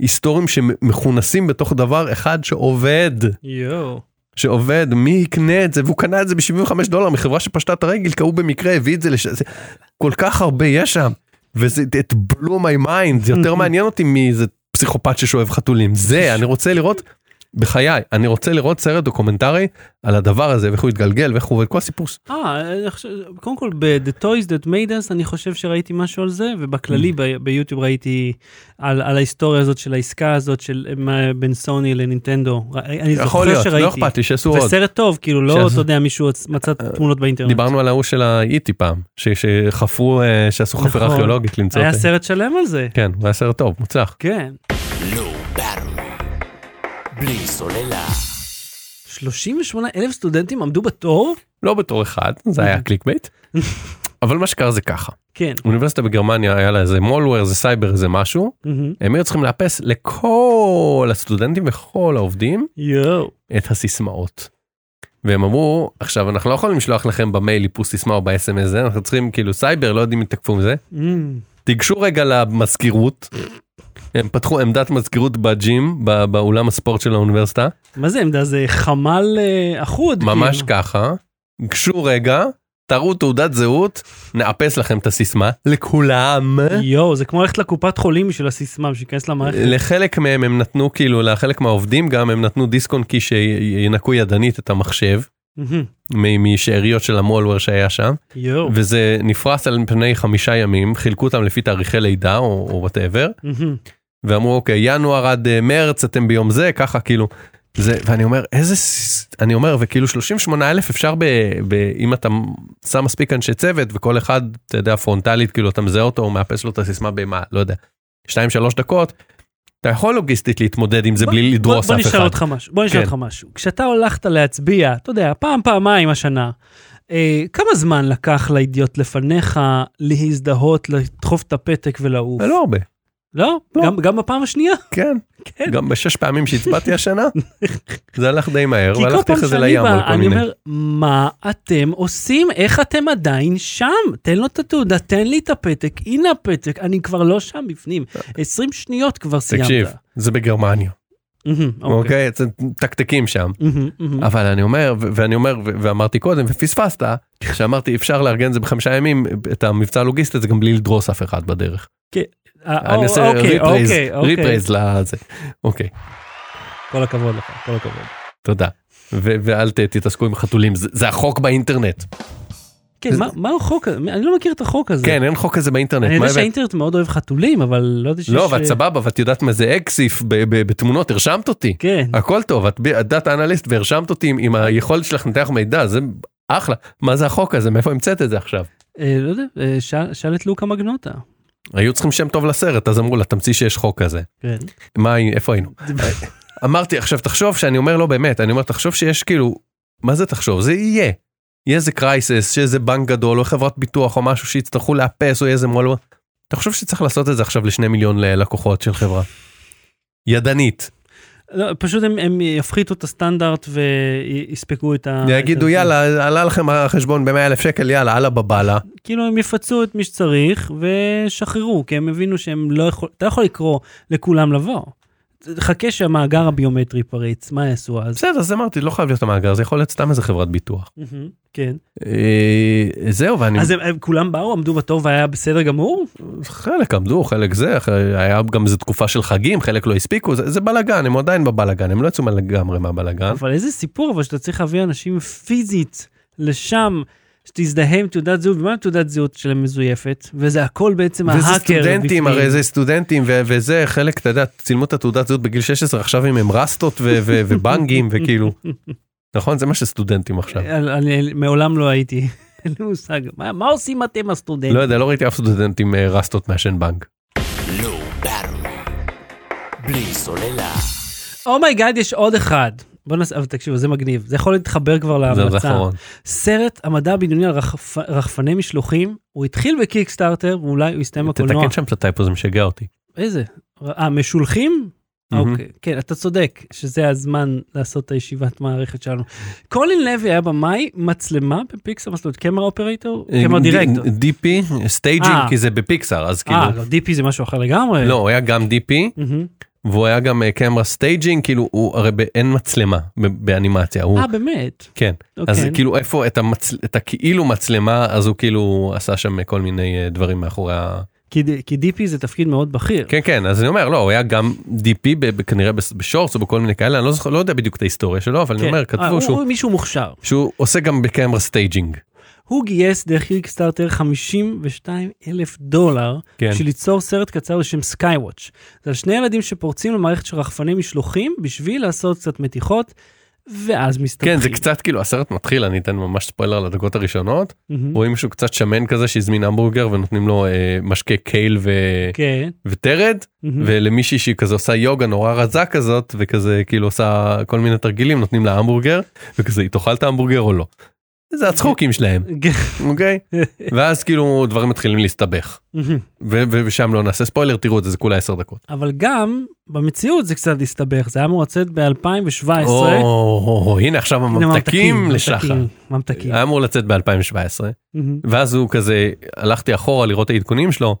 S2: היסטוריים שמכונסים בתוך דבר אחד שעובד
S1: יואו.
S2: שעובד מי יקנה את זה והוא קנה את זה ב-75 דולר מחברה שפשטה את הרגל כי הוא במקרה הביא את זה לש... זה... כל כך הרבה יש שם וזה את
S1: *laughs*
S2: blew my mind זה יותר מעניין אותי מאיזה פסיכופת ששואב חתולים זה אני רוצה לראות בחיי, אני רוצה לראות סרט דוקומנטרי על הדבר הזה, ואיך הוא התגלגל, ואיך הוא עובד, כל הסיפוס.
S1: אה, אני חושב- קודם כל ב-The Toys That Made Us אני חושב שראיתי משהו על זה, ובכללי
S2: Hmm.
S1: ב- ביוטיוב ראיתי על, על ההיסטוריה הזאת של העסקה הזאת של אה, מה- בין סוני לנינטנדו. ר- אני
S2: יכול
S1: זוכר
S2: להיות,
S1: שראיתי.
S2: לא אכפת לי, שיעשו עוד.
S1: וסרט טוב, כאילו לא,
S2: שעשו-
S1: אתה יודע, מישהו עצ- מצא תמונות באינטרנט.
S2: דיברנו על ההוא של האיטי פעם, ש- שחפרו, אה, שעשו חפירה
S1: נכון.
S2: ארכיאולוגית למצוא
S1: היה
S2: את זה. אוקיי.
S1: סרט שלם על זה.
S2: כן, הוא היה סרט טוב, מוצלח.
S1: כן.
S3: Blue Baron. לא, בלי סוללה.
S1: 38 אלף סטודנטים עמדו בתור?
S2: לא בתור אחד, זה
S1: *laughs*
S2: היה קליק בייט. אבל מה שקרה זה ככה,
S1: כן.
S2: אוניברסיטה בגרמניה היה לה איזה מולוור, איזה סייבר, איזה משהו,
S1: מהמם.
S2: הם היו צריכים לאפס לכל הסטודנטים וכל העובדים
S1: יואו.
S2: את הסיסמאות. והם אמרו, עכשיו אנחנו לא יכולים לשלוח לכם במייל איפוס סיסמה או ב-SMS זה, אנחנו צריכים כאילו סייבר, לא יודעים אם תקפו מזה.
S1: מהמם.
S2: תיגשו רגע למזכירות, הם פתחו עמדת מזכירות בג'ים, ב- באולם הספורט של האוניברסיטה,
S1: מה זה עמדה? זה חמ"ל אה, אחוד.
S2: ממש
S1: כאילו.
S2: ככה, גשו רגע, תראו תעודת זהות, נאפס לכם את הסיסמה, לכולם.
S1: יואו, זה כמו ללכת לקופת חולים בשביל הסיסמה, בשביל להיכנס למערכת.
S2: לחלק מהם הם נתנו כאילו לחלק מהעובדים גם הם נתנו דיסק און קי שינקו ידנית את המחשב
S1: מהמם.
S2: מ- משאריות של המולוור שהיה שם
S1: יואו.
S2: וזה נפרס על פני חמישה ימים חילקו אותם לפי תאריכי לידה או וואטאבר
S1: מהמם.
S2: ואמרו אוקיי ינואר עד אה, מרץ אתם ביום זה ככה כאילו זה ואני אומר איזה ס- אני אומר וכאילו 38 אלף אפשר ב, ב, אם אתה שם מספיק אנשי צוות וכל אחד אתה יודע פרונטלית כאילו אתה מזהה אותו הוא מאפס לו את הסיסמה במה לא יודע 2-3 דקות. אתה יכול לוגיסטית להתמודד עם זה
S1: בוא-
S2: בלי לדרוס
S1: בוא-
S2: אף
S1: בוא נשאל
S2: אחד.
S1: אותך משהו, בוא נשאל
S2: כן.
S1: אותך משהו. כשאתה הלכת להצביע, אתה יודע, פעם, פעמיים השנה, אה, כמה זמן לקח לאידיוט לפניך להזדהות, לדחוף את הפתק ולעוף?
S2: לא הרבה
S1: לא?
S2: לא.
S1: גם- גם בפעם השנייה? *laughs*
S2: כן
S1: כן.
S2: גם בשש פעמים שהצבעתי
S1: *laughs*
S2: השנה זה הלך די מהר
S1: כי כל
S2: והלכתי
S1: פעם
S2: אחרי זה
S1: שאני
S2: לים על
S1: בא,
S2: כל
S1: אני
S2: מיני.
S1: אומר, מה אתם עושים? איך אתם עדיין שם? תן לו את התעודה, תן לי את הפתק, הנה הפתק, אני כבר לא שם בפנים. 20 שניות כבר סיימת.
S2: תקשיב זה בגרמניה
S1: מהמם, אוקיי.
S2: אוקיי זה תקתקים שם.
S1: מהמם, מהמם.
S2: אבל אני אומר ו- ואני אומר ו- ואמרתי קודם ופספסת שאמרתי אפשר לארגן את זה בחמישה ימים את המבצע הלוגיסטי הזה גם בלי לדרוס אף אחד בדרך.
S1: אה,
S2: אני עושה
S1: אוקיי,
S2: ריפרייז
S1: אוקיי, אוקיי.
S2: ריפרייז לזה. אוקיי
S1: כל הכבוד לך, כל הכבוד.
S2: תודה. ו- ואל ת- תתעסקו עם חתולים זה זה החוק באינטרנט
S1: כן, מה- מה החוק הזה? אני לא מכיר את החוק הזה.
S2: כן אין חוק כזה באינטרנט.
S1: אני
S2: מה
S1: יודע
S2: הבאת?
S1: שהאינטרנט מאוד אוהב חתולים, אבל לא יודע שיש...
S2: לא ואת סבבה ואת יודעת מה זה אקסיף ב- ב- בתמונות הרשמת אותי
S1: כן.
S2: הכל טוב את ב- את דאטה אנליסט והרשמת אותי עם- עם היכולת שלך לנתח מידע זה אחלה מה זה החוק הזה מאיפה המצאת את זה עכשיו.
S1: אה, לא יודע, אה, שאל- שאל את לוקה מגנוטה.
S2: היו צריכים שם טוב לסרט אז אמרו לה תמציא שיש חוק כזה.
S1: כן.
S2: מה איפה היינו אמרתי עכשיו תחשוב שאני אומר לא באמת אני אומר תחשוב שיש כאילו מה זה תחשוב זה יהיה. יהיה איזה קרייסס שאיזה בנק גדול או חברת ביטוח או משהו שיצטרכו לאפס או איזה מול. אתה חושב שצריך לעשות את זה עכשיו לשני מיליון לקוחות של חברה. ידנית
S1: לא, פשוט הם- הם יפחיתו את הסטנדרט ויספקו את ה... את
S2: יגידו
S1: ה-
S2: יאללה עלה לכם החשבון ב-100 אלף שקל יאללה עלה בבאללה
S1: כאילו הם יפצו את מי שצריך ושחררו, כי הם הבינו שהם לא יכול... אתה לא יכול לקרוא לכולם לבוא. חכה שהמאגר הביומטרי פריץ, מה יעשו אז?
S2: בסדר אז אמרתי לא חייב להיות המאגר זה יכול להיות סתם איזה חברת ביטוח.
S1: מהמם, כן.
S2: אה, זהו ואני
S1: אז הם- הם כולם באו, עמדו בתור והיה בסדר גמור?
S2: חלק עמדו חלק זה אחרי- היה גם איזה תקופה של חגים חלק לא הספיקו זה, זה בלאגן הם עדיין בבלאגן הם לא יצאו לגמרי מהבלאגן.
S1: אבל איזה סיפור אבל שאתה צריך להביא אנשים פיזית לשם, שתזדהה עם תעודת זהות, ומה עם תעודת זהות שלהם מזויפת? וזה הכל בעצם ההאקר
S2: וזה
S1: בפנים.
S2: סטודנטים הרי זה סטודנטים ו- וזה חלק אתה יודע צילמו את התעודת זהות בגיל 16 עכשיו אם הם רסטות ו-
S1: *laughs*
S2: ו- ובנגים וכאילו נכון זה מה שסטודנטים עכשיו
S1: אני- אני מעולם לא הייתי, *laughs* אין לי מושג. מה מה עושים אתם הסטודנטים?
S2: לא יודע לא ראיתי אף סטודנט עם אה, רסטות מעשן בנג.
S3: Blue Baron. בלי סוללה.
S1: אומייגאד, Oh יש עוד אחד. בוא נעשה, אבל תקשיבו, זה מגניב. זה יכול להתחבר כבר
S2: זה זה
S1: להמלצה.
S2: אחרון.
S1: סרט המדע הבדיוני על רחפ- רחפני משלוחים, הוא התחיל בקיקסטארטר, ואולי הוא יסתיים בקולנוע.
S2: תתקן שם את הטייפו זה משגע אותי.
S1: איזה? אה, משולחים?
S2: מהמם.
S1: אוקיי, כן, אתה צודק, שזה הזמן לעשות את הישיבת מערכת שלנו. קולין לוי היה במאי מצלמה בפיקסר, מה זאת אומרת, קמרה אופרטור?
S2: אה,
S1: קמרה דירקטור.
S2: DP
S1: אה.
S2: סטייג'ינג כי זה בפיקסאר אז כאילו.
S1: אה, לא, דיפי זה משהו אחר לגמרי. Mm-hmm.
S2: לא הוא היה גם DP
S1: מהמם.
S2: והוא היה גם קמרה סטייג'ינג כאילו הוא הרי ב- אין מצלמה ב- באנימציה הוא
S1: אה, באמת?
S2: כן
S1: אוקיי.
S2: אז כאילו איפה את המצל- את הכאילו מצלמה אז הוא כאילו עשה שם כל מיני אה, דברים מאחורי ה...
S1: כי, ד- כי דיפי זה תפקיד מאוד בכיר.
S2: כן כן אז אני אומר לא הוא היה גם DP ב- ב- כנראה בס- בשורטס או בכל מיני כאלה אני לא זוכר לא יודע בדיוק את ההיסטוריה שלו אבל אני אומר
S1: אה, הוא-
S2: כתבו שהוא
S1: הוא מישהו מוכשר.
S2: שהוא עושה גם בקמרה סטייג'ינג.
S1: הוא גייס דרך קיקסטארטר 52 אלף דולר
S2: כן.
S1: בשביל ליצור סרט קצר בשם סקייוואץ'. זה על שני ילדים שפורצים למערכת של רחפני משלוחים בשביל לעשות קצת מתיחות, ואז מסתבכים.
S2: כן זה קצת כאילו הסרט מתחיל אני אתן ממש ספוילר לדקות הראשונות
S1: מהמם.
S2: רואים מישהו קצת שמן כזה שהזמין המבורגר ונותנים לו אה, משקה קייל ו...
S1: כן.
S2: וטרד
S1: מהמם.
S2: ולמישהי שהיא כזה עושה יוגה נורא רזה כזאת וכזה כאילו עושה כל מיני תרגילים נותנים לה המבורגר וכזה היא תאכל את ההמבורגר או לא. זה הצחוקים שלהם
S1: כן.
S2: אוקיי *laughs* ואז כאילו דברים מתחילים להסתבך
S1: מהמם.
S2: ו- ו- ושם לא נעשה ספוילר תראו את זה זה כולה 10 דקות.
S1: אבל גם במציאות זה קצת הסתבך, זה היה אמור לצאת ב-2017.
S2: או, הנה עכשיו הממתקים לשחר. אה.
S1: ממתקים, ממתקים.
S2: היה אמור לצאת ב2017
S1: מהמם.
S2: ואז הוא כזה הלכתי אחורה לראות את העדכונים שלו.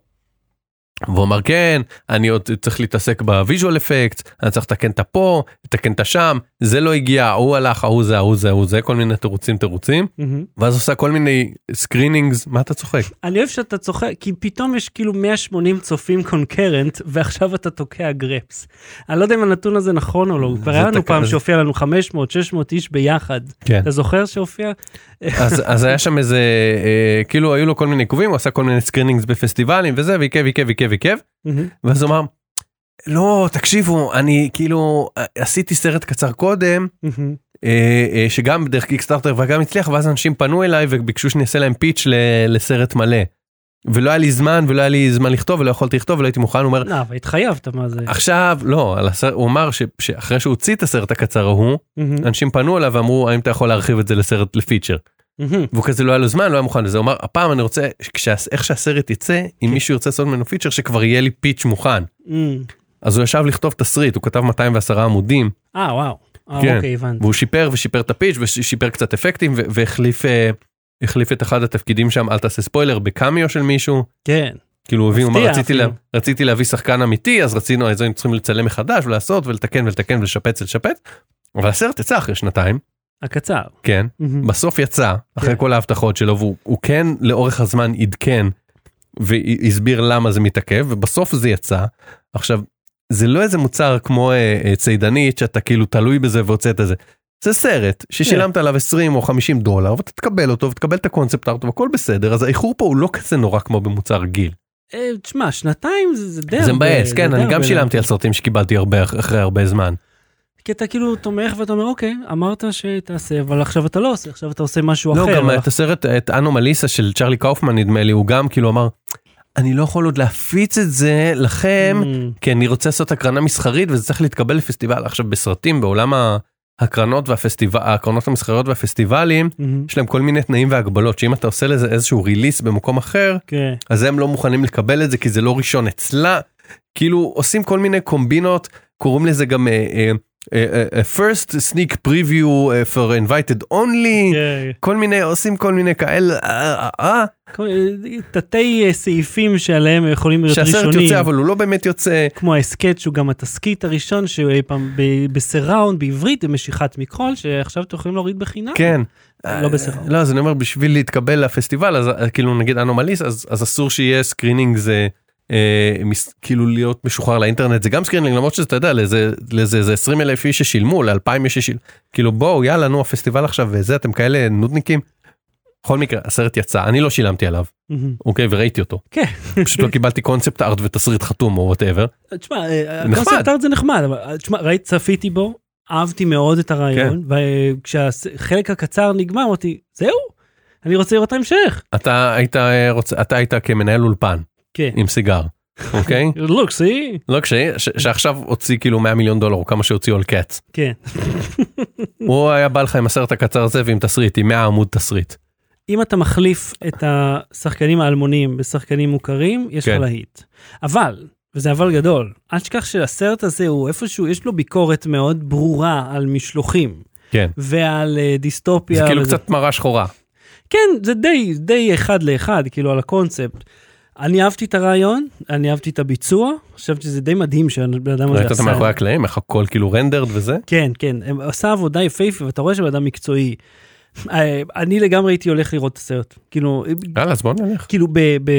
S2: והוא אמר כן אני עוד צריך להתעסק בוויז'ואל אפקט אני צריך לתקן את הפה לתקן את השם זה לא הגיע ההוא הלך ההוא זה ההוא זה ההוא זה כל מיני תירוצים תירוצים
S1: מהמם.
S2: ואז עושה כל מיני סקרינינגס מה אתה צוחק *laughs*
S1: אני אוהב שאתה צוחק, כי פתאום יש כאילו 180 צופים קונקרנט, ועכשיו אתה תוקע גרפס. אני לא יודע אם הנתון הזה נכון או לא, כבר היה לנו
S2: תקע-
S1: פעם
S2: זה-
S1: שהופיע לנו 500, 600 איש ביחד.
S2: כן.
S1: אתה זוכר שהופיע?
S2: אז, אז היה שם איזה אה, כאילו היו לו כל מיני עיכובים הוא עשה כל מיני סקרינינגס בפסטיבלים וזה ועיכב עיכב עיכב עיכב ואז הוא אמר. לא תקשיבו אני כאילו עשיתי סרט קצר קודם אה, אה, שגם דרך קיקסטארטר וגם הצליח ואז אנשים פנו אליי וביקשו שאני אעשה להם פיץ' ל- לסרט מלא. ולא היה לי זמן ולא היה לי זמן לכתוב ולא יכולתי לכתוב ולא הייתי מוכן הוא אומר
S1: לא, אבל התחייבת, מה זה?
S2: עכשיו לא על הסרט, הוא אמר ש, שאחרי שהוא הוציא את הסרט הקצר ההוא
S1: מהמם.
S2: אנשים פנו אליו ואמרו האם אתה יכול להרחיב את זה לסרט לפיצ'ר
S1: מהמם.
S2: והוא כזה לא היה לו זמן לא היה מוכן לזה הוא אמר הפעם אני רוצה כשה, איך שהסרט יצא אם מישהו ירצה לעשות ממנו פיצ'ר שכבר יהיה לי פיץ' מוכן
S1: מהמם.
S2: אז הוא ישב לכתוב תסריט הוא כתב 210 עמודים
S1: אה, וואו. אה,
S2: כן.
S1: אוקיי, הבנתי.
S2: והוא שיפר ושיפר את הפיץ' ושיפר קצת אפקטים ו- והחליף אה, החליף את אחד התפקידים שם אל תעשה ספוילר בקמיו של מישהו
S1: כן.
S2: כאילו הוא הביא הוא אמר
S1: מפתיע
S2: רציתי, לה,
S1: אפילו."
S2: רציתי להביא שחקן אמיתי אז רצינו אז היינו צריכים לצלם מחדש ולעשות ולתקן ולתקן ולשפץ ולשפץ. אבל הסרט יצא אחרי שנתיים
S1: הקצר.
S2: כן
S1: מהמם.
S2: בסוף יצא אחרי
S1: כן.
S2: כל ההבטחות שלו והוא הוא כן לאורך הזמן עדכן והסביר למה זה מתעכב ובסוף זה יצא עכשיו זה לא איזה מוצר כמו אה, אה, צידנית שאתה כאילו תלוי בזה והוצאת את זה. זה סרט ששילמת עליו 20 או 50 דולר ואתה תקבל אותו ותקבל את הקונספט ארט והכל בסדר אז האיחור פה הוא לא כזה נורא כמו במוצר רגיל.
S1: אה, תשמע, שנתיים זה זה די הרבה.
S2: זה מבאס כן
S1: די
S2: אני
S1: הרבה
S2: גם
S1: זמן.
S2: שילמתי על סרטים שקיבלתי הרבה אח- אחרי הרבה זמן.
S1: כי אתה כאילו תומך ואתה אומר, אוקיי, אמרת שתעשה, אבל עכשיו אתה לא עושה, עכשיו אתה עושה משהו
S2: לא,
S1: אחר.
S2: גם
S1: אבל-
S2: את הסרט, את אנומליסה של צ'רלי קאופמן נדמה לי, הוא גם כאילו אמר, אני לא יכול עוד להפיץ את זה לכם,
S1: מהמם.
S2: כי אני רוצה לעשות הקרנה מסחרית וזה צריך להתקבל לפסטיבל. עכשיו בסרטים, בעולם ההקרנות והפסטיבל, ההקרנות המסחריות והפסטיבלים,
S1: מהמם.
S2: יש להם כל מיני תנאים והגבלות, שאם אתה עושה לזה איזשהו ריליס במקום אחר,
S1: כן.
S2: אז הם לא מוכנים לקבל את זה כי זה לא ראשון אצלה. כאילו עושים כל מיני קומבינות, קוראים לזה גם אה, אה, אה, אה, first sneak preview אה, for invited only.
S1: כן.
S2: כל מיני עושים כל מיני כאלה אה, אה, אה,
S1: כל- אה, תתי אה, סעיפים שעליהם יכולים להיות
S2: שהסרט
S1: ראשונים, אה,
S2: יוצא אבל הוא לא באמת יוצא
S1: כמו ההסכת שהוא גם התסכית הראשון שהוא אי פעם ב- בסיראונד בעברית במשיכת מכחול שעכשיו אתם יכולים להוריד בחינם.
S2: כן.
S1: לא בסדר.
S2: לא אז אני אומר בשביל להתקבל לפסטיבל אז אה, כאילו נגיד אנומליס אז אז אסור שיהיה סקרינינג זה אה, מס- כאילו להיות משוחרר לאינטרנט זה גם סקרינינג למרות שאתה יודע לזה לזה זה 20 אלף איש ששילמו ל 2000 איש ששילמו כאילו בואו יאללה נו הפסטיבל עכשיו וזה אתם כאלה נודניקים. בכל מקרה הסרט יצא אני לא שילמתי עליו
S1: מהמם.
S2: אוקיי וראיתי אותו
S1: כן.
S2: פשוט לא קיבלתי קונספט ארט ותסריט חתום או וואטאבר
S1: תשמע, אה,
S2: נחמד.
S1: הקונספט ארט זה נחמד, אבל אה, תשמע, ראית, צפיתי בו, אהבתי מאוד את הרעיון,
S2: כן.
S1: וכשהחלק הקצר נגמר אמרתי, זהו, אני רוצה לראות את ההמשך.
S2: אתה היית אה, רוצה אתה היית כמנהל אולפן
S1: כן.
S2: עם סיגר *laughs* אוקיי
S1: look, see?
S2: לא קשיי ש- שעכשיו הוציא כאילו 100 מיליון דולר או כמה שהוציאו על *laughs* קץ
S1: כן.
S2: הוא היה בא לך עם הסרט הקצר הזה ועם תסריט עם 100 עמוד תסריט
S1: אם אתה מחליף את השחקנים האלמונים בשחקנים מוכרים, יש לך
S2: כן.
S1: להיט. אבל, וזה אבל גדול, אל תשכח שהסרט הזה הוא איפשהו, יש לו ביקורת מאוד ברורה על משלוחים.
S2: כן
S1: ועל אה, דיסטופיה.
S2: זה כאילו
S1: וזה-
S2: קצת מראה שחורה
S1: כן, זה די, די אחד לאחד, כאילו, על הקונספט. אני אהבתי את הרעיון, אני אהבתי את הביצוע, חשבתי שזה די מדהים שהבן אדם הזה
S2: ראית אותה
S1: עשה.
S2: מאחורי הקלעים איך הכל כאילו רנדרד וזה
S1: כן, כן, הם עשה עבודה יפהפה, ואתה רואה שבן אדם מקצועי. אה, אני לגמרי הייתי הולך לראות את הסרט. כאילו,
S2: יאללה אז בוא נלך
S1: כאילו ב... ב...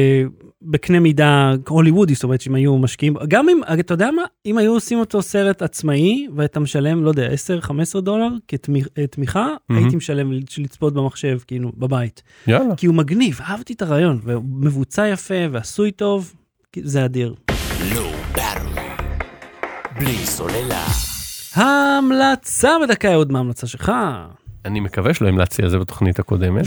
S1: בקנה מידה הוליוודי, זאת אומרת שאם היו משקיעים, גם אם, אתה יודע מה, אם היו עושים אותו סרט עצמאי, והיית משלם, לא יודע, 10-15 דולר כתמיכה,
S2: Mhm.
S1: הייתי משלם לצפות במחשב, כאילו, בבית.
S2: יאללה.
S1: כי הוא מגניב, אהבתי את הרעיון, ומבוצע יפה, ועשוי טוב, כי זה אדיר.
S3: Low Battle. בלי סוללה.
S1: ההמלצה בדקה, עוד מההמלצה שלך.
S2: אני מקווה שלא המלצתי על זה בתוכנית *laughs* הקודמת,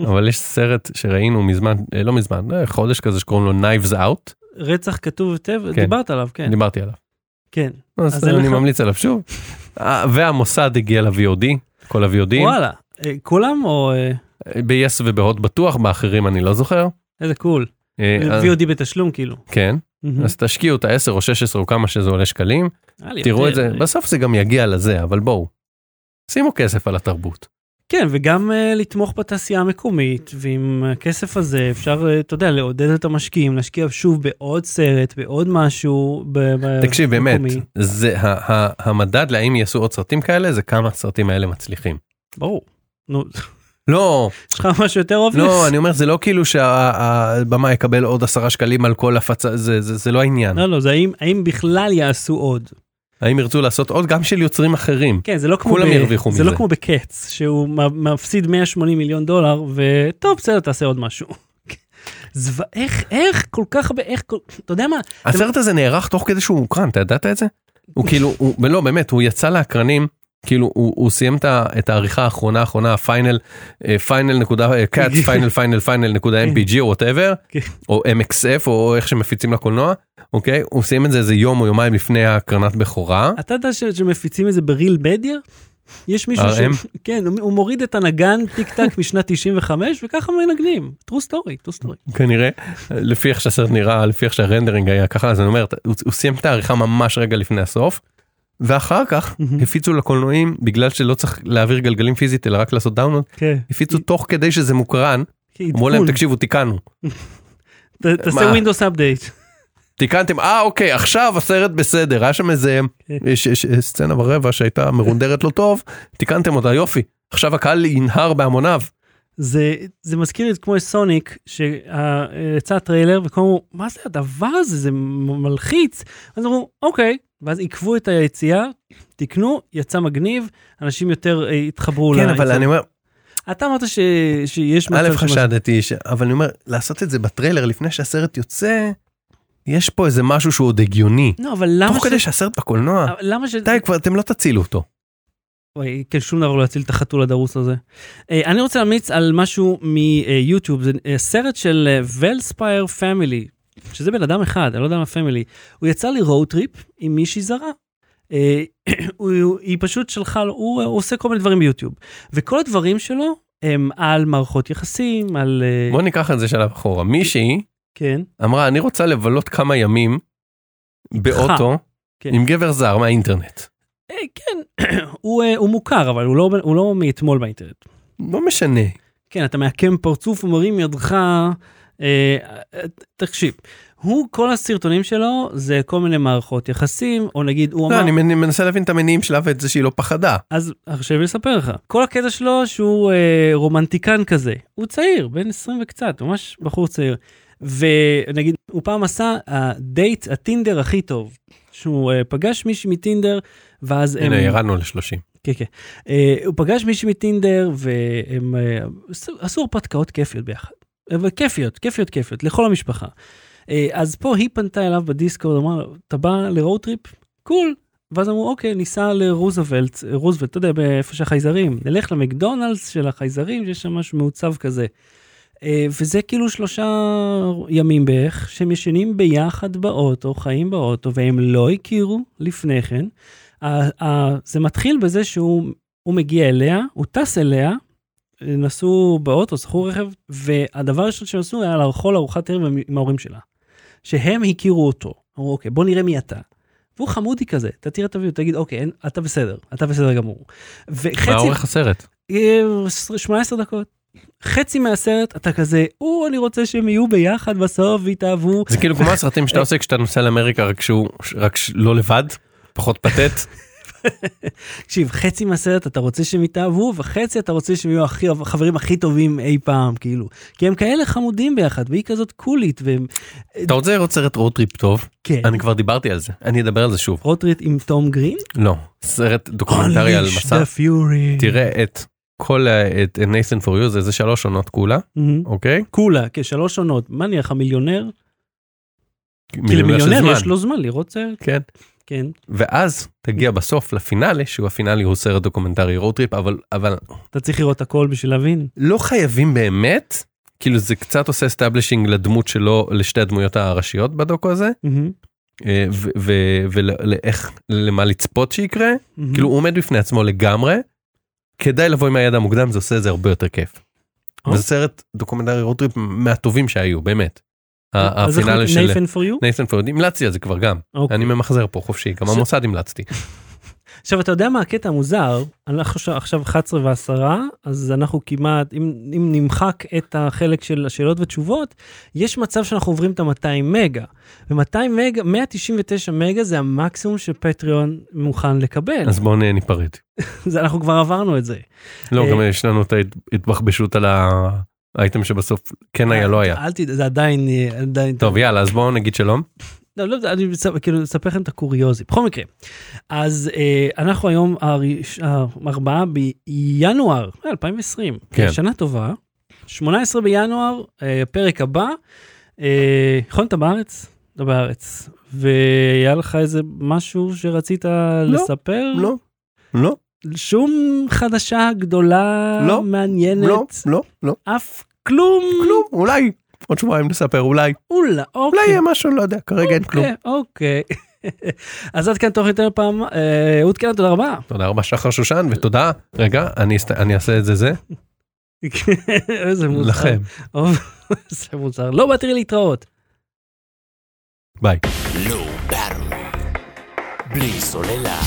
S2: אבל יש סרט שראינו מזמן, אה, לא מזמן, אה, חודש כזה שקוראים לו Knives Out,
S1: רצח כתוב היטב,
S2: כן.
S1: דיברת עליו, כן.
S2: דיברתי עליו.
S1: כן.
S2: אז
S1: אין
S2: אני
S1: לך-
S2: ממליץ עליו *laughs* שוב. אה, והמוסד הגיע ל-VOD, כל ה-VODים,
S1: וואלה, אה, כולם או אה,
S2: ב-yes ובהוט בטוח, באחרים אני לא זוכר.
S1: איזה קול.
S2: אה, אז-
S1: VOD בתשלום, כאילו.
S2: כן,
S1: מהמם.
S2: אז תשקיעו את ה-10 או 16 או כמה שזה עולה שקלים,
S1: היה לי אה,
S2: תראו את
S1: יותר.
S2: זה, בסוף זה גם יגיע לזה, אבל בואו, שימו כסף על התרבות.
S1: כן, וגם אה, לתמוך בתעשייה המקומית, ועם הכסף הזה אפשר, אה, אתה יודע, לעודד את המשקיעים, להשקיע שוב בעוד סרט, בעוד משהו. ב- ב-
S2: תקשיב באמת,
S1: אה, מקומי.
S2: זה ה- ה- המדד להאם יעשו עוד סרטים כאלה, זה כמה הסרטים האלה מצליחים.
S1: ברור. נו, *laughs*
S2: לא,
S1: יש לך משהו יותר אובניס?
S2: לא, אני אומר, זה לא כאילו שהבמה יקבל עוד עשרה שקלים על כל הפצה, זה- זה זה לא העניין.
S1: לא, לא, זה האם, האם בכלל יעשו עוד.
S2: האם ירצו לעשות עוד גם של יוצרים אחרים?
S1: כן, זה לא כמו,
S2: כולם
S1: ב-
S2: ירוויחו
S1: זה לא
S2: מזה.
S1: כמו בקץ, שהוא מ- מפסיד 180 מיליון דולר, וטוב, בסדר, תעשה עוד משהו. *laughs* זו, איך, איך, כל כך הרבה, איך, כל- אתה יודע מה?
S2: הסרט הזה נערך תוך כדי שהוא מוקרן, אתה ידעת את זה? הוא כאילו, הוא, לא באמת, הוא יצא לאקרנים, כאילו הוא, הוא סיים את, ה, את העריכה האחרונה האחרונה, הפיינל, פיינל נקודה, אה, קאט, פיינל פיינל פיינל נקודה MPG או וואטאבר,
S1: כן.
S2: או MXF או איך שמפיצים לקולנוע, אוקיי? הוא סיים את זה איזה יום או יומיים לפני הקרנת בכורה.
S1: אתה יודע ש- שמפיצים את זה בריל מדיה? יש מישהו
S2: RM?
S1: ש... כן, הוא- הוא מוריד את הנגן טיק
S2: *laughs*
S1: טק משנת 95 וככה מנגנים. true story, true story.
S2: כנראה, לפי איך שהסרט נראה, לפי איך שהרנדרינג היה ככה, אז אני אומר, הוא, הוא סיים את העריכה ממש רגע לפני הסוף, ואחר כך
S1: מהמם.
S2: הפיצו לקולנועים, בגלל שלא צריך להעביר גלגלים פיזית, אלא רק לעשות דאונלוד,
S1: כן.
S2: הפיצו תוך כדי שזה מוקרן, אמרו להם, תקשיבו, תיקנו.
S1: תעשה
S2: מה?
S1: Windows Update.
S2: תיקנתם, אה, אוקיי, עכשיו הסרט בסדר, היה שם איזה
S1: כן.
S2: יש- יש- יש סצנה ברבע שהייתה מרונדרת לא טוב, תיקנתם אותה, יופי. עכשיו הקהל ינהר בהמוניו.
S1: זה, זה מזכיר לי כמו סוניק, שיצא הטריילר, וכולם אמרו, מה זה הדבר הזה? זה מ- מלחיץ. אז אמרו, אוקיי. ואז עיכבו את היציאה, תיקנו, יצא מגניב, אנשים יותר אה, התחברו
S2: כן,
S1: ליציאה.
S2: אבל אני אומר,
S1: אתה אמרת ש... שיש
S2: א',
S1: שמשהו-
S2: חשדתי, ש- אבל אני אומר, לעשות את זה בטריילר לפני שהסרט יוצא, יש פה איזה משהו שהוא עוד הגיוני.
S1: לא, אבל למה
S2: תוך כדי שהסרט בקולנוע,
S1: אבל למה ש...
S2: די כבר, אתם לא תצילו אותו.
S1: וואי, כן, שום דבר לא יציל את החתול הדרוס הזה. אה, אני רוצה להמליץ על משהו מיוטיוב, זה אה, סרט של ולספייר פמילי, שזה בן אדם אחד, אני לא יודע מה פמילי. הוא יצא לי road trip עם מישהי זרה. אה, *clears throat* הוא, הוא- היא פשוט שלחה לו, הוא, הוא עושה כל מיני דברים ביוטיוב. וכל הדברים שלו הם על מערכות יחסים, על... אה,
S2: בוא ניקח את זה שלב אחורה. מישהי
S1: כן,
S2: אמרה, אני רוצה לבלות כמה ימים באוטו
S1: כן.
S2: עם גבר זר מהאינטרנט.
S1: אה, כן, *clears throat* הוא, אה, הוא מוכר, אבל הוא לא, הוא לא מאתמול באינטרנט.
S2: לא משנה.
S1: כן, אתה מעקם פרצוף ומרים ידך. אה, אה, תקשיב, הוא, כל הסרטונים שלו זה כל מיני מערכות יחסים, או נגיד, הוא
S2: לא,
S1: אמר,
S2: אני מנ- מנסה להבין את המניעים שלה ואת זה שהיא לא פחדה.
S1: אז עכשיו אני אספר לך. כל הקטע שלו שהוא אה, רומנטיקן כזה. הוא צעיר, בן 20 וקצת, ממש בחור צעיר. ונגיד, הוא פעם עשה הדייט, הטינדר הכי טוב. שהוא אה, פגש מישהי מטינדר, ואז הם...
S2: הנה, ירדנו ל-30.
S1: כן, כן. אה, הוא פגש מישהי מטינדר, והם אה, עשו- עשו הרפתקאות כיפיות ביחד. אבל כיפיות, כיפיות, כיפיות, לכל המשפחה. אה, אז פה היא פנתה אליו בדיסקורד, אמרה לו, אתה בא לרוד טריפ? קול. ואז אמרו, אוקיי, ניסע לרוזוולט, אה, רוזוולט, אתה יודע, איפה שהחייזרים. נלך למקדונלדס של החייזרים, שיש שם משהו מעוצב כזה. אה, וזה כאילו שלושה ימים בערך, שהם ישנים ביחד באוטו, חיים באוטו, והם לא הכירו לפני כן. ה- ה- זה מתחיל בזה שהוא הוא מגיע אליה, הוא טס אליה, נסעו באוטו, שכרו רכב, והדבר הראשון שהם עשו היה לאכול ארוחת ערב עם- עם ההורים שלה. שהם הכירו אותו. אמרו, אוקיי, בוא נראה מי אתה. והוא חמודי כזה, אתה תראה את הווידאו, תגיד, אוקיי, אין, אתה בסדר, אתה בסדר גמור. וחצי...
S2: מה אורך הסרט?
S1: אה, 18 דקות. חצי מהסרט אתה כזה, או, אני רוצה שהם יהיו ביחד בסוף ויתאהבו.
S2: זה
S1: *laughs*
S2: כאילו כמו הסרטים שאתה עושה כשאתה נוסע לאמריקה, רק שהוא, רק ש- לא לבד, פחות פתט.
S1: תקשיב, חצי מהסרט אתה רוצה שהם יתאהבו, וחצי אתה רוצה שהם יהיו הכי- החברים הכי טובים אי פעם, כאילו. כי הם כאלה חמודים ביחד, והיא כזאת קולית, והם...
S2: אתה רוצה לראות סרט רודטריפ טוב?
S1: כן.
S2: אני כבר דיברתי על זה, אני אדבר על זה שוב.
S1: רוטריט עם תום גרין?
S2: לא, סרט דוקומנטרי על
S1: Unleash
S2: מסע.
S1: the Fury.
S2: תראה את כל ה- את נייסן פור יוז, איזה שלוש עונות כולה,
S1: מהמם.
S2: אוקיי?
S1: כולה, כשלוש עונות. מה נראה לך מיליונר? כאילו
S2: מיליונר של
S1: מיליונר
S2: זמן.
S1: יש לו זמן לראות סרט?
S2: כן.
S1: כן.
S2: ואז תגיע בסוף לפינאלה, שהוא הפינאלי הוא סרט דוקומנטרי רודטריפ, אבל, אבל
S1: אתה צריך לראות הכל בשביל להבין.
S2: לא חייבים באמת, כאילו זה קצת עושה סטאבלישינג לדמות שלו, לשתי הדמויות הראשיות בדוקו הזה, אה,
S1: מהמם.
S2: ולאיך, למה לצפות שיקרה,
S1: מהמם.
S2: כאילו הוא עומד בפני עצמו לגמרי, כדאי לבוא עם הידע המוקדם, זה עושה את זה הרבה יותר כיף.
S1: או.
S2: וזה סרט דוקומנטרי רודטריפ מהטובים שהיו, באמת. ה-
S1: אז איך
S2: הפינאלה של
S1: נייפן פור יו?
S2: נייסן פורד, המלצתי על זה כבר גם,
S1: אוקיי.
S2: אני ממחזר פה חופשי, גם
S1: ש- כן.
S2: המוסד המלצתי.
S1: עכשיו אתה יודע מה הקטע המוזר אנחנו ש- עכשיו 11 ועשרה אז אנחנו כמעט אם, אם נמחק את החלק של השאלות ותשובות יש מצב שאנחנו עוברים את ה-200 מגה ו-200 מגה 199 מגה זה המקסימום שפטריון מוכן לקבל
S2: אז בואו נ- ניפרד.
S1: אז אנחנו כבר עברנו את *laughs* זה.
S2: לא,
S1: אה,
S2: גם יש לנו את ההתבחבשות על האייטם שבסוף כן היה, לא היה.
S1: אל תדאג זה עדיין אה, עדיין
S2: טוב, יאללה, אז בואו נגיד שלום.
S1: לא, לא, אני מספר- כאילו אספר לכם את הקוריוזי. בכל מקרה, אז אה, אנחנו היום הראש- הארבעה בינואר 2020,
S2: כן.
S1: שנה טובה, 18 בינואר, אה, הפרק הבא, אה, נכון אתה בארץ? אתה בארץ. והיה לך איזה משהו שרצית לספר?
S2: לא, לא,
S1: שום חדשה גדולה,
S2: לא,
S1: מעניינת,
S2: לא, לא, לא,
S1: אף כלום?
S2: כלום, אולי עוד שבועיים נספר, אולי,
S1: אולה, אוקיי.
S2: אולי יהיה משהו, לא יודע, כרגע אין כלום.
S1: אה, אוקיי. *laughs* אז עד כאן תוכנית עוד פעם, אה, אהוד קלן, תודה רבה. *laughs*
S2: תודה רבה שחר שושן ותודה רגע אני אסת- אני אעשה את זה זה
S1: איזה מוזר.
S2: לכם
S1: אוף, *laughs* איזה מוזר. לא באתי להתראות.
S2: ביי.
S3: Low Battle. בלי סוללה.